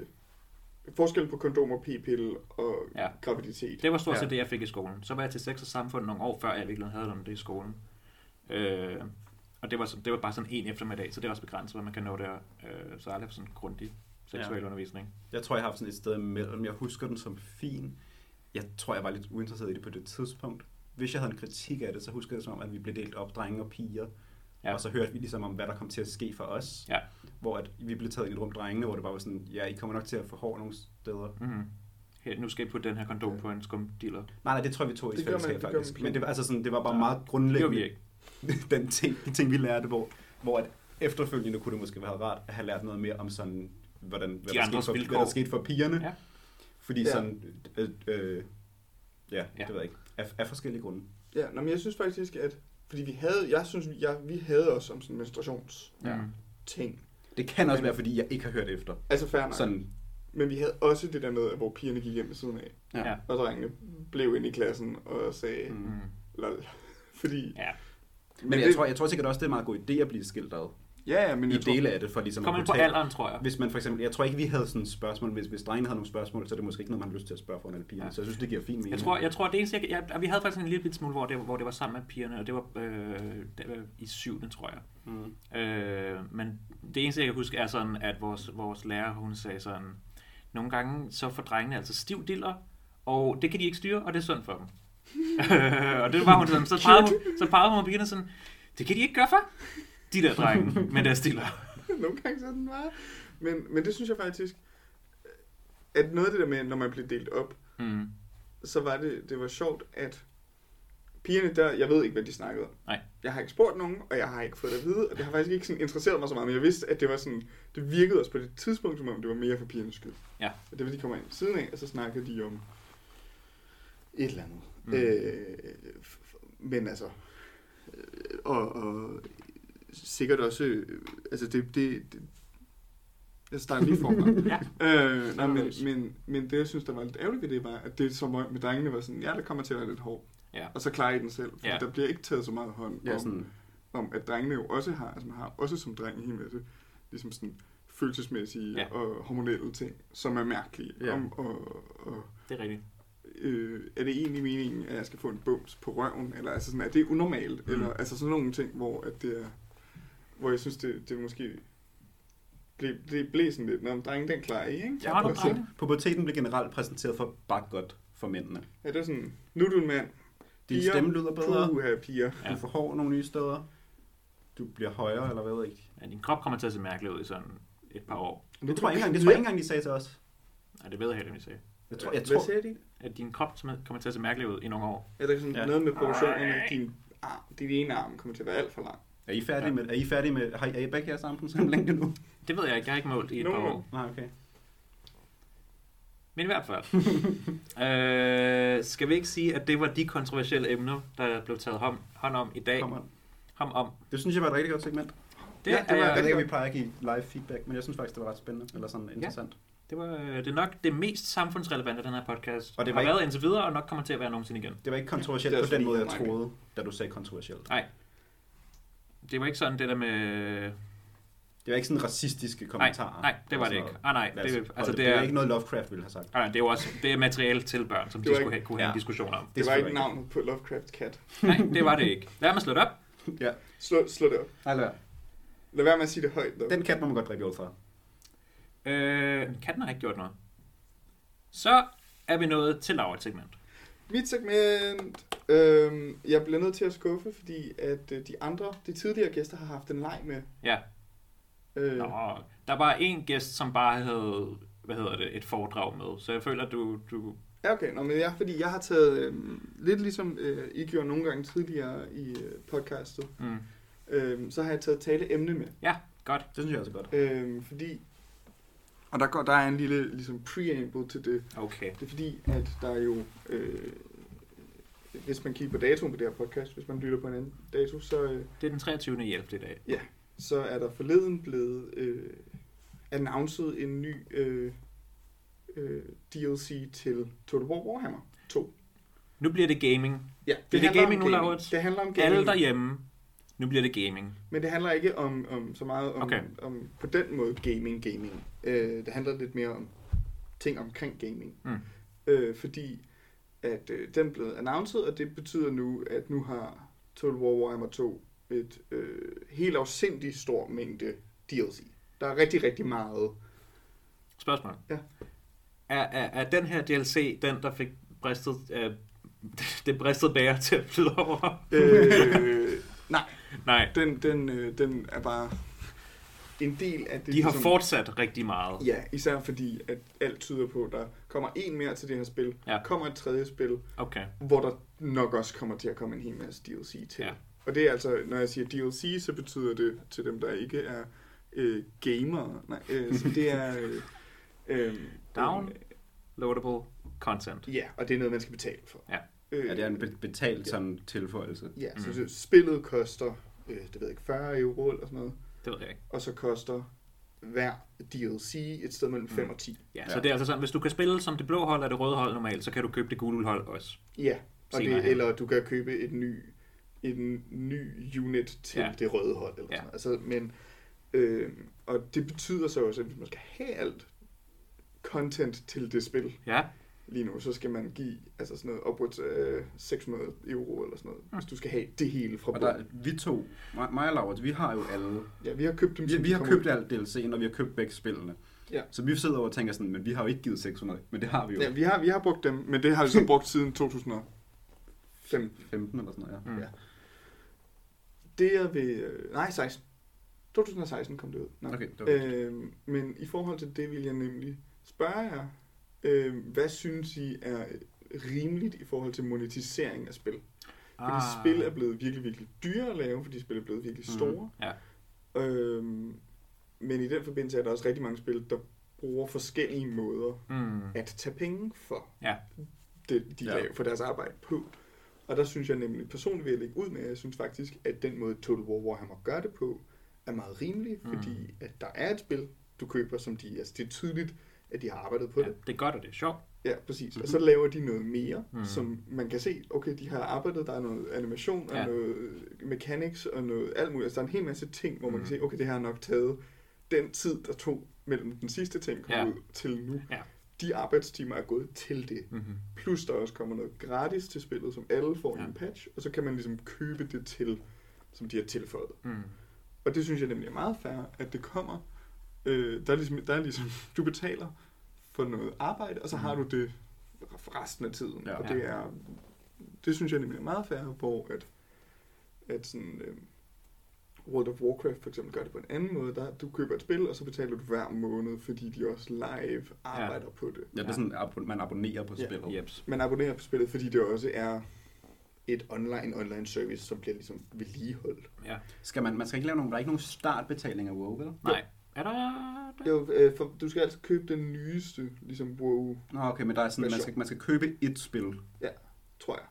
Speaker 3: forskel på kondom og p-pille og
Speaker 1: Ja.
Speaker 3: ja. graviditet.
Speaker 1: Det var stort
Speaker 2: Ja.
Speaker 1: set det, jeg fik i skolen. Så var jeg til sex og samfund nogle år før, jeg i virkeligheden havde om det i skolen. Øh, og det var, sådan, det var bare sådan en eftermiddag, så det er også begrænset, hvad man kan nå der. Øh, så jeg har aldrig haft sådan grundig seksuel
Speaker 2: Ja.
Speaker 1: ja. undervisning.
Speaker 2: Jeg tror, jeg har haft sådan et sted imellem. Jeg husker den som fin. Jeg tror, jeg var lidt uinteresseret i det på det tidspunkt. Hvis jeg havde en kritik af det, så husker jeg det som om, at vi blev delt op, drenge og piger.
Speaker 1: Ja.
Speaker 2: Ja. Og så hørte vi ligesom om, hvad der kom til at ske for os.
Speaker 1: Ja.
Speaker 2: Hvor at vi blev taget ind i et rum, drengene, hvor det bare var sådan, ja, I kommer nok til at få hår nogle steder.
Speaker 1: Mm. Her, nu skal I putte den her kondom ja. på en skumdiller.
Speaker 2: Nej, nej, det tror jeg, vi tog i
Speaker 3: Det gør man-
Speaker 2: fællesskab
Speaker 3: det gør
Speaker 2: faktisk.
Speaker 3: man.
Speaker 2: Men det, var- altså sådan, det var bare
Speaker 1: Ja. Det
Speaker 2: meget
Speaker 1: gjorde
Speaker 2: grundlæggende.
Speaker 1: vi ikke.
Speaker 2: den ting, de ting, vi lærte, hvor, hvor at efterfølgende kunne det måske være rart at have lært noget mere om sådan, hvordan, hvad, der skete
Speaker 1: andres
Speaker 2: for,
Speaker 1: vilkår.
Speaker 2: hvad der skete for pigerne.
Speaker 1: Ja.
Speaker 2: Fordi
Speaker 3: Ja.
Speaker 2: sådan, øh, øh, ja,
Speaker 1: Ja.
Speaker 2: ja, det ved jeg ikke, af, af forskellige grunde.
Speaker 3: Ja, nå, men jeg synes faktisk, at fordi vi havde, jeg synes, vi, jeg, vi havde også om sådan en menstruationsting.
Speaker 1: Ja.
Speaker 2: Det kan også være, fordi jeg ikke har hørt efter.
Speaker 3: Altså fair nok. Sådan.
Speaker 2: Sådan,
Speaker 3: Men vi havde også det der med, at hvor pigerne gik hjem ved siden af,
Speaker 1: Ja.
Speaker 3: og drengene blev ind i klassen og sagde, mm.
Speaker 2: Mm.
Speaker 1: Mm.
Speaker 3: lol. Fordi,
Speaker 1: ja.
Speaker 2: men, men jeg, det, tror, jeg tror sikkert også, det er en meget god idé at blive skilt ad
Speaker 3: ja, ja, men
Speaker 2: i
Speaker 3: jeg tror,
Speaker 2: dele af det, for ligesom
Speaker 1: Kom
Speaker 2: at
Speaker 1: ind
Speaker 2: kunne
Speaker 1: på
Speaker 2: tale-
Speaker 1: alderen, tror jeg.
Speaker 2: Hvis man for eksempel, jeg tror ikke, vi havde sådan et spørgsmål, hvis, hvis drengene havde nogle spørgsmål, så er det måske ikke noget, man har lyst til at spørge for alle pigerne.
Speaker 1: Ja.
Speaker 2: Ja. Så jeg synes, det giver fin mening.
Speaker 1: Jeg tror, jeg tror det eneste, jeg, jeg, og vi havde faktisk en lille bit smule, hvor det, hvor det var sammen med pigerne, og det var øh, det var i syvende, tror jeg.
Speaker 2: Mm.
Speaker 1: Øh, men det eneste, jeg kan huske, er sådan, at vores, vores lærer, hun sagde sådan, nogle gange så får drengene altså stiv diller, og det kan de ikke styre, og det er synd for dem. Øh, og det var hun sådan, så pegede hun, så pegede hun på pigerne sådan, det kan de ikke gøre for, de der drenge med deres diller.
Speaker 3: nogle gange sådan var. Men, men det synes jeg faktisk, at noget af det der med, når man blev delt op,
Speaker 1: Mm.
Speaker 3: så var det, det var sjovt, at pigerne der, jeg ved ikke, hvad de snakkede om.
Speaker 1: Nej.
Speaker 3: Jeg har ikke spurgt nogen, og jeg har ikke fået det at vide, og det har faktisk ikke sådan interesseret mig så meget, men jeg vidste, at det var sådan, det virkede også på det tidspunkt, som om det var mere for pigernes skyld.
Speaker 1: Ja.
Speaker 3: Og det var, de kommer ind ved siden af, og så snakkede de om et eller andet.
Speaker 1: Mm.
Speaker 3: Mm. Øh, f- f- men altså, øh, og, og sikkert også, øh, altså det, det, det jeg starter lige forfra.
Speaker 1: Ja.
Speaker 3: Øh, nej, men,
Speaker 1: Anderledes.
Speaker 3: men, men det, jeg synes, der var lidt ærgerligt ved det, var, at det som med drengene var sådan, ja, der kommer til at være lidt hård.
Speaker 1: Ja.
Speaker 3: Og så klarer I den selv, for
Speaker 1: Ja.
Speaker 3: ja. der bliver ikke taget så meget hånd
Speaker 2: Ja,
Speaker 3: om,
Speaker 2: sådan,
Speaker 3: om, at drengene jo også har, altså man har også som dreng en hel masse, ligesom sådan følelsesmæssige
Speaker 1: Ja.
Speaker 3: ja. og hormonelle ting, som er mærkelige.
Speaker 2: Ja.
Speaker 3: Ja. Om, og, og,
Speaker 1: Det er rigtigt.
Speaker 3: øh, er det egentlig meningen, at jeg skal få en bums på røven? Eller altså sådan, er det unormalt?
Speaker 2: Mm.
Speaker 3: Mm. Eller altså sådan nogle ting, hvor, at det er, hvor jeg synes, det, det måske blev, det blev sådan lidt, når drenge, den klarer I, ikke?
Speaker 1: Så har du
Speaker 3: Og så-
Speaker 1: drengene.
Speaker 2: Puberteten blev generelt præsenteret for bare godt for mændene.
Speaker 3: Ja, det er sådan, nu er du en mand.
Speaker 2: Din
Speaker 3: Piger.
Speaker 2: stemme lyder bedre,
Speaker 3: Puha, piger.
Speaker 1: Ja.
Speaker 2: du får hår nogle nye steder, du bliver højere, eller hvad ved jeg ikke.
Speaker 1: Ja, din krop kommer til at se mærkelig ud i sådan et par år.
Speaker 2: Det tror jeg ikke engang, det tror jeg ikke engang, de sagde til os.
Speaker 1: Nej, det ved jeg heller ikke, om I sagde.
Speaker 2: Jeg tror, jeg
Speaker 3: Hvad
Speaker 2: tror,
Speaker 3: sagde de?
Speaker 1: At din krop kommer til at se mærkelig ud i nogle år.
Speaker 3: Ja, der er sådan
Speaker 2: Ja.
Speaker 3: ja. noget med proportionerne. Din, arm, din ene arm kommer til at være alt for lang.
Speaker 2: er I færdige med, er I færdige med, har I, er I begge jeres sammen på samme længde nu?
Speaker 1: Det ved jeg ikke. Jeg har ikke målt i et
Speaker 3: Nå.
Speaker 1: par år.
Speaker 2: Nej, okay.
Speaker 1: Men i hvert fald. øh, skal vi ikke sige, at det var de kontroversielle emner, der blev taget hånd, hånd om i dag?
Speaker 2: Kom on.
Speaker 1: Hånd om.
Speaker 2: Det synes jeg var et rigtig godt segment.
Speaker 1: Det,
Speaker 3: Ja, det var-
Speaker 1: er,
Speaker 2: Jeg ved
Speaker 1: det,
Speaker 2: ikke, om vi plejer at give live feedback, men jeg synes faktisk, det var ret spændende, eller sådan interessant.
Speaker 1: det var øh, det er nok det mest samfundsrelevante, den her podcast. Og det
Speaker 2: Og det
Speaker 1: har
Speaker 2: var ikke-
Speaker 1: været indtil videre, og nok kommer til at være nogensinde igen.
Speaker 2: Det var ikke kontroversielt
Speaker 3: Det er
Speaker 2: på
Speaker 3: også
Speaker 2: den
Speaker 3: lige
Speaker 2: måde, jeg
Speaker 3: mig.
Speaker 2: troede, da du sagde kontroversielt.
Speaker 1: Det var ikke sådan det der med...
Speaker 2: Det var ikke sådan racistiske kommentarer.
Speaker 1: Nej, det var det
Speaker 2: Altså,
Speaker 1: ikke. Ah, nej,
Speaker 2: lad os
Speaker 1: det,
Speaker 2: holde
Speaker 1: altså,
Speaker 2: det,
Speaker 1: det er, Ah,
Speaker 2: ikke noget, Lovecraft ville have sagt.
Speaker 1: nej, nej, det er jo også det er materiale til børn, som
Speaker 3: Det
Speaker 1: de
Speaker 3: var
Speaker 1: skulle
Speaker 3: ikke-
Speaker 1: have, kunne have en
Speaker 2: ja.
Speaker 1: diskussion om.
Speaker 3: Det, det var ikke
Speaker 2: selvfølgelig
Speaker 3: navnet på Lovecraft Cat.
Speaker 1: Nej, det var det ikke. Lad mig slå det op.
Speaker 2: Ja,
Speaker 3: Slå, slå det op.
Speaker 2: nej, lad være.
Speaker 3: Lad være med at sige det højt, dog.
Speaker 2: Den kat må man godt drikke øl fra.
Speaker 1: Øh, katten har ikke gjort noget. Så er vi nået til Laura segment.
Speaker 3: Mit segment, øhm, jeg bliver nødt til at skuffe, fordi at øh, de andre, de tidligere gæster har haft en leg med.
Speaker 1: Ja.
Speaker 3: Øh,
Speaker 1: Nå, der var en gæst, som bare havde hvad hedder det, et foredrag med. Så jeg føler, at du, du
Speaker 3: Ja, okay. Nå, men jeg, fordi jeg har taget, øh, lidt ligesom øh, I gjorde nogle gange tidligere i øh, podcastet,
Speaker 1: mm,
Speaker 3: øh, så har jeg taget taleemne med.
Speaker 1: godt.
Speaker 2: Det synes jeg også er godt.
Speaker 3: Øh, fordi, og der, går, der er en lille ligesom preamble til det.
Speaker 1: Okay.
Speaker 3: Det er fordi, at der er jo, øh, hvis man kigger på datoen på det her podcast, hvis man lytter på en anden dato, så, øh,
Speaker 1: Det er den 23. hjælp i dag.
Speaker 3: så er der forleden blevet øh, annonceret en ny øh, øh, DLC til Total War Warhammer 2.
Speaker 1: Nu bliver det gaming.
Speaker 3: Ja,
Speaker 1: det
Speaker 3: handler
Speaker 1: gaming
Speaker 3: om
Speaker 1: nu, Laurits?
Speaker 3: Det handler om gaming.
Speaker 1: Alle derhjemme, nu bliver det gaming.
Speaker 3: Men det handler ikke om, om så meget om,
Speaker 1: Okay.
Speaker 3: okay. om på den måde gaming gaming. Øh, det handler lidt mere om ting omkring gaming.
Speaker 1: Mm.
Speaker 3: Øh, fordi at øh, den blev annonceret, og det betyder nu, at nu har Total War Warhammer 2 et øh, helt afsindig stor mængde DLC. Der er rigtig, rigtig meget.
Speaker 1: Spørgsmål.
Speaker 3: Ja.
Speaker 1: Er, er, er den her DLC den, der fik bristet, øh, det bristede bager til at flyde over?
Speaker 3: Øh,
Speaker 1: Nej,
Speaker 3: den, den, øh, den er bare en del af det.
Speaker 1: de har
Speaker 3: ligesom-
Speaker 1: fortsat rigtig meget.
Speaker 3: Ja, især fordi, at alt tyder på, at der kommer en mere til det her spil,
Speaker 1: Ja.
Speaker 3: kommer et tredje spil,
Speaker 1: Okay.
Speaker 3: hvor der nok også kommer til at komme en hel masse DLC til.
Speaker 1: Ja.
Speaker 3: Ja. Og det er altså, når jeg siger DLC, så betyder det til dem, der ikke er øh, gamere. Nej, øh, så det er... Øh, øh,
Speaker 1: Downloadable content.
Speaker 3: Ja, og det er noget, man skal betale for.
Speaker 1: Ja.
Speaker 3: øh,
Speaker 2: Ja, det er en be- betalt sådan tilføjelse.
Speaker 3: ja
Speaker 1: Mm.
Speaker 3: så, så spillet koster, øh, det ved jeg ikke, 40 euro eller sådan noget,
Speaker 1: Det ved jeg ikke.
Speaker 3: og så koster hver DLC et sted mellem 5
Speaker 1: Mm.
Speaker 3: og 10.
Speaker 1: Ja,
Speaker 2: Ja.
Speaker 1: så det er altså sådan, hvis du kan spille som det blå hold og det røde hold normalt, så kan du købe det gule hold også.
Speaker 3: Ja, og
Speaker 1: Senere hen.
Speaker 3: det, eller du kan købe et ny, en ny unit til
Speaker 1: Ja.
Speaker 3: ja. det røde hold. Eller
Speaker 1: Ja.
Speaker 3: ja. sådan. noget. Altså, men, øh, og det betyder så også, at hvis man skal have alt content til det spil
Speaker 1: Ja,
Speaker 3: lige nu, så skal man give altså sådan noget opwards af 600 euro eller sådan noget, hvis du skal have det hele fra
Speaker 2: Mm. Og
Speaker 3: bunden.
Speaker 2: der, vi to, mig, mig og Laurits, vi har jo alle.
Speaker 3: Ja, vi har købt dem.
Speaker 2: Vi,
Speaker 3: som
Speaker 2: vi
Speaker 3: de
Speaker 2: har
Speaker 3: kom ud.
Speaker 2: købt alt DLC'en, og vi har købt begge spillene.
Speaker 3: Ja.
Speaker 2: Så vi sidder over og tænker sådan, men vi har jo ikke givet 600, men det har vi jo.
Speaker 3: Ja, vi har, vi har brugt dem, men det har vi så brugt siden 2015.
Speaker 2: 15 eller sådan noget, ja.
Speaker 1: Mm.
Speaker 3: Ja. Det er ved... øh, Nej, 16. 2016 kom det ud. Nå.
Speaker 2: Okay, det var
Speaker 3: Øh, men i forhold til det vil jeg nemlig spørge jer, øh, hvad synes I er rimeligt i forhold til monetisering af spil? Fordi ah. spil er blevet virkelig, virkelig dyre at lave, fordi spil er blevet virkelig
Speaker 2: Mhm.
Speaker 3: store.
Speaker 1: Ja.
Speaker 3: Øh, men i den forbindelse er der også rigtig mange spil, der bruger forskellige måder
Speaker 1: Mm.
Speaker 3: at tage penge for
Speaker 1: Ja.
Speaker 3: det, de
Speaker 2: Ja.
Speaker 3: ja. laver, for deres arbejde på. Og der synes jeg nemlig personligt vil jeg lægge ud med, at jeg synes faktisk, at den måde Total War Warhammer gør det på, er meget rimelig,
Speaker 1: Mm.
Speaker 3: mm. fordi at der er et spil, du køber, som de, altså det er tydeligt, at de har arbejdet på
Speaker 1: Ja,
Speaker 3: ja. det.
Speaker 1: det er godt, og det er sjovt.
Speaker 3: Ja, præcis. Mm.
Speaker 2: Mhm.
Speaker 3: Og så laver de noget mere,
Speaker 1: Mm.
Speaker 3: mm. som man kan se, okay, de har arbejdet, der er noget animation, og
Speaker 1: Ja.
Speaker 3: ja. noget mechanics, og noget alt muligt. Altså der er en hel masse ting, hvor man kan
Speaker 1: Mhm.
Speaker 3: se, okay, det her har nok taget den tid, der tog mellem den sidste ting kom
Speaker 1: Ja.
Speaker 3: ja. ud til nu.
Speaker 1: Ja.
Speaker 3: De arbejdstimer er gået til det.
Speaker 1: Mm-hmm.
Speaker 3: Plus der også kommer noget gratis til spillet, som alle får ja.
Speaker 1: Ja.
Speaker 3: en patch, og så kan man ligesom købe det til, som de har tilføjet.
Speaker 1: Mm.
Speaker 3: Og det synes jeg nemlig er meget fair, at det kommer. Øh, der, er ligesom, der er ligesom, du betaler for noget arbejde, og så har
Speaker 1: Mm.
Speaker 3: du det for resten af tiden.
Speaker 2: Ja.
Speaker 3: Ja. Og det er, det synes jeg nemlig er meget fair, hvor at, at sådan, øh, World of Warcraft for eksempel gør det på en anden måde. Der, du køber et spil, og så betaler du hver måned, fordi de også live arbejder ja. på det.
Speaker 2: Ja, det er sådan, abon- man abonnerer på
Speaker 3: Ja.
Speaker 2: spillet.
Speaker 1: Jeps.
Speaker 3: man abonnerer på spillet, fordi det også er et online online service, som bliver ligesom vedligeholdt.
Speaker 1: Ja.
Speaker 2: Skal man, man skal ikke lave nogen, der er ikke nogen startbetaling af WoW, vel?
Speaker 1: Nej. Er der... der?
Speaker 3: Jo, øh, for, du skal altså købe den nyeste, ligesom WoW,
Speaker 2: Nå, okay, men der er sådan, man
Speaker 3: Version.
Speaker 2: skal, man skal købe et spil.
Speaker 3: tror jeg.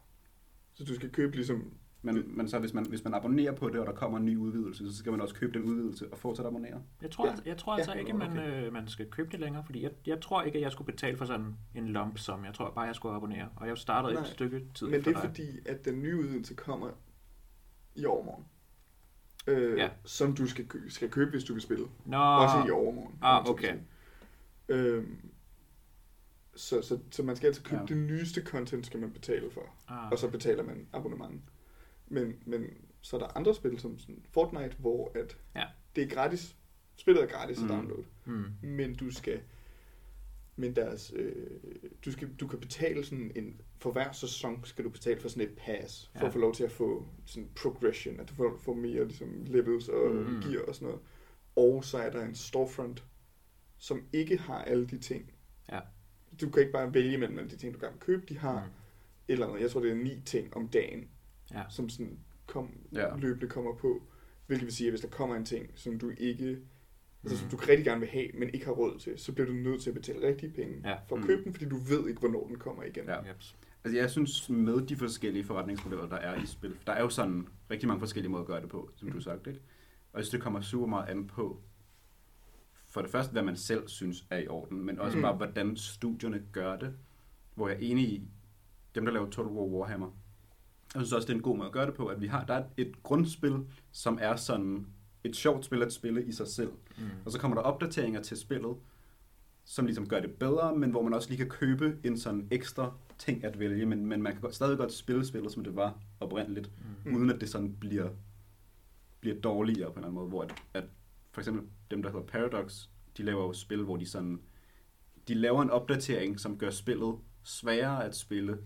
Speaker 3: Så du skal købe ligesom,
Speaker 2: Men, men så hvis man, hvis man abonnerer på det, og der kommer en ny udvidelse, så skal man også købe den udvidelse og fortsat abonnere.
Speaker 1: Jeg tror,
Speaker 3: Ja.
Speaker 1: altså, jeg tror altså
Speaker 2: Ja.
Speaker 1: ikke, man, øh, man skal købe det længere, fordi jeg, jeg tror ikke, at jeg skulle betale for sådan en lump sum. Jeg tror bare, jeg skulle abonnere. Og jeg startede
Speaker 3: Nej.
Speaker 1: et stykke tid
Speaker 3: men det er
Speaker 1: dig.
Speaker 3: fordi, at den nye udvidelse kommer i overmorgen. Øh,
Speaker 1: Ja.
Speaker 3: ja. Som du skal, kø- skal købe, hvis du vil spille.
Speaker 1: Nå,
Speaker 3: Ah. Også i overmorgen.
Speaker 1: Ah,
Speaker 3: om man så må
Speaker 1: okay.
Speaker 3: sige. Øhm, så, så, så man skal altså købe
Speaker 2: Ja.
Speaker 3: ja. det nyeste content, skal man betale for.
Speaker 1: ah,
Speaker 3: og så betaler man abonnement. Men, men så er der andre spil, som sådan Fortnite, hvor at
Speaker 1: Ja.
Speaker 3: det er gratis. Spillet er gratis
Speaker 2: Mm.
Speaker 3: at downloade,
Speaker 1: mm,
Speaker 3: men du skal men deres, øh, du, skal, du kan betale sådan en, for hver sæson skal du betale for sådan et pass, for
Speaker 1: Ja.
Speaker 3: at få lov til at få sådan progression, at du får, får mere ligesom, levels og
Speaker 1: Mm.
Speaker 3: mm. gear og sådan noget. Og så er der en storefront, som ikke har alle de ting.
Speaker 1: Ja.
Speaker 3: Du kan ikke bare vælge mellem alle de ting, du gerne vil købe. De har
Speaker 1: Mm.
Speaker 3: et eller andet, jeg tror det er ni ting om dagen,
Speaker 1: Ja.
Speaker 3: som sådan kom,
Speaker 2: Ja.
Speaker 3: ja. løbende kommer på. Hvilket vil sige, at hvis der kommer en ting, som du ikke, altså som
Speaker 1: Mm.
Speaker 3: du rigtig gerne vil have, men ikke har råd til, så bliver du nødt til at betale rigtige penge
Speaker 1: Ja.
Speaker 3: for at
Speaker 2: Mm.
Speaker 3: købe den, fordi du ved ikke, hvornår den kommer igen.
Speaker 2: Ja.
Speaker 1: Jeps.
Speaker 2: Altså jeg synes med de forskellige forretningsmodeller, der er i spil, der er jo sådan rigtig mange forskellige måder at gøre det på, som du har sagt, ikke? Og jeg synes, det kommer super meget an på, for det første, hvad man selv synes er i orden, men også
Speaker 3: Mm.
Speaker 2: bare, hvordan studierne gør det, hvor jeg er enig i, dem der laver Total War Warhammer, jeg synes også, det er en god måde at gøre det på, at vi har, der er et grundspil, som er sådan et sjovt spil at spille i sig selv,
Speaker 1: Mm.
Speaker 2: og så kommer der opdateringer til spillet, som ligesom gør det bedre, men hvor man også lige kan købe en sådan ekstra ting at vælge, men, men man kan godt, stadig godt spille spillet, som det var oprindeligt,
Speaker 1: Mm.
Speaker 2: mm. uden at det sådan bliver, bliver dårligere på en eller anden måde, hvor at, at for eksempel dem, der hedder Paradox, de laver jo spil, hvor de sådan, de laver en opdatering, som gør spillet sværere at spille,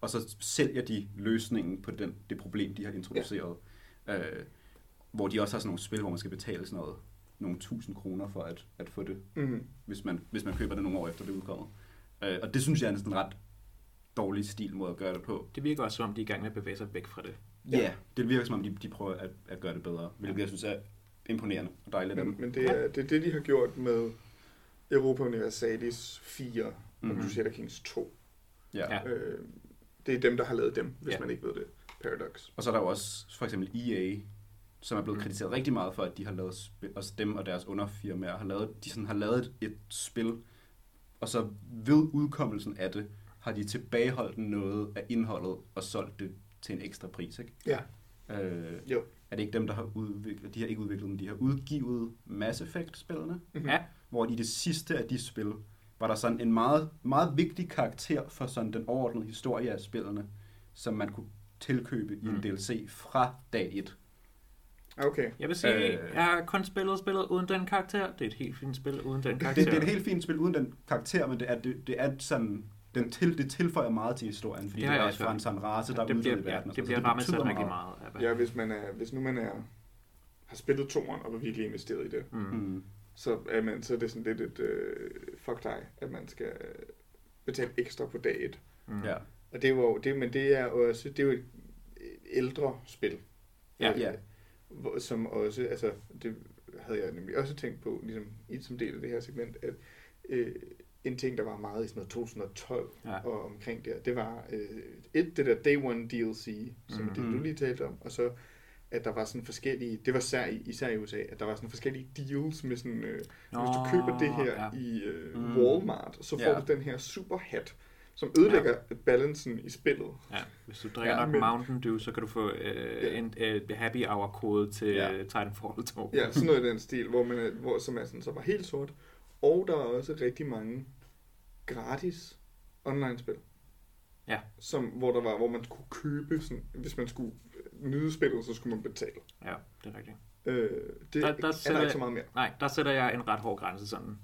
Speaker 2: og så sælger de løsningen på den, det problem, de har introduceret. Ja. Øh, hvor de også har sådan nogle spil, hvor man skal betale sådan noget, nogle tusind kroner for at, at få det,
Speaker 3: Mm.
Speaker 2: hvis man, hvis man køber det nogle år efter det er udkommet. Øh, og det synes jeg er en sådan ret dårlig stil måde at gøre det på.
Speaker 1: Det virker også, som om de er i gang med at bevæge sig væk fra det.
Speaker 2: Ja, yeah. det virker som om, de, de prøver at, at gøre det bedre, hvilket jeg synes er imponerende og dejligt. af dem.
Speaker 3: Men, men det, er, det er det, de har gjort med Europa Universalis 4 mm-hmm.
Speaker 2: Mhm.
Speaker 3: og Crusader Kings 2.
Speaker 2: ja.
Speaker 1: Ja.
Speaker 2: ja.
Speaker 3: Øh, det er dem, der har lavet dem, hvis
Speaker 1: Ja.
Speaker 3: ja. man ikke ved det. Paradox.
Speaker 2: Og så er der jo også for eksempel EA, som er blevet
Speaker 1: Mm.
Speaker 2: kritiseret rigtig meget for, at de har lavet spil, også dem og deres underfirmaer, har lavet, de sådan har lavet et, et spil, og så ved udkommelsen af det, har de tilbageholdt noget af indholdet og solgt det til en ekstra pris, ikke?
Speaker 3: Ja.
Speaker 2: Øh,
Speaker 3: Jo.
Speaker 2: Er det ikke dem, der har udviklet, de har ikke udviklet dem, de har udgivet Mass Effect-spillene,
Speaker 3: Mm-hmm.
Speaker 1: Ja.
Speaker 2: hvor i det sidste af de spil, var der sådan en meget, meget vigtig karakter for sådan den overordnede historie af spillene, som man kunne tilkøbe i en
Speaker 1: Mm.
Speaker 2: DLC fra dag 1.
Speaker 3: Okay.
Speaker 1: Jeg vil sige,
Speaker 2: Øh.
Speaker 1: øh... jeg har kun spillet spillet uden den karakter. Det er et helt fint spil uden den
Speaker 2: Det,
Speaker 1: karakter.
Speaker 2: det er et helt fint spil uden den karakter, men det er, det, det er sådan, den til, det tilføjer meget til historien, fordi
Speaker 1: Det
Speaker 2: det,
Speaker 1: har
Speaker 2: det er
Speaker 1: jeg også
Speaker 2: også fra en sådan race, der er
Speaker 1: Altså, det
Speaker 2: ude
Speaker 1: bliver,
Speaker 2: i verden.
Speaker 1: ja,
Speaker 2: og
Speaker 1: det
Speaker 2: sådan,
Speaker 1: bliver rammet
Speaker 2: betyder
Speaker 1: rigtig meget. af, hvad-
Speaker 3: Ja, hvis, man er, hvis nu man er, har spillet toeren og virkelig investeret i det,
Speaker 1: Mm.
Speaker 2: Mm.
Speaker 3: så er, man, så er det sådan lidt et øh, fuck dig, at man skal øh, betale ekstra på dag et.
Speaker 1: Mm.
Speaker 2: Ja.
Speaker 3: Og det var jo, det, men det er jo også, det er jo et, et ældre spil. Øh,
Speaker 1: Ja.
Speaker 2: Ja.
Speaker 3: Hvor, som også, altså, det havde jeg nemlig også tænkt på, ligesom i som del af det her segment, at øh, en ting, der var meget i sådan noget 2012
Speaker 1: Ja.
Speaker 3: og omkring der, det var øh, et, det der Day One DLC, som mm. det,
Speaker 2: Mhm.
Speaker 3: du lige talte om, og så at der var sådan forskellige, det var især i, især i USA, at der var sådan forskellige deals med sådan, øh, Nå, hvis du køber det her
Speaker 1: Ja.
Speaker 3: ja. i øh,
Speaker 2: Mm.
Speaker 3: Walmart, så får
Speaker 2: Ja.
Speaker 3: ja. du den her super hat, som ødelægger ja. balancen i spillet.
Speaker 1: Ja. Hvis du drikker
Speaker 2: Ja,
Speaker 1: nok
Speaker 3: men-
Speaker 1: Mountain Dew, så kan du få øh,
Speaker 3: Ja.
Speaker 1: en øh, happy hour-kode til
Speaker 2: Ja.
Speaker 1: ja. Titanfall 2.
Speaker 3: Ja, sådan noget i den stil, hvor man er, hvor, som er sådan, så var helt sort. Og der er også rigtig mange gratis online-spil.
Speaker 1: Ja.
Speaker 3: Som, hvor, der var, hvor man kunne købe, sådan, hvis man skulle nyde spillet, så skulle man betale.
Speaker 1: ja, det er rigtigt.
Speaker 3: Øh, det
Speaker 1: Der-
Speaker 3: der,
Speaker 1: der
Speaker 3: der er
Speaker 1: sætter
Speaker 3: der
Speaker 1: jeg-
Speaker 3: ikke så meget mere.
Speaker 1: Nej, der sætter jeg en ret hård grænse sådan.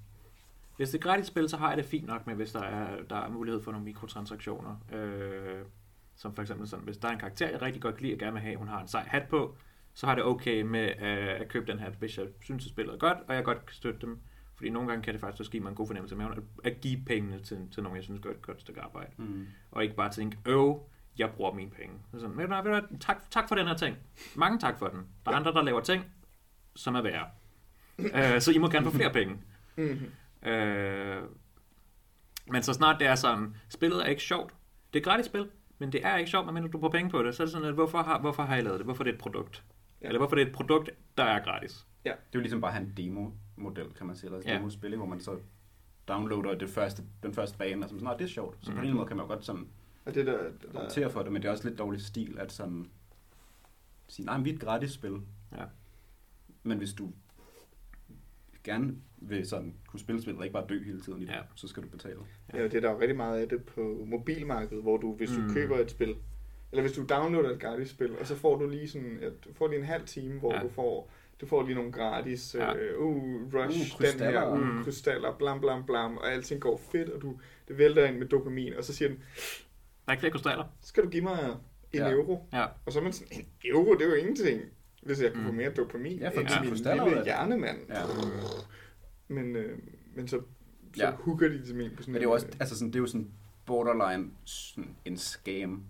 Speaker 1: Hvis det er gratis spil, så har jeg det fint nok med, hvis der er, der er mulighed for nogle mikrotransaktioner. Øh, som for eksempel sådan, hvis der er en karakter, jeg rigtig godt kan lide og gerne vil have, hun har en sej hat på, så har det okay med øh, at købe den her, hvis jeg synes, at spillet er godt, og jeg godt kan støtte dem. Fordi nogle gange kan det faktisk også give mig en god fornemmelse af maven, at- at give pengene til, til nogen, jeg synes gør et godt stykke arbejde.
Speaker 2: Mm.
Speaker 1: Og ikke bare tænke, øv, jeg bruger mine penge. Så er sådan, men nej, ved du hvad, tak, tak for den her ting. Mange tak for den. Der er andre, der laver ting, som er værre. øh, så I må gerne få flere penge.
Speaker 3: Mm-hmm.
Speaker 1: Øh, men så snart det er sådan, spillet er ikke sjovt. Det er et gratis spil, men det er ikke sjovt, medmindre du bruger penge på det. Så er det sådan, at hvorfor har, hvorfor har I lavet det? Hvorfor er det et produkt?
Speaker 3: Ja.
Speaker 1: Ja. Eller hvorfor er det et produkt, der er gratis?
Speaker 2: Det er jo ligesom bare at have en demo-model, kan man sige, eller et
Speaker 1: Ja.
Speaker 2: demospil, ikke? hvor man så downloader det første, den første bane, og sådan, "Nå, det er sjovt. Så på
Speaker 1: Mm.
Speaker 2: en eller anden måde kan man jo godt sådan
Speaker 3: Og det der, der
Speaker 2: argumentere for det, men det er også lidt dårlig stil at sådan sige, nej, men vi er et gratis spil.
Speaker 1: Ja.
Speaker 2: Men hvis du gerne vil sådan kunne spille spillet og ikke bare dø hele tiden i det,
Speaker 1: Ja.
Speaker 2: ja. så skal du betale.
Speaker 3: Ja, det er der jo rigtig meget af det på mobilmarkedet, hvor du, hvis du
Speaker 1: Mm.
Speaker 3: mm. køber et spil, eller hvis du downloader et gratis spil, og så får du lige sådan, at, du får lige en halv time, hvor
Speaker 1: Ja.
Speaker 3: ja. du får Du får lige nogle gratis,
Speaker 1: Ja.
Speaker 3: ja. øh, uh, rush,
Speaker 4: Uh,
Speaker 3: uh, den her,
Speaker 4: krystaller.
Speaker 3: uh,
Speaker 1: Mm.
Speaker 3: krystaller, blam, blam, blam, og alting går fedt, og du, det vælter ind med dopamin, og så siger den,
Speaker 1: Der er ikke flere krystaller.
Speaker 3: skal du give mig en
Speaker 2: Ja.
Speaker 3: ja. euro?
Speaker 1: Ja.
Speaker 3: Og så er man sådan, en euro, det er jo ingenting, hvis jeg kunne få
Speaker 1: Mm.
Speaker 3: mere dopamin
Speaker 2: Ja, for
Speaker 3: ind
Speaker 1: de
Speaker 3: i min
Speaker 2: krystaller ud af
Speaker 3: lille
Speaker 2: det.
Speaker 3: hjernemand.
Speaker 2: Ja.
Speaker 3: Men, øh, men så, så
Speaker 2: Ja.
Speaker 3: ja. hooker de det med på sådan
Speaker 2: Men det er jo
Speaker 3: en,
Speaker 2: også,
Speaker 3: øh,
Speaker 2: altså sådan, det er jo sådan borderline sådan en scam.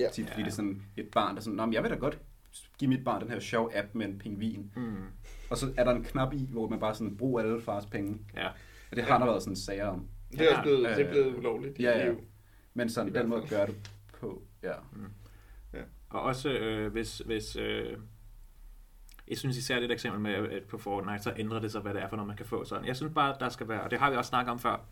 Speaker 3: Ja.
Speaker 2: Tit, fordi
Speaker 1: Ja.
Speaker 2: det er sådan et barn, der er sådan, Nå, men jeg vil da godt give mit barn den her sjov app med en pingvin.
Speaker 1: Mm.
Speaker 2: Og så er der en knap i, hvor man bare sådan bruger alle fars penge.
Speaker 1: Ja.
Speaker 2: Og det har der været sådan sager om.
Speaker 3: Det er også
Speaker 1: Ja.
Speaker 3: blevet, det er blevet
Speaker 2: Øh,
Speaker 3: ulovligt
Speaker 2: ja,
Speaker 3: i
Speaker 2: ja.
Speaker 3: EU.
Speaker 2: Men
Speaker 3: I
Speaker 2: sådan
Speaker 3: hvert
Speaker 2: den måde at
Speaker 3: fald.
Speaker 2: gøre det på, ja.
Speaker 1: Og også øh, hvis... hvis øh, jeg synes især det eksempel med, at på Fortnite, så ændrer det sig, hvad det er for noget, man kan få. Sådan. Jeg synes bare, at der skal være, og det har vi også snakket om før,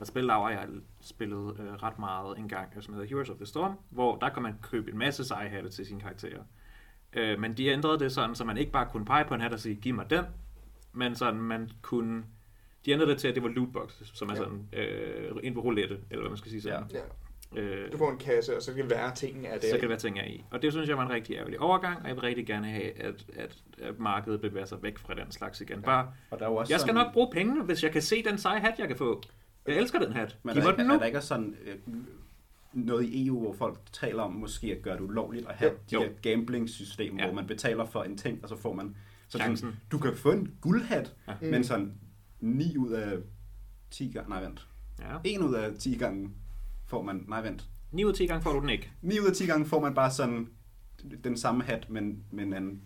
Speaker 1: at spille Laura og jeg spillede øh, ret meget en gang, som hedder Heroes of the Storm, hvor der kan man købe en masse seje hatte til sine karakterer. Øh, men de ændrede det sådan, så man ikke bare kunne pege på en hat og sige, giv mig den, men sådan man kunne... De ændrede det til, at det var lootboxes, som er
Speaker 3: Ja.
Speaker 1: sådan øh, en roulette, eller hvad man skal sige sådan.
Speaker 3: Ja.
Speaker 1: Øh,
Speaker 3: Du får en kasse, og så kan det være tingene af det.
Speaker 1: så kan det være ting, jeg er i. Og det synes jeg var en rigtig ærgerlig overgang, og jeg vil rigtig gerne have, at, at, at markedet bevæger sig væk fra den slags igen. Bare,
Speaker 2: Og der er jo også
Speaker 1: jeg skal
Speaker 2: sådan,
Speaker 1: nok bruge pengene, hvis jeg kan se den seje hat, jeg kan få. Jeg elsker den hat.
Speaker 2: Men
Speaker 1: Giv
Speaker 2: er,
Speaker 1: mig
Speaker 2: der,
Speaker 1: den
Speaker 2: ikke-
Speaker 1: nu.
Speaker 2: er der ikke også sådan øh, noget i EU, hvor folk taler om måske at gøre det ulovligt at have
Speaker 3: Jo.
Speaker 2: de
Speaker 1: Jo.
Speaker 2: her gambling-systemer,
Speaker 1: Ja.
Speaker 2: hvor man betaler for en ting, og så får man... Så sådan,
Speaker 1: Chancen.
Speaker 2: du kan få en guldhat,
Speaker 1: Ja.
Speaker 2: ja.
Speaker 3: Mm.
Speaker 2: men sådan 9 ud af 10 gange... Nej, vent.
Speaker 1: Ja.
Speaker 2: 1 ud af 10 gange får man... Nej, vent.
Speaker 1: 9 ud af 10 gange får du den ikke.
Speaker 2: 9 ud af 10 gange får man bare sådan den samme hat, men, men en anden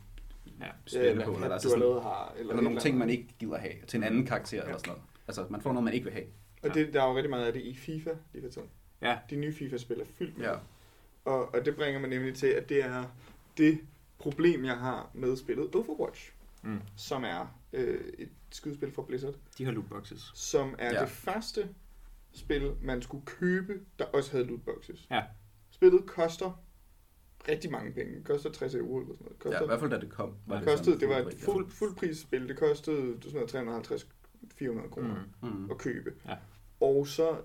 Speaker 1: Ja.
Speaker 2: spille på. Eller, altså
Speaker 3: eller, Øh, du har
Speaker 2: sådan,
Speaker 3: lavet her, eller,
Speaker 2: eller
Speaker 3: et
Speaker 2: nogle ting, man
Speaker 3: andet.
Speaker 2: ikke gider have til en anden karakter eller sådan noget. Altså, man får noget, man ikke vil have.
Speaker 3: Og det, der er jo rigtig meget af det i FIFA lige for tiden.
Speaker 1: Ja.
Speaker 3: De nye FIFA-spil er fyldt med. det. Og, og det bringer mig nemlig til, at det er det problem, jeg har med spillet Overwatch,
Speaker 1: Mm.
Speaker 3: som er øh, et skydespil fra Blizzard,
Speaker 1: De har lootboxes.
Speaker 3: som er
Speaker 2: Ja.
Speaker 3: ja. det første spil, man skulle købe, der også havde lootboxes.
Speaker 1: Ja.
Speaker 3: Spillet koster rigtig mange penge. Det koster 60 euro eller sådan noget. Det
Speaker 2: Ja, i
Speaker 3: Koster,
Speaker 2: hvert fald da det kom.
Speaker 1: Det
Speaker 2: sådan
Speaker 3: kostede, det var
Speaker 2: fuld
Speaker 3: et
Speaker 2: pris, ja.
Speaker 3: fuld, fuldprisspil. Det kostede sådan noget 350-400 kroner.
Speaker 1: Mm.
Speaker 2: Mm.
Speaker 3: at købe.
Speaker 1: Ja.
Speaker 3: Og så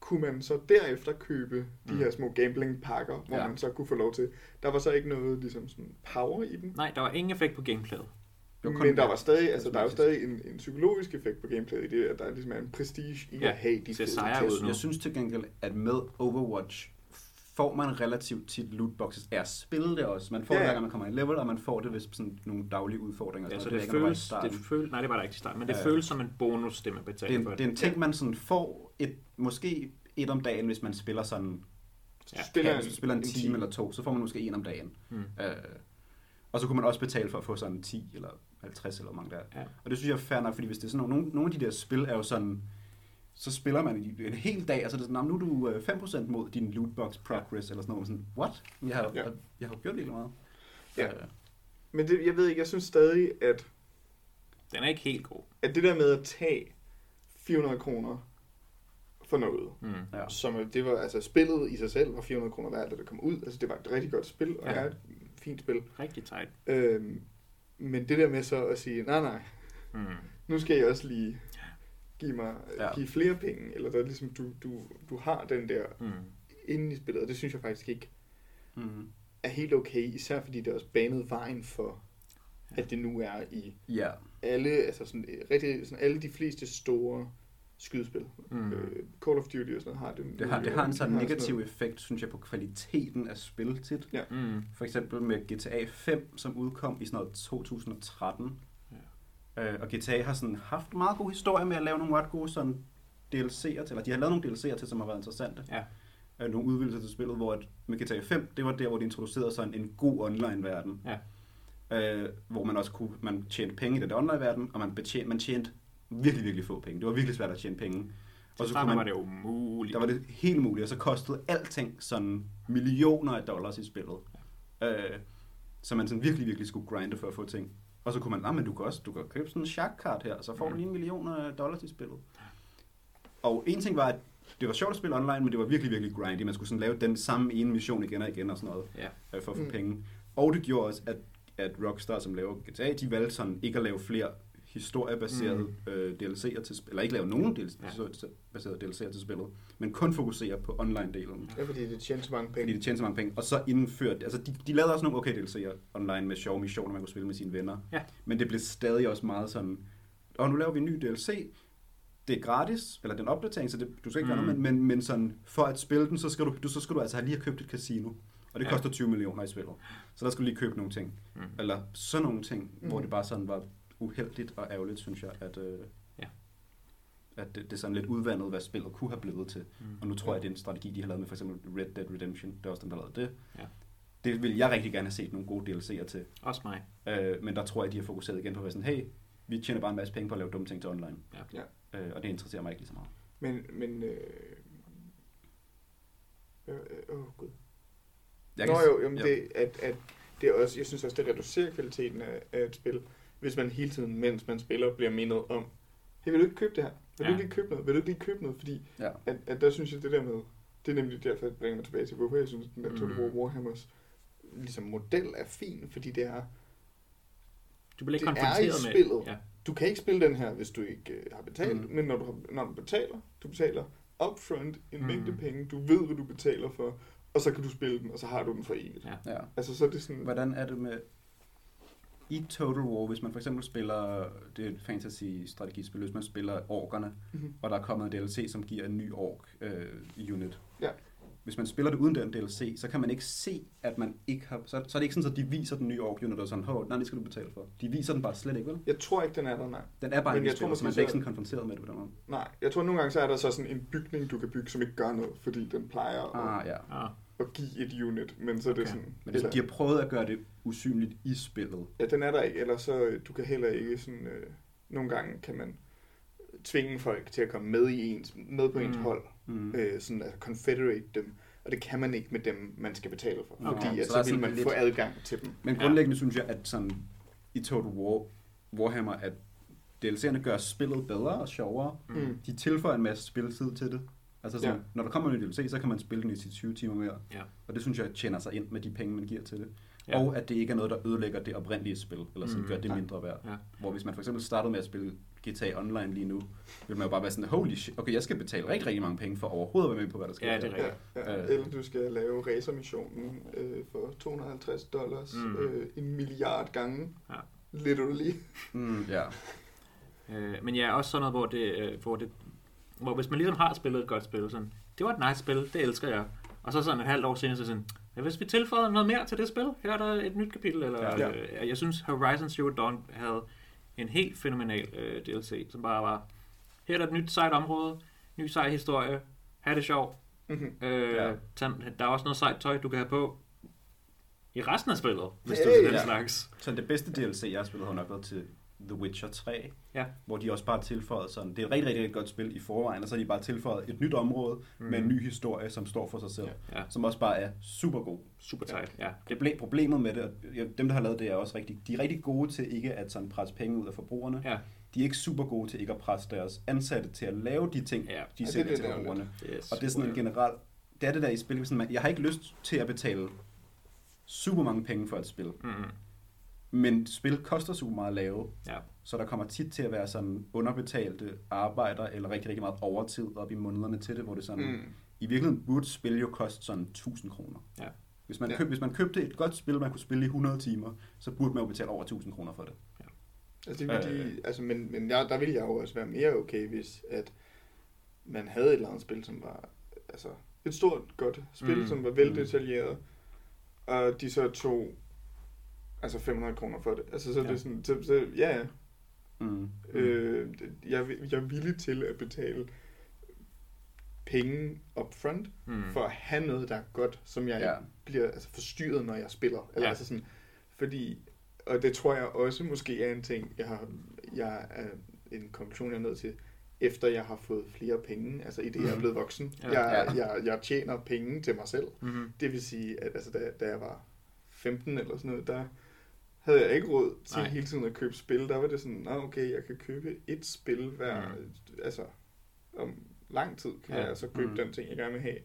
Speaker 3: kunne man så derefter købe de
Speaker 1: Mm.
Speaker 3: her små gambling pakker, hvor
Speaker 2: Ja.
Speaker 3: man så kunne få lov til. Der var så ikke noget ligesom sådan power i dem,
Speaker 1: Nej, der var ingen effekt på gameplayet.
Speaker 2: var kun
Speaker 3: men der
Speaker 2: mere
Speaker 3: var stadig, altså der er jo
Speaker 2: kosmetisk.
Speaker 3: stadig en, en psykologisk effekt på gameplayet i det, at der ligesom er en prestige i
Speaker 1: Ja,
Speaker 3: ja, at have de
Speaker 1: det
Speaker 3: fede
Speaker 1: sejrer
Speaker 3: tests.
Speaker 1: ud. nu.
Speaker 2: Jeg synes til gengæld, at med Overwatch får man relativt tit lootboxes af at spille det også. Man får
Speaker 3: Ja,
Speaker 2: det,
Speaker 3: ja.
Speaker 2: hver gang man kommer i level, og man får det ved sådan nogle daglige udfordringer. og
Speaker 1: Ja, så
Speaker 2: sådan
Speaker 1: Altså, det,
Speaker 2: noget. ved jeg
Speaker 1: føles,
Speaker 2: ikke,
Speaker 1: det
Speaker 2: om var i starten.
Speaker 1: føles, nej, det var der ikke i starten, men det
Speaker 2: Ja.
Speaker 1: føles som en bonus, det man
Speaker 2: det, er
Speaker 1: betaler
Speaker 2: en,
Speaker 1: for.
Speaker 2: det er en ting, man sådan får et, måske et om dagen, hvis man spiller sådan
Speaker 3: Så
Speaker 1: Ja,
Speaker 3: spiller
Speaker 2: ja, hvis du spiller en, time eller to, så får man måske en om dagen.
Speaker 1: Mm.
Speaker 2: Øh, og så kunne man også betale for at få sådan 10 eller 50 eller hvor mange der. er.
Speaker 1: Ja.
Speaker 2: Og det synes jeg er fair nok, fordi hvis det er sådan nogle, nogle af de der spil er jo sådan, så spiller man i en hel dag, og så er det sådan, "Nå, nu er du øh, 5% mod din lootbox progress, eller sådan noget. Og sådan, what? Jeg har,
Speaker 3: Ja.
Speaker 2: jeg, jeg har jo gjort virkelig meget.
Speaker 3: Ja.
Speaker 2: Øh,
Speaker 3: Men det, jeg ved ikke, jeg synes stadig, at,
Speaker 1: Den er ikke helt god.
Speaker 3: at det der med at tage 400 kroner for noget,
Speaker 1: Mm.
Speaker 2: ja.
Speaker 3: som øh, det var, altså spillet i sig selv var 400 kroner værd, da det kom ud. Altså det var et rigtig godt spil, og
Speaker 1: Ja.
Speaker 3: ja. er et fint spil.
Speaker 1: Rigtig tight.
Speaker 3: Øhm, men det der med så at sige, nej nej,
Speaker 1: Mm.
Speaker 3: nu skal jeg også lige give mig
Speaker 2: Ja.
Speaker 3: ja. give flere penge, eller der er ligesom, du, du, du har den der
Speaker 1: Mm.
Speaker 3: inde i spillet, og det synes jeg faktisk ikke
Speaker 2: Mm.
Speaker 3: er helt okay, især fordi det også banede vejen for, at det nu er i
Speaker 2: ja.
Speaker 3: alle, altså sådan, øh, rigtig, sådan alle de fleste store skydespil.
Speaker 1: Mm.
Speaker 3: Mm. Øh, Call of Duty og sådan noget har det.
Speaker 2: Det har, det har en sådan
Speaker 3: har sådan
Speaker 2: negativ
Speaker 3: noget.
Speaker 2: effekt, synes jeg, på kvaliteten af spil tit.
Speaker 1: Mm.
Speaker 2: For eksempel med GTA 5, som udkom i sådan noget 2013. Ja. Øh, og GTA har sådan haft en meget god historie med at lave nogle ret gode sådan DLC'er til, eller de har lavet nogle DLC'er til, som har været interessante.
Speaker 1: Ja.
Speaker 2: Øh, nogle udvidelser til spillet, hvor at med GTA 5, det var der, hvor de introducerede sådan en god online-verden.
Speaker 1: Ja.
Speaker 2: Øh, hvor man også kunne, man tjente penge i den der online-verden, og man, betjente, man tjente virkelig, virkelig få penge. Det var virkelig svært at tjene penge.
Speaker 1: Og så starten man, var det jo umuligt.
Speaker 2: Der var det helt muligt, og så kostede alting sådan millioner af dollars i spillet. Øh, så man sådan virkelig, virkelig skulle grinde for at få ting. Og så kunne man, nej, men du kan også du kan købe sådan en sharkkart her, og så får du
Speaker 1: Mm.
Speaker 2: lige en million af dollars i spillet. Og en ting var, at det var sjovt at spille online, men det var virkelig, virkelig grindy. Man skulle sådan lave den samme ene mission igen og igen og sådan noget,
Speaker 1: Ja.
Speaker 2: øh, for at få mm.
Speaker 3: Mm.
Speaker 2: penge. Og det gjorde også, at, at Rockstar, som laver GTA, de valgte sådan ikke at lave flere historiebaserede mm. øh, DLC'er til spillet, eller ikke lave nogen DLC,
Speaker 1: Ja.
Speaker 2: historiebaserede DLC'er til spillet, men kun fokusere på online-delen.
Speaker 3: Ja, fordi det tjener så mange
Speaker 2: Fordi
Speaker 3: penge.
Speaker 2: det tjener så mange penge. Og så indførte, altså de, de lavede også nogle okay DLC'er online med sjove missioner, man kunne spille med sine venner.
Speaker 1: Ja.
Speaker 2: Men det blev stadig også meget sådan, og nu laver vi en ny DLC, det er gratis, eller den opdatering, så det, du skal ikke mm. gøre noget,
Speaker 1: Mm.
Speaker 2: men, men, men sådan, for at spille den, så skal du, du, så skal du altså have lige have købt et casino. Og det
Speaker 1: Ja.
Speaker 2: koster 20 millioner i spillet. Så der skulle du lige købe nogle ting.
Speaker 1: Mm.
Speaker 2: Eller sådan nogle ting, mm. hvor
Speaker 3: Mm.
Speaker 2: det bare sådan var uheldigt og ærgerligt, synes jeg, at, øh,
Speaker 1: Ja.
Speaker 2: at det, det er sådan lidt udvandet, hvad spillet kunne have blevet til.
Speaker 1: Mm.
Speaker 2: Og nu tror jeg, at det er en strategi, de har lavet med for eksempel Red Dead Redemption. Det er også dem, der lavede det.
Speaker 1: Ja.
Speaker 2: Det vil jeg rigtig gerne have set nogle gode DLC'er til.
Speaker 1: Også mig.
Speaker 2: Øh, men der tror jeg, de har fokuseret igen på at være sådan, hey, vi tjener bare en masse penge på at lave dumme ting til online.
Speaker 1: Ja.
Speaker 2: Øh, og det interesserer mig ikke lige så meget.
Speaker 3: Men, men... Øh... øh, øh, Åh, gud.
Speaker 2: Jeg
Speaker 3: Nå
Speaker 2: kan s-
Speaker 3: jo, jamen det, at, at det er også, jeg synes også, det reducerer kvaliteten af, af et spil, hvis man hele tiden, mens man spiller, bliver mindet om, hey, vil du ikke købe det her? Vil ja. du
Speaker 1: Ja.
Speaker 3: ikke lige købe noget? Vil du ikke lige købe noget? Fordi
Speaker 2: Ja.
Speaker 3: at, at der synes jeg, det der med, det er nemlig derfor, jeg bringer mig tilbage til, hvorfor jeg synes, at den der
Speaker 1: Mm.
Speaker 3: Total War Warhammers ligesom model er fin, fordi det er,
Speaker 1: Du bliver ikke
Speaker 3: Det er i
Speaker 1: konfronteret med...
Speaker 3: spillet.
Speaker 1: Ja.
Speaker 3: du kan ikke spille den her, hvis du ikke øh, har betalt,
Speaker 2: Mm.
Speaker 3: mm. men når du, har, når du betaler, du betaler upfront en
Speaker 1: Mm.
Speaker 3: mængde penge, du ved, hvad du betaler for, og så kan du spille den, og så har du den for evigt.
Speaker 2: Ja.
Speaker 3: Altså, så er det sådan...
Speaker 2: Hvordan er det med i Total War, hvis man for eksempel spiller, det er et fantasy-strategispil, hvis man spiller orkerne,
Speaker 3: Mhm.
Speaker 2: og der er kommet en DLC, som giver en ny ork-unit.
Speaker 3: Ja.
Speaker 2: Hvis man spiller det uden den DLC, så kan man ikke se, at man ikke har... Så, så er det ikke sådan, at de viser den nye ork-unit og sådan, hov, nej, det skal du betale for. De viser den bare slet ikke, vel?
Speaker 3: Jeg tror ikke, den er der, nej.
Speaker 2: Den er bare
Speaker 3: Men
Speaker 2: ikke i
Speaker 3: jeg tror
Speaker 2: spillet, så
Speaker 3: måske,
Speaker 2: man
Speaker 3: så-
Speaker 2: bliver ikke sådan konfronteret med det på den måde.
Speaker 3: Nej, jeg tror nogle gange, så er der så sådan en bygning, du kan bygge, som ikke gør noget, fordi den plejer
Speaker 2: Ah,
Speaker 3: ah, at,
Speaker 2: ja.
Speaker 1: Ah,
Speaker 3: at give et unit, men så er okay. det
Speaker 1: Okay.
Speaker 3: sådan...
Speaker 2: Men det,
Speaker 3: eller-
Speaker 2: de har prøvet at gøre det usynligt i spillet.
Speaker 3: Ja, den er der ikke, eller så øh, du kan heller ikke sådan... Øh, nogle gange kan man tvinge folk til at komme med i ens, med på ens
Speaker 1: Mm.
Speaker 3: hold,
Speaker 2: Mm.
Speaker 3: øh, sådan at confederate dem, og det kan man ikke med dem, man skal betale for,
Speaker 1: Okay,
Speaker 3: fordi at
Speaker 2: så
Speaker 3: så,
Speaker 2: der er
Speaker 3: vil
Speaker 2: sådan
Speaker 3: man
Speaker 2: lidt-
Speaker 3: få adgang til dem.
Speaker 2: Men
Speaker 1: Ja.
Speaker 2: grundlæggende synes jeg, at sådan, i Total War, Warhammer, at DLC'erne gør spillet bedre og sjovere.
Speaker 1: mm.
Speaker 3: Mm.
Speaker 2: De tilføjer en masse spilletid til det. Altså sådan, ja.
Speaker 3: Ja.
Speaker 2: når der kommer en ny DLC, så kan man spille den i sit 20 timer mere.
Speaker 1: Ja.
Speaker 2: Og det synes jeg tjener sig ind med de penge, man giver til det.
Speaker 1: Ja.
Speaker 2: Ja. Og at det ikke er noget, der ødelægger det oprindelige spil, eller sådan
Speaker 1: Mm,
Speaker 2: mm, gør det
Speaker 3: nej.
Speaker 2: mindre værd.
Speaker 1: Ja.
Speaker 2: Hvor hvis man for eksempel startede med at spille GTA Online lige nu, ville man jo bare være sådan, holy shit, okay, jeg skal betale rigtig, rigtig mange penge for overhovedet at være med på, hvad der sker.
Speaker 1: Ja,
Speaker 2: her."
Speaker 1: det er
Speaker 3: Ja,
Speaker 1: rigtigt.
Speaker 3: ja.
Speaker 2: Øh.
Speaker 3: Eller du skal lave racermissionen øh, for 250 dollars
Speaker 1: Mm.
Speaker 3: mm. øh, en milliard gange.
Speaker 1: Ja.
Speaker 3: Literally.
Speaker 2: Mm, ja.
Speaker 1: Øh, men ja, også sådan noget, hvor det, øh, hvor det... Hvor hvis man ligesom har spillet et godt spil, sådan... Det var et nice spil, det elsker jeg. Og så sådan et halvt år senere, så sådan... Ja, hvis vi tilføjer noget mere til det spil, her er der et nyt kapitel, eller...
Speaker 3: Ja.
Speaker 1: Ja. Øh, jeg synes, Horizon Zero Dawn havde en helt fænomenal øh, DLC, som bare var... Her er der et nyt sejt område, ny sej historie, ha' det sjovt,
Speaker 3: Mhm.
Speaker 1: Øh, ja.
Speaker 2: Ja.
Speaker 1: Der er også noget sejt tøj, du kan have på i resten af spillet, hvis
Speaker 3: Hey!
Speaker 1: du er til den
Speaker 2: Ja.
Speaker 1: slags.
Speaker 2: Så det bedste DLC, jeg har spillet, har nok været til The Witcher 3.
Speaker 1: Ja.
Speaker 2: Hvor de også bare tilføjede sådan, det er et rigtig, rigtig, rigtig godt spil i forvejen, og så har de bare tilføjet et nyt område mm. med en ny historie, som står for sig selv. Ja.
Speaker 1: Ja,
Speaker 2: Som også bare er super god.
Speaker 1: super tight. Ja.
Speaker 2: Det blev problemet med det, og dem der har lavet det er også rigtig, de er rigtig gode til ikke at sådan presse penge ud af forbrugerne.
Speaker 1: Ja.
Speaker 2: De er ikke super gode til ikke at presse deres ansatte til at lave de ting,
Speaker 1: Ja.
Speaker 2: de
Speaker 3: det
Speaker 2: sælger
Speaker 3: lidt
Speaker 2: til
Speaker 3: ærgerligt.
Speaker 2: forbrugerne.
Speaker 1: Yes.
Speaker 2: Og det er sådan en generel... Det er det der i spil, sådan, man, jeg har ikke lyst til at betale super mange penge for et spil.
Speaker 1: Mm-hmm.
Speaker 2: Men spil koster super meget at lave,
Speaker 1: Ja.
Speaker 2: så der kommer tit til at være sådan underbetalte arbejder, eller rigtig, rigtig meget overtid op i månederne til det, hvor det sådan, mm.
Speaker 3: Mm.
Speaker 2: i virkeligheden burde et spil jo koste sådan 1000 kroner.
Speaker 1: Ja.
Speaker 2: Hvis man,
Speaker 3: Ja.
Speaker 2: køb, hvis man købte et godt spil, man kunne spille i 100 timer, så burde man jo betale over 1000 kroner for det.
Speaker 3: Altså, det ville
Speaker 2: Øh.
Speaker 3: de, altså, men, men der, der ville jeg jo også være mere okay, hvis at man havde et eller andet spil, som var altså, et stort, godt spil,
Speaker 1: Mm.
Speaker 3: mm. som var
Speaker 2: Mm.
Speaker 3: veldetaljeret, og de så tog altså 500 kroner for det. Altså, så ja.
Speaker 2: Ja.
Speaker 3: det er sådan, så, så, ja, ja.
Speaker 2: Mm.
Speaker 3: Øh, jeg, jeg er villig til at betale penge upfront,
Speaker 1: Mm.
Speaker 3: for at have noget, der er godt, som jeg ja.
Speaker 2: Ja.
Speaker 3: ikke bliver altså, forstyrret, når jeg spiller. Eller
Speaker 1: Ja.
Speaker 3: ja. altså sådan, fordi, og det tror jeg også måske er en ting, jeg har, jeg er en konklusion, jeg er nødt til, efter jeg har fået flere penge, altså i det, jeg er blevet voksen.
Speaker 1: Ja.
Speaker 3: Ja. Jeg,
Speaker 2: Ja.
Speaker 3: jeg, jeg tjener penge til mig selv.
Speaker 1: Mm-hmm.
Speaker 3: Det vil sige, at altså, da, da jeg var 15 eller sådan noget, der havde jeg ikke råd til
Speaker 1: Nej.
Speaker 3: Nej. hele tiden at købe spil. Der var det sådan, Nå, okay, jeg kan købe et spil hver,
Speaker 1: Mm.
Speaker 3: altså om lang tid kan
Speaker 1: Ja.
Speaker 3: ja. jeg så købe
Speaker 2: Mm.
Speaker 3: mm. den ting, jeg gerne vil have.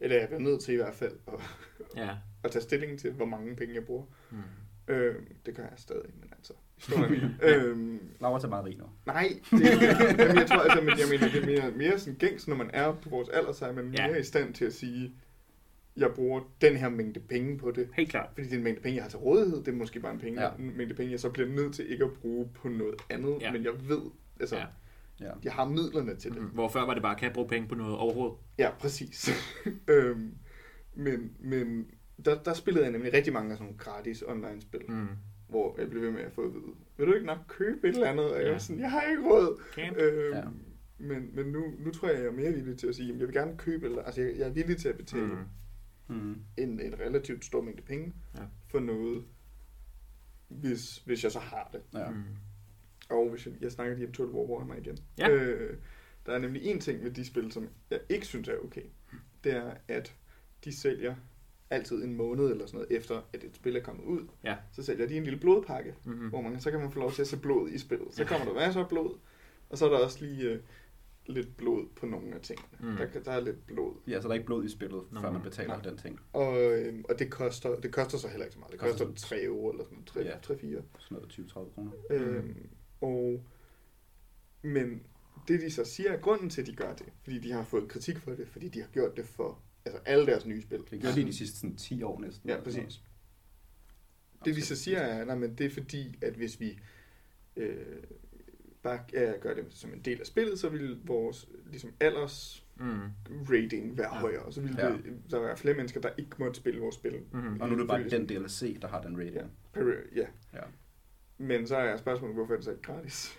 Speaker 3: Eller jeg bliver nødt til i hvert fald at,
Speaker 1: Ja.
Speaker 3: at tage stilling til, hvor mange penge jeg bruger.
Speaker 1: Mm.
Speaker 3: Øh, det gør jeg stadig, men altså, historien. øhm,
Speaker 2: Laura tager meget rig nu.
Speaker 3: nej, det er, jamen, jeg tror, altså, men jeg mener, det er mere, mere sådan gængs, når man er på vores alder, så er man
Speaker 1: Ja.
Speaker 3: mere i stand til at sige, jeg bruger den her mængde penge på det.
Speaker 1: Helt klart.
Speaker 3: Fordi det er en mængde penge, jeg har til rådighed. Det er måske bare en, penge,
Speaker 2: Ja.
Speaker 3: ja. en mængde penge, jeg så bliver nødt til ikke at bruge på noget andet.
Speaker 1: Ja.
Speaker 3: Ja. Men jeg ved, altså,
Speaker 1: Ja.
Speaker 3: ja.
Speaker 2: Ja.
Speaker 3: jeg har midlerne til det.
Speaker 1: Mm. Hvor før var det bare, kan jeg bruge penge på noget overhovedet?
Speaker 3: Ja, præcis. øhm, men men der, der spillede jeg nemlig rigtig mange af sådan nogle gratis online-spil, mm.
Speaker 1: Mm.
Speaker 3: hvor jeg blev ved med at få at vide, vil du ikke nok købe et eller andet? Og jeg
Speaker 1: Ja.
Speaker 3: var sådan, jeg har ikke råd.
Speaker 1: Camp.
Speaker 3: Øhm,
Speaker 2: Ja.
Speaker 3: ja. Men, men nu, nu tror jeg, jeg er mere villig til at sige, at jeg vil gerne købe, eller, altså jeg, jeg er villig til at betale mm.
Speaker 1: Mm.
Speaker 2: Mm.
Speaker 3: en, en relativt stor mængde penge
Speaker 1: Ja.
Speaker 3: ja. for noget, hvis, hvis jeg så har det.
Speaker 2: Ja.
Speaker 1: Mm.
Speaker 3: Og hvis jeg, jeg snakker lige om 12 Warhammer igen.
Speaker 1: Ja.
Speaker 3: Øh, der er nemlig en ting ved de spil, som jeg ikke synes er okay. Det er, at de sælger altid en måned eller sådan noget, efter at et spil er kommet ud.
Speaker 1: Ja.
Speaker 3: Så sælger de en lille blodpakke,
Speaker 1: Mm.
Speaker 3: hvor man, så kan man få lov til at se blod i spillet. Så kommer der masser af blod, og så er der også lige øh, lidt blod på nogle af tingene.
Speaker 1: Mm.
Speaker 3: Mm. Der, kan- der er lidt blod.
Speaker 2: Ja, så der er ikke blod i spillet,
Speaker 1: Nå,
Speaker 2: før man
Speaker 1: nej.
Speaker 2: betaler
Speaker 3: Nej.
Speaker 2: den ting.
Speaker 3: Og, øhm, og det, koster, det koster så heller ikke så meget. Det
Speaker 2: Koster
Speaker 3: koster 3 euro eller
Speaker 2: Ja. Mm.
Speaker 3: sådan noget. 3-4
Speaker 2: Sådan noget 20-30 kroner.
Speaker 3: Øhm, og, men det de så siger er grunden til, at de gør det. Fordi de har fået kritik for det, fordi de har gjort det for altså alle deres nye spil.
Speaker 2: Det gjorde de de sidste sådan, 10 år næsten.
Speaker 3: Ja, præcis. Det de så siger er, nej, men det er fordi, at hvis vi øh, bare ja, gør det som en del af spillet, så vil vores ligesom, alders
Speaker 1: Mm.
Speaker 3: rating være
Speaker 2: Ja.
Speaker 3: ja. højere. Så vil
Speaker 2: Ja.
Speaker 3: ja. det, der være flere mennesker, der ikke måtte spille vores spil.
Speaker 1: Mm.
Speaker 2: Og nu er det bare den DLC, der har den rating.
Speaker 3: Ja. Per- ja.
Speaker 2: Ja.
Speaker 3: Men så er spørgsmålet, hvorfor er det så ikke gratis?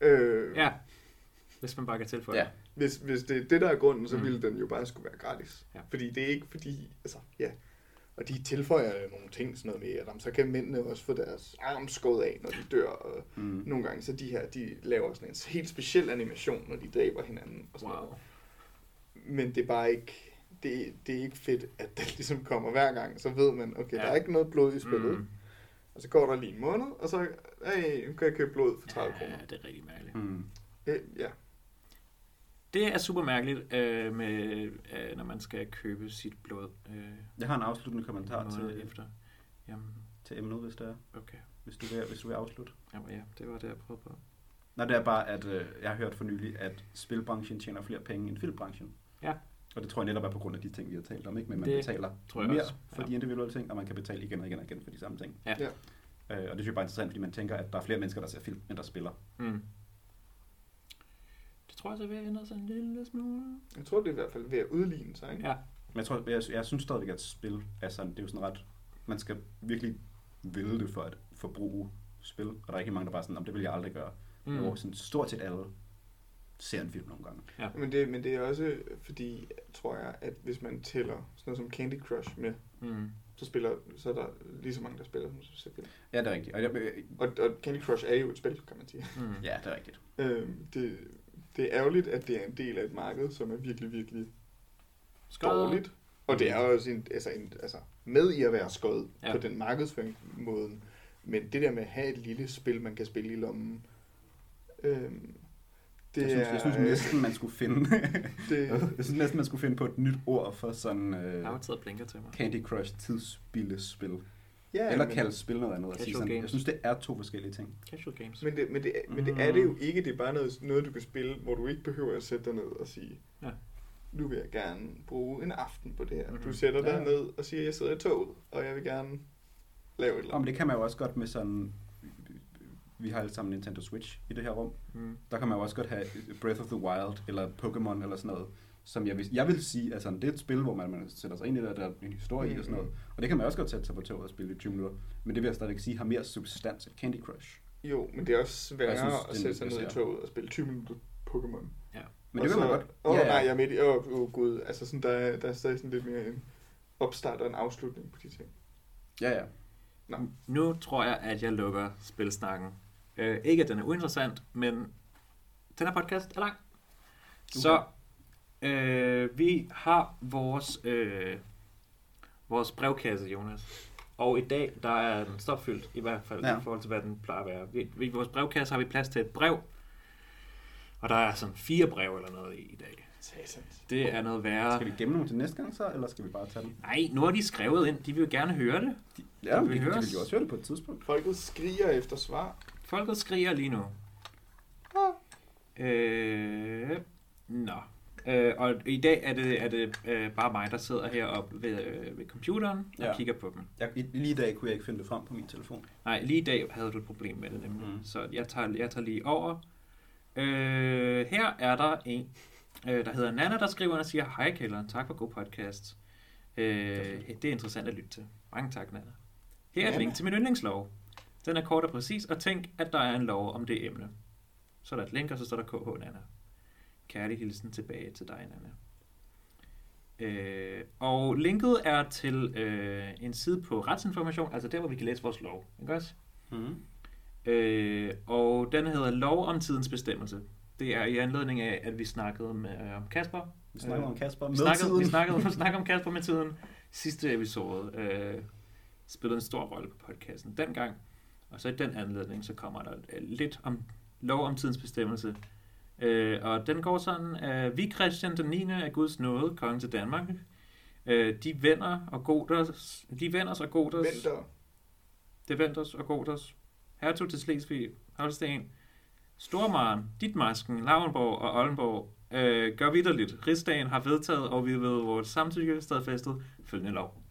Speaker 3: Øh,
Speaker 1: Ja. Hvis man bare kan tilføje.
Speaker 2: Ja.
Speaker 3: Hvis, hvis det er det, der er grunden, så
Speaker 1: Mm.
Speaker 3: ville den jo bare skulle være gratis.
Speaker 1: Ja.
Speaker 3: Fordi det er ikke fordi, altså, ja. Og de tilføjer jo nogle ting, sådan noget med, at jamen, så kan mændene også få deres arm skåret af, når de dør. Og
Speaker 2: Mm.
Speaker 3: nogle gange, så de her, de laver sådan en helt speciel animation, når de dræber hinanden. Og sådan
Speaker 1: Wow.
Speaker 3: noget. Men det er bare ikke, det, det er ikke fedt, at den ligesom kommer hver gang. Så ved man, okay,
Speaker 1: Ja.
Speaker 3: ja. der er ikke noget blod i spillet.
Speaker 1: Mm.
Speaker 3: Mm. Og så går der lige en måned, og så, hey, nu kan jeg købe blod for 30 kroner.
Speaker 1: Ja, det er rigtig mærkeligt.
Speaker 2: Mm.
Speaker 3: Øh, Ja.
Speaker 1: Det er super mærkeligt, øh, med, øh, når man skal købe sit blod øh,
Speaker 2: Jeg har en afsluttende kommentar
Speaker 1: måneder
Speaker 2: til,
Speaker 1: efter. Jamen,
Speaker 2: til emnet, hvis det er.
Speaker 1: Okay.
Speaker 2: Hvis du vil, hvis du vil afslutte.
Speaker 1: jamen, ja, det var det, jeg prøvede på.
Speaker 2: Nej, det er bare, at øh, jeg har hørt for nylig, at spilbranchen tjener flere penge end filmbranchen.
Speaker 1: Ja.
Speaker 2: Og det tror jeg netop er på grund af de ting, vi har talt om, ikke? Men man
Speaker 1: Det
Speaker 2: det betaler
Speaker 1: tror jeg
Speaker 2: mere
Speaker 1: også,
Speaker 2: for
Speaker 1: ja.
Speaker 2: de individuelle ting, og man kan betale igen og igen og igen for de samme ting.
Speaker 1: Ja.
Speaker 3: Ja.
Speaker 2: Øh, og det synes jeg bare er interessant, fordi man tænker, at der er flere mennesker, der ser film, end der spiller.
Speaker 1: Mm. Det tror jeg så vil ændre sig en lille smule.
Speaker 3: Jeg tror, det er i hvert fald ved at udligne sig, ikke?
Speaker 1: Ja.
Speaker 2: Men jeg, tror, jeg, jeg synes stadigvæk, at spil er sådan, det er jo sådan ret, man skal virkelig ville det for at forbruge spil, og der er rigtig mange, der bare er sådan, om det vil jeg aldrig gøre. Mm. Hvor sådan stort set alle ser en film nogle gange.
Speaker 3: Men det, men det er også fordi, tror jeg, at hvis man tæller sådan noget som Candy Crush med,
Speaker 1: Mm.
Speaker 3: så, spiller, så er der lige så mange, der spiller, som ser film.
Speaker 2: Ja, det er rigtigt. Og jeg, øh,
Speaker 3: Og, og Candy Crush er jo et spil, kan man sige.
Speaker 1: Mm.
Speaker 2: ja, det er rigtigt.
Speaker 3: Øhm, det, det er ærgerligt, at det er en del af et marked, som er virkelig, virkelig
Speaker 1: Skål.
Speaker 3: dårligt. Og det er også en, altså en, altså med i at være skød
Speaker 1: Ja.
Speaker 3: ja. på den markedsføringsmåde. Men det der med at have et lille spil, man kan spille i lommen, øhm, det
Speaker 2: jeg, synes,
Speaker 3: er...
Speaker 2: jeg synes næsten, man skulle finde
Speaker 3: det,
Speaker 2: jeg synes næsten, man skulle finde på et nyt ord for sådan
Speaker 1: Jeg har
Speaker 2: øh,
Speaker 1: jo taget og blinker til mig.
Speaker 2: Candy Crush tidsspillespil.
Speaker 3: ja,
Speaker 2: Eller
Speaker 3: men-
Speaker 2: kalde spil noget andet. Og
Speaker 1: Casual
Speaker 2: sige sådan, jeg
Speaker 1: games.
Speaker 2: synes, det er to forskellige ting.
Speaker 1: Casual games.
Speaker 3: Men det, men, det, men det er det
Speaker 1: Mm.
Speaker 3: jo ikke. Det er bare noget, noget, du kan spille, hvor du ikke behøver at sætte dig ned og sige,
Speaker 1: Ja.
Speaker 3: nu vil jeg gerne bruge en aften på det her.
Speaker 1: Mhm.
Speaker 3: Du sætter dig
Speaker 2: Ja.
Speaker 3: ja. ned og siger, jeg sidder i toget, og jeg vil gerne lave et eller
Speaker 2: Og men
Speaker 3: andet.
Speaker 2: det kan man jo også godt med sådan... Vi har alle sammen Nintendo Switch i det her rum.
Speaker 1: Mm.
Speaker 2: Der kan man jo også godt have Breath of the Wild, eller Pokémon, eller sådan noget. Som jeg vil, jeg vil sige, altså det er et spil, hvor man, man sætter sig ind i det, og der er en historie i og sådan noget.
Speaker 3: Mm-hmm.
Speaker 2: Og det kan man også godt sætte sig på toget og spille i 20 minutter. Men det vil jeg stadigvæk sige, har mere substans end Candy Crush.
Speaker 3: Jo, men det er også
Speaker 2: Jeg
Speaker 3: sværere
Speaker 2: synes,
Speaker 3: synes,
Speaker 2: det
Speaker 3: at
Speaker 2: er
Speaker 3: sætte sig ned i
Speaker 2: nødvendigt,
Speaker 3: toget og spille 20 minutter Pokémon.
Speaker 2: Men det vil
Speaker 3: Og
Speaker 2: man
Speaker 3: så-
Speaker 2: godt.
Speaker 3: Åh, oh, nej, jeg er midt i. Åh, oh, oh, gud. Altså, sådan, der, er, der er stadig sådan lidt mere en opstart og en afslutning på de ting.
Speaker 2: ja, ja.
Speaker 1: Nu tror jeg, at jeg lukker spilsnakken. Øh, ikke, at den er uinteressant, men den her podcast er lang. Så øh, vi har vores, øh, vores brevkasse, Jonas. Og i dag, der er den stopfyldt, i hvert fald ja.
Speaker 2: Ja.
Speaker 1: i forhold til, hvad den plejer at være. Vi, I vores brevkasse har vi plads til et brev, og der er sådan fire brev eller noget i, i dag.
Speaker 3: Satans.
Speaker 1: Det er noget værre.
Speaker 2: Skal vi gemme nogen til næste gang så, eller skal vi bare tage dem?
Speaker 1: Nej, nu har de skrevet ind. De vil jo gerne høre det.
Speaker 2: Ja,
Speaker 1: vi
Speaker 2: vi, vi
Speaker 1: høre
Speaker 2: vil
Speaker 1: os?
Speaker 2: jo også høre det på et tidspunkt.
Speaker 3: Folket skriger efter svar.
Speaker 1: Folket skriger lige nu. Øh, nå. Øh, og i dag er det, er det øh, bare mig, der sidder her og ved, øh, ved computeren og ja.
Speaker 2: Ja.
Speaker 1: kigger på dem.
Speaker 2: Jeg, i- lige i dag kunne jeg ikke finde det frem på min telefon.
Speaker 1: Nej, lige i dag havde du et problem med det nemlig. Mm.
Speaker 2: Mm.
Speaker 1: Så jeg tager, jeg tager lige over. Øh, her er der en, øh, der hedder Nana, der skriver og siger, Hej Kælderen, tak for god podcast. Øh, det er interessant at lytte til. Mange tak, Nana. Her er et
Speaker 3: Nana.
Speaker 1: link til min yndlingslov. Den er kort og præcis, og tænk, at der er en lov om det emne. Så er der et link, og så står der KH Nana. Kærlig hilsen tilbage til dig, Nana. Øh, og linket er til øh, en side på retsinformation, altså der, hvor vi kan læse vores lov. Ikke også? Mhm.
Speaker 2: Mm.
Speaker 1: Øh, og den hedder Lov om tidens bestemmelse. Det er i anledning af, at vi snakkede med, øh, om Kasper.
Speaker 2: Vi snakker
Speaker 1: Øh,
Speaker 2: om Kasper
Speaker 1: Vi
Speaker 2: med
Speaker 1: snakkede, vi
Speaker 2: tiden.
Speaker 1: snakkede, vi snakkede om Kasper med tiden. Sidste episode øh, spillede en stor rolle på podcasten dengang. Og så i den anledning, så kommer der øh, lidt om Lov om tidens bestemmelse. Øh, og den går sådan, øh, vi Christian den 9. af Guds nåde, konge til Danmark. Øh, de vender og goders, de vender og goders.
Speaker 3: Venter.
Speaker 1: Deventers og Goders, Hertug til Slesvig, Holsten, Stormaren, Ditmarsken, Lauenborg og Oldenborg øh, gør vidderligt. Rigsdagen har vedtaget, og vi ved vores samtykke stadfæstet følgende lov.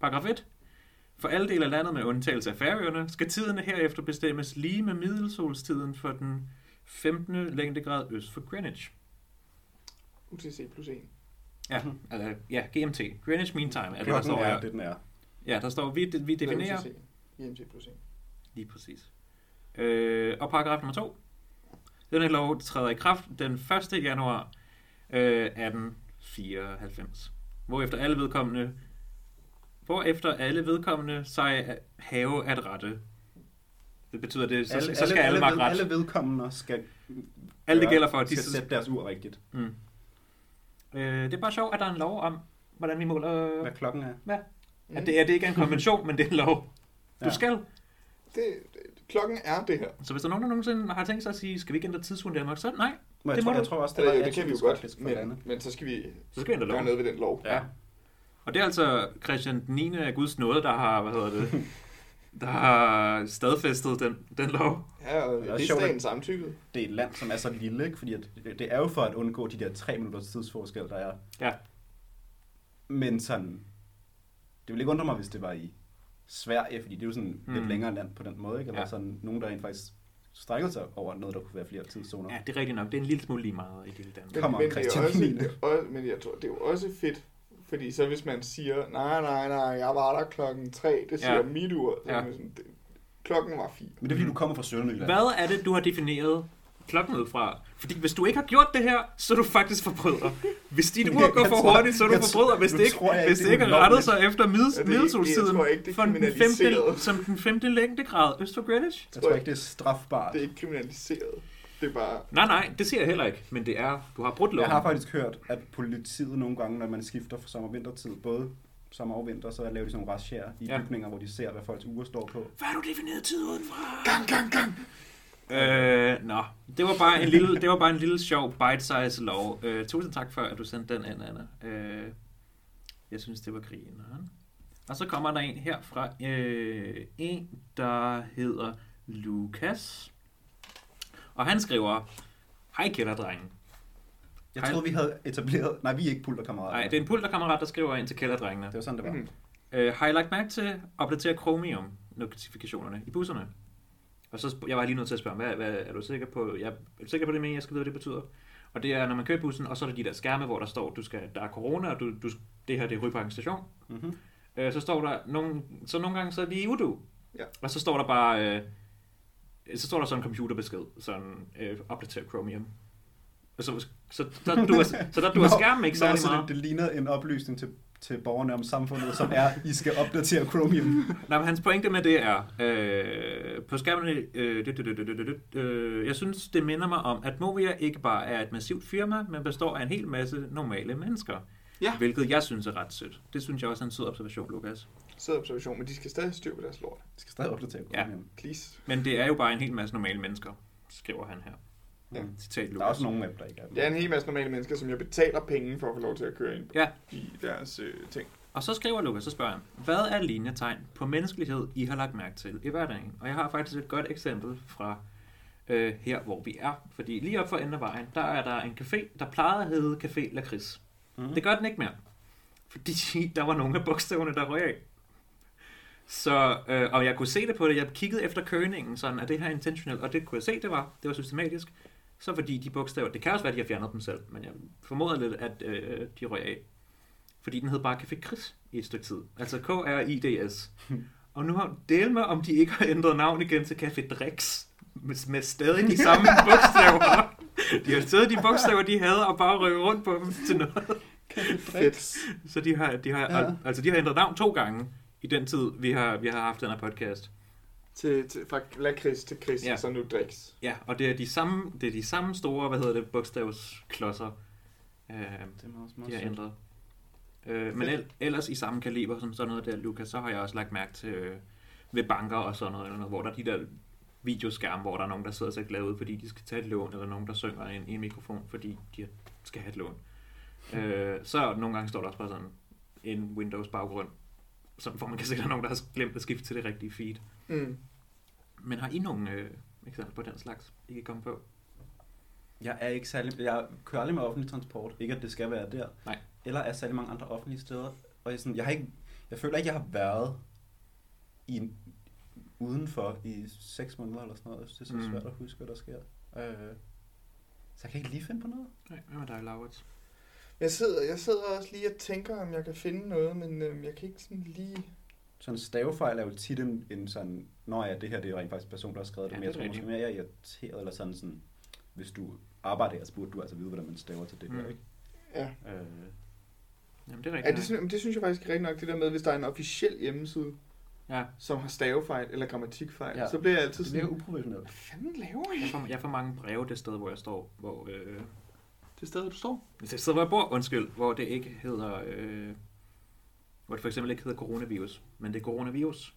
Speaker 1: Paragraf 1. For alle dele af landet med undtagelse af færøerne, skal tiden herefter bestemmes lige med middelsolstiden for den 15. længdegrad øst for Greenwich.
Speaker 3: UTC plus 1.
Speaker 1: Ja, altså, ja, GMT. Greenwich Mean Time er det, der
Speaker 2: Klokken
Speaker 1: står
Speaker 2: er
Speaker 1: her.
Speaker 2: det, den er.
Speaker 1: Ja, der står, vi, vi definerer
Speaker 3: IMT plus 1.
Speaker 1: Lige præcis. Øh, og paragraf nummer 2. Denne lov træder i kraft den 1. januar øh, 1894. Hvorefter alle vedkommende hvorefter alle vedkommende sig at have at rette. Det betyder det, så, alle, så skal alle, alle,
Speaker 2: alle,
Speaker 1: ret.
Speaker 2: alle
Speaker 1: Alle,
Speaker 2: vedkommende skal
Speaker 1: alle det
Speaker 2: gøre-
Speaker 1: gælder for, at de...
Speaker 2: skal sætte deres ur rigtigt.
Speaker 1: Mm. Øh, det er bare sjovt, at der er en lov om, hvordan vi måler...
Speaker 2: Hvad klokken er.
Speaker 3: Mm.
Speaker 1: At det, er, det ikke er en konvention, men det er en lov. Du
Speaker 2: Ja.
Speaker 1: skal.
Speaker 3: Det, det, klokken er det her.
Speaker 1: Så hvis der er nogen, der nogensinde har tænkt sig at sige, skal vi ikke ændre tidsugen i Danmark? Så nej,
Speaker 2: Men jeg,
Speaker 1: Det
Speaker 2: det
Speaker 1: må
Speaker 2: tror, jeg
Speaker 1: du-
Speaker 2: tror også, det,
Speaker 3: Eller,
Speaker 2: var
Speaker 3: jo, det kan vi jo godt,
Speaker 2: for lande.
Speaker 3: men, men så skal vi
Speaker 1: så skal vi ændre lov.
Speaker 3: gøre noget ved den lov.
Speaker 2: Ja.
Speaker 1: Og det er altså Christian 9. af Guds nåde, der har, hvad hedder det, der har stadfæstet den, den lov.
Speaker 3: Ja, og
Speaker 2: Det
Speaker 3: det
Speaker 2: er
Speaker 3: er
Speaker 2: også sjovt,
Speaker 3: staten samtykket.
Speaker 2: Det er et land, som er så lille, ikke? fordi at, det er jo for at undgå de der tre minutters tidsforskel, der er.
Speaker 1: Ja.
Speaker 2: Men sådan, det ville ikke undre mig, hvis det var i Sverige, fordi det er jo sådan mm.
Speaker 1: Mm.
Speaker 2: lidt længere land på den måde, ikke? Eller
Speaker 1: Ja.
Speaker 2: ja. sådan nogen, der rent faktisk strækker sig over noget, der kunne være flere tidszoner.
Speaker 1: Ja, det er rigtigt nok. Det er en lille smule lige meget i hele Danmark.
Speaker 3: Men,
Speaker 2: Come on,
Speaker 3: men, det er
Speaker 2: Christian.
Speaker 3: også, det er også, men jeg tror, det er jo også fedt, fordi så hvis man siger, nej, nej, nej, jeg var der klokken 3, det siger
Speaker 1: Ja.
Speaker 3: ja. mit ur, så
Speaker 1: Ja.
Speaker 3: ja. sådan, det, klokken var 4.
Speaker 2: Men det er fordi, du kommer fra Sønderjylland.
Speaker 1: Hvad er det, du har defineret klokken ud fra? Fordi hvis du ikke har gjort det her, så er du faktisk forbryder. Hvis dit ur går
Speaker 2: Jeg
Speaker 1: for
Speaker 2: tror-
Speaker 1: hurtigt, så er du
Speaker 2: jeg tror-
Speaker 1: forbryder. Hvis
Speaker 2: nu
Speaker 1: det ikke,
Speaker 2: tror jeg
Speaker 1: hvis
Speaker 2: ikke,
Speaker 1: det ikke
Speaker 2: det er
Speaker 1: har rettet
Speaker 2: ulovligt.
Speaker 1: sig efter
Speaker 3: Ja, det er ikke-
Speaker 1: middelsolstiden,
Speaker 3: jeg tror ikke, det er
Speaker 1: for den femte,
Speaker 3: kriminaliseret.
Speaker 1: som den femte længdegrad øst for Greenwich.
Speaker 2: Jeg tror ikke, det er strafbart.
Speaker 3: Det er ikke kriminaliseret. Det er bare,
Speaker 1: Nej, nej, det siger jeg heller ikke. Men det er, du har brudt
Speaker 2: Jeg
Speaker 1: loven.
Speaker 2: har faktisk hørt, at politiet nogle gange, når man skifter fra sommer- og vintertid, både sommer og vinter, så laver de sådan nogle razziaer i
Speaker 1: Ja.
Speaker 2: ja. bygninger, hvor de ser, hvad folks uger står på.
Speaker 1: Hvad har du defineret tid udenfra? Gang, gang, gang! Øh, nå. Det var bare en lille, det var bare en lille sjov bite-size lov. Øh, tusind tak for, at du sendte den ind, Anna. Øh, jeg synes, det var grineren. Og så kommer der en her fra øh, en, der hedder Lukas. Og han skriver, Hej kælderdrengen.
Speaker 2: Jeg
Speaker 1: Hej.
Speaker 2: troede, vi havde etableret... Nej, vi er ikke pulterkammerater.
Speaker 1: Nej, det er en pulterkammerat, der skriver ind til kælderdrengene.
Speaker 2: det var sådan, det var.
Speaker 3: mm,
Speaker 1: Øh, har I lagt mærke til at opdatere Chromium-notifikationerne i busserne? Og så sp- jeg var lige nødt til at spørge, hvad, hvad er du sikker på? Jeg er du sikker på det, men jeg skal vide, hvad det betyder. Og det er, når man kører i bussen, og så er der de der skærme, hvor der står, du skal, der er corona, og du, du, det her det er Rybakken station.
Speaker 2: Mm-hmm.
Speaker 1: Øh, så står der, nogle, så nogle gange så er vi i Udo.
Speaker 3: Ja.
Speaker 1: Og så står der bare, øh, så står der sådan en computerbesked, sådan øh, opdater Chromium. Og så, så, der, du er, så der du er skærmen ikke særlig meget.
Speaker 2: det, det ligner en oplysning til, til borgerne om samfundet, som er, I skal opdatere Chromium.
Speaker 1: Nej, men hans pointe med det er, øh, på skærmen, øh, det, det, det, det, det, det, det, øh, jeg synes, det minder mig om, at Movia ikke bare er et massivt firma, men består af en hel masse normale mennesker.
Speaker 3: Ja.
Speaker 1: Hvilket jeg synes er ret sødt. Det synes jeg også er en sød observation, Lukas.
Speaker 3: sidder observation, men de skal stadig have styr på deres lort.
Speaker 2: I skal stadig opdatere Chromium. Mhm.
Speaker 3: Please.
Speaker 1: Men det er jo bare en hel masse normale mennesker, skriver han her.
Speaker 3: Ja.
Speaker 1: Citat
Speaker 2: Der er
Speaker 1: Lukas.
Speaker 2: også nogle af dem, der ikke er
Speaker 3: Der er en hel masse normale mennesker, som jeg betaler penge for at få lov til at køre ind
Speaker 1: Ja.
Speaker 3: i deres øh, ting.
Speaker 1: Og så skriver Lukas, så spørger han, hvad er linjetegn på menneskelighed, I har lagt mærke til i hverdagen? Og jeg har faktisk et godt eksempel fra øh, her, hvor vi er. Fordi lige op for enden af vejen, der er der en café, der plejede at hedde Café Lakrids. Mm. Det gør den ikke mere. Fordi der var nogle af bogstaverne, der røg af. Så, øh, og jeg kunne se det på det. Jeg kiggede efter køningen, sådan, er det her intentionelt? Og det kunne jeg se, det var. Det var systematisk. Så fordi de bogstaver, det kan også være, at de har fjernet dem selv, men jeg formoder lidt, at øh, de røg af. Fordi den hed bare Café Chris i et stykke tid. Altså K-R-I-D-S. Og nu har del med, om de ikke har ændret navn igen til Café Drex. Med, med stadig de samme bogstaver. De har stadig de bogstaver, de havde, og bare rykket rundt på dem til noget.
Speaker 3: Fedt.
Speaker 1: Så de har, de har,
Speaker 2: Ja.
Speaker 1: ja. altså, de har ændret navn to gange i den tid, vi har, vi har haft den her podcast.
Speaker 3: Til, til, fra lakrids til kris, ja.
Speaker 1: Ja.
Speaker 3: og så nu driks.
Speaker 1: Ja, og det er de samme, det er de samme store, hvad hedder det, bogstavsklodser, øh,
Speaker 2: Det er meget smart.
Speaker 1: de har ændret. Øh, men el- ellers i samme kaliber som sådan noget der, Lukas, så har jeg også lagt mærke til øh, ved banker og sådan noget, eller noget, hvor der er de der videoskærme, hvor der er nogen, der sidder og ser glade ud, fordi de skal tage et lån, eller nogen, der synger i en, i en mikrofon, fordi de skal have et lån.
Speaker 2: Hmm.
Speaker 1: Øh, så nogle gange står der også bare sådan en Windows-baggrund, sådan, hvor man kan se, at der er nogen, der har glemt at skifte til det rigtige feed.
Speaker 3: Mm.
Speaker 1: Men har I nogen øh, eksempler på den slags, I kan komme på?
Speaker 2: Jeg er ikke særlig, jeg kører aldrig med offentlig transport. Ikke at det skal være der.
Speaker 1: Nej.
Speaker 2: Eller er særlig mange andre offentlige steder. Og jeg, sådan, jeg, har ikke, jeg føler ikke, jeg har været i en, udenfor i 6 måneder eller sådan noget. Jeg synes, Det er så
Speaker 1: Mm.
Speaker 2: svært at huske, hvad der sker. Øh, så jeg kan ikke lige finde på noget.
Speaker 1: Nej, hvad med dig, Laurits?
Speaker 3: Jeg sidder, jeg sidder også lige og tænker, om jeg kan finde noget, men øhm, jeg kan ikke sådan lige...
Speaker 2: Sådan en stavefejl er jo tit en, en sådan, nå ja, det her det er rent faktisk en person, der har skrevet det,
Speaker 1: Ja,
Speaker 2: men jeg
Speaker 1: det er
Speaker 2: tror måske
Speaker 1: rigtigt.
Speaker 2: mere, jeg er irriteret, eller sådan sådan, hvis du arbejder her, så burde du altså vide, hvordan man staver til det
Speaker 1: Mm.
Speaker 2: her, ikke?
Speaker 3: Ja.
Speaker 2: Øh,
Speaker 1: Jamen, det er
Speaker 3: Ja,
Speaker 1: rigtigt.
Speaker 3: det, synes, men det synes jeg faktisk er rigtigt nok, det der med, hvis der er en officiel hjemmeside,
Speaker 1: Ja,
Speaker 3: som har stavefejl eller grammatikfejl, ja.
Speaker 2: Ja.
Speaker 3: så bliver jeg altid
Speaker 2: det
Speaker 3: sådan,
Speaker 2: virker uprofessionelt.
Speaker 3: hvad fanden laver jeg?
Speaker 1: jeg får, jeg får mange breve det sted, hvor jeg står, hvor... Øh,
Speaker 3: Det sted, du står.
Speaker 1: det sted, hvor jeg bor, undskyld, hvor det ikke hedder... Øh, hvor det for eksempel ikke hedder coronavirus, men det er coronavirus.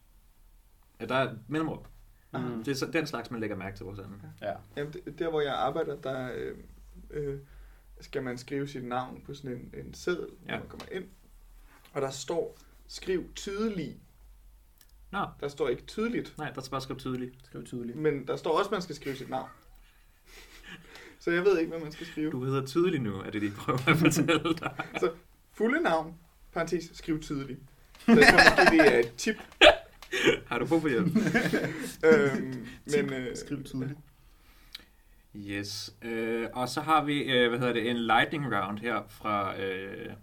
Speaker 1: Ja, der er et mellemrum.
Speaker 2: Mm.
Speaker 1: Det er så- den slags, man lægger mærke til vores anden.
Speaker 2: Ja.
Speaker 3: Jamen, det- der hvor jeg arbejder, der øh, øh, skal man skrive sit navn på sådan en, en seddel, ja.
Speaker 1: Ja.
Speaker 3: når man kommer ind. Og der står, skriv tydelig.
Speaker 1: Nå.
Speaker 3: Der står ikke tydeligt,
Speaker 1: Nej, der skal bare skrive tydeligt.
Speaker 2: Skriv tydeligt.
Speaker 3: men der står også, at man skal skrive sit navn. Så jeg ved ikke, hvad man skal skrive.
Speaker 1: Du hedder tydelig nu, er det det, de prøver at fortælle dig.
Speaker 3: Fulde navn, parentes, skriv tydelig. Så jeg tror måske, det er et tip.
Speaker 1: Har du brug for hjælp?
Speaker 3: Øhm, men, øh,
Speaker 2: Skriv tydeligt.
Speaker 1: Yes. Øh, og så har vi, øh, hvad hedder det, en lightning round her fra øh,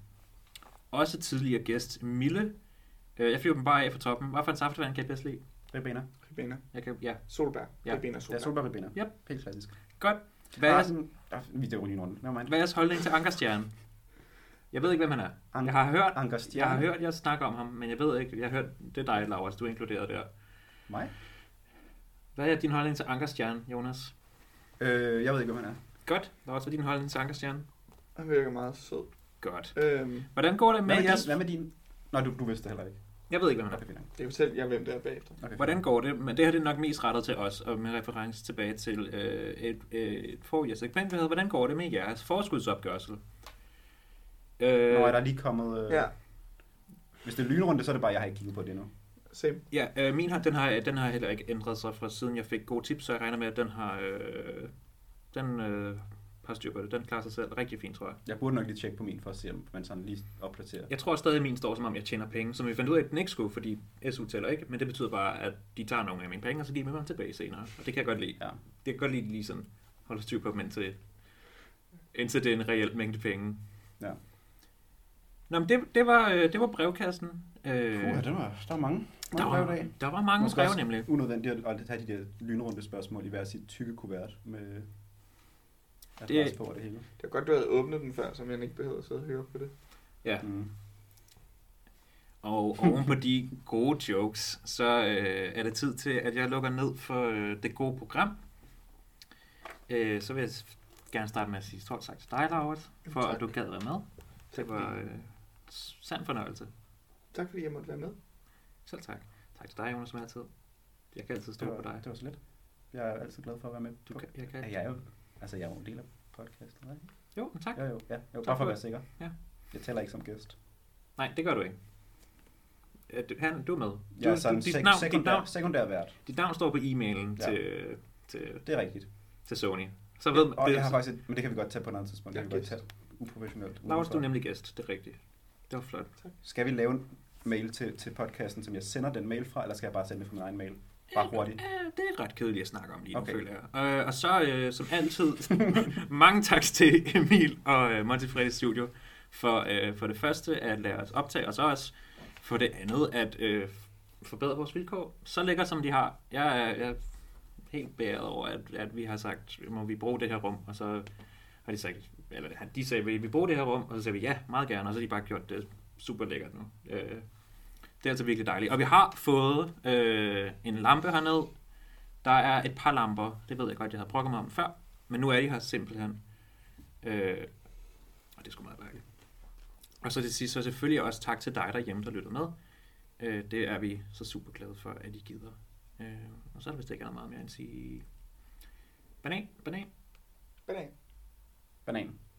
Speaker 1: også tidligere gæst Mille. Øh, jeg flyver dem bare af fra toppen. Hvad for en saftevand kan jeg bedst lide?
Speaker 2: Ribena.
Speaker 3: Ribena,
Speaker 1: Jeg kan, ja,
Speaker 3: solbær,
Speaker 1: Ja.
Speaker 3: ribena,
Speaker 2: Det er
Speaker 3: solbær.
Speaker 2: solbær ribena.
Speaker 1: Yep.
Speaker 2: Helt klassisk.
Speaker 1: godt. Hvad
Speaker 2: Hvad
Speaker 1: er,
Speaker 2: er sådan... Ah, Vi er jo lige rundt. Never mind.
Speaker 1: hvad er jeres holdning til Ankerstjernen? Jeg ved ikke, hvem han er.
Speaker 2: An-
Speaker 1: Jeg har hørt,
Speaker 2: Anker
Speaker 1: jeg har
Speaker 2: Stjerne.
Speaker 1: hørt, jeg snakker om ham, men jeg ved ikke, jeg har hørt, det er dig, Laura, du er inkluderet der.
Speaker 2: Mig?
Speaker 1: Hvad er din holdning til Ankerstjernen, Jonas?
Speaker 2: Øh, jeg ved ikke, hvem han er.
Speaker 1: Godt. Laura, hvad er din holdning til Ankerstjernen?
Speaker 3: Han virker meget sød.
Speaker 1: Godt.
Speaker 3: Øhm,
Speaker 1: Hvordan går det med
Speaker 2: Hvad med,
Speaker 1: jeres...
Speaker 2: din, hvad med din... Nå, du, du vidste det heller ikke.
Speaker 1: Jeg ved ikke, hvem han er.
Speaker 2: Okay, fint. nok.
Speaker 3: det fortæller jeg, hvem der er bagefter.
Speaker 2: Okay.
Speaker 1: Hvordan går det? Men det her det er nok mest rettet til os, og med reference tilbage til øh, et, øh, et forrige segment, vi havde. Hvordan går det med jeres forskudsopgørsel? Øh,
Speaker 2: Nå, er der lige kommet... Øh...
Speaker 3: Ja,
Speaker 2: Hvis det er lynrunde, så er det bare, jeg har ikke kigget på det endnu.
Speaker 3: same.
Speaker 1: ja, øh, min har, den har, den har heller ikke ændret sig fra siden jeg fik gode tips, så jeg regner med, at den har, øh, den, øh, har styr på det. Den klarer sig selv rigtig fint, tror jeg.
Speaker 2: Jeg burde nok lige tjekke på min for at se, om man sådan lige opdaterer.
Speaker 1: Jeg tror stadig, at min står som om, jeg tjener penge, som vi fandt ud af, at den ikke skulle, fordi SU tæller ikke, men det betyder bare, at de tager nogle af mine penge, og så giver de mig dem tilbage senere. Og det kan jeg godt lide.
Speaker 2: Ja.
Speaker 1: Det kan jeg godt lide lige sådan holde styr på dem, indtil, indtil det er en reel mængde penge.
Speaker 2: Ja.
Speaker 1: Nå, men det, det, var, øh, det var brevkassen. Øh,
Speaker 2: Puh, der var, der var mange.
Speaker 1: der,
Speaker 2: mange brev i
Speaker 1: var,
Speaker 2: dag.
Speaker 1: der var mange
Speaker 2: Måske
Speaker 1: brev
Speaker 2: også
Speaker 1: nemlig.
Speaker 2: Unødvendigt at- at have de der lynrunde spørgsmål i hver sit tykke kuvert med adresse på og det hele.
Speaker 3: Det er godt, du havde åbnet den før, så man ikke behøvede at sidde og høre på det.
Speaker 1: Ja.
Speaker 2: Mm.
Speaker 1: Og oven på de gode jokes, så øh, er det tid til, at jeg lukker ned for øh, det gode program. Øh, så vil jeg s- gerne starte med at sige stort tak til dig, Laurits, for
Speaker 3: Tak.
Speaker 1: at du gad være med. Det var
Speaker 3: fordi,
Speaker 1: øh, sand fornøjelse.
Speaker 3: tak fordi jeg måtte være med.
Speaker 1: Selv tak. Tak til dig, Jonas, som altid. Jeg kan altid
Speaker 2: Det
Speaker 1: stå
Speaker 2: var,
Speaker 1: på dig.
Speaker 2: det var så lidt. Jeg er altid glad for at være med.
Speaker 1: Du
Speaker 2: på.
Speaker 1: kan, jeg
Speaker 2: Ja,
Speaker 1: kan.
Speaker 2: jeg er jo Altså, jeg er jo en del af podcasten, ikke?
Speaker 1: Jo, men tak.
Speaker 2: Jo, jo, ja. Jo,
Speaker 1: Tak
Speaker 2: bare for
Speaker 1: for
Speaker 2: at være
Speaker 1: det.
Speaker 2: sikker.
Speaker 1: Ja.
Speaker 2: Jeg taler ikke som gæst.
Speaker 1: Nej, det gør du ikke. Øh, du- Han, du er med.
Speaker 2: Jeg er
Speaker 1: du,
Speaker 2: sådan
Speaker 1: du, dit,
Speaker 2: sek-
Speaker 1: navn, dit,
Speaker 2: sekundær,
Speaker 1: navn,
Speaker 2: sekundær vært.
Speaker 1: dit navn står på e-mailen ja.
Speaker 2: Ja.
Speaker 1: til, til,
Speaker 2: Det er rigtigt.
Speaker 1: til Sony. Så ved man,
Speaker 2: Og
Speaker 1: det,
Speaker 2: jeg har faktisk et, men det kan vi godt tage på et andet tidspunkt. Det
Speaker 3: Jeg
Speaker 2: kan vi godt
Speaker 3: er
Speaker 2: tage uprofessionelt.
Speaker 1: Lars, du
Speaker 2: udenfor.
Speaker 1: er nemlig gæst, det er rigtigt. Det var flot.
Speaker 2: Skal vi lave en mail til, til podcasten, som jeg sender den mail fra, eller skal jeg bare sende det fra min egen mail? Bare hurtigt.
Speaker 1: Ja, det er ret kedeligt at snakke om lige nu,
Speaker 2: Okay.
Speaker 1: okay. føler jeg. Øh, og så, øh, som altid, mange tak til Emil og øh, Monty Freddy Studio for, øh, for det første at lade os optage, og så også for det andet at øh, forbedre vores vilkår. Så lækker som de har. Jeg er, jeg er helt bæret over, at, at vi har sagt, må vi bruge det her rum, og så har de sagt, eller de sagde, vil vi bruge det her rum? Og så sagde vi, ja, meget gerne, og så har de bare gjort det super lækkert nu. Øh, det er altså virkelig dejligt. Og vi har fået øh, en lampe hernede. Der er et par lamper. Det ved jeg godt, jeg havde brokket mig om før. Men nu er de her simpelthen. Øh, og det er sgu meget dejligt. Og så til sidst, så selvfølgelig også tak til dig derhjemme, der lyttede med. Øh, det er vi så super glade for, at I gider. Øh, og så er der vist ikke andet meget mere end at sige... Banan, banan.
Speaker 5: Banan.
Speaker 2: Banan.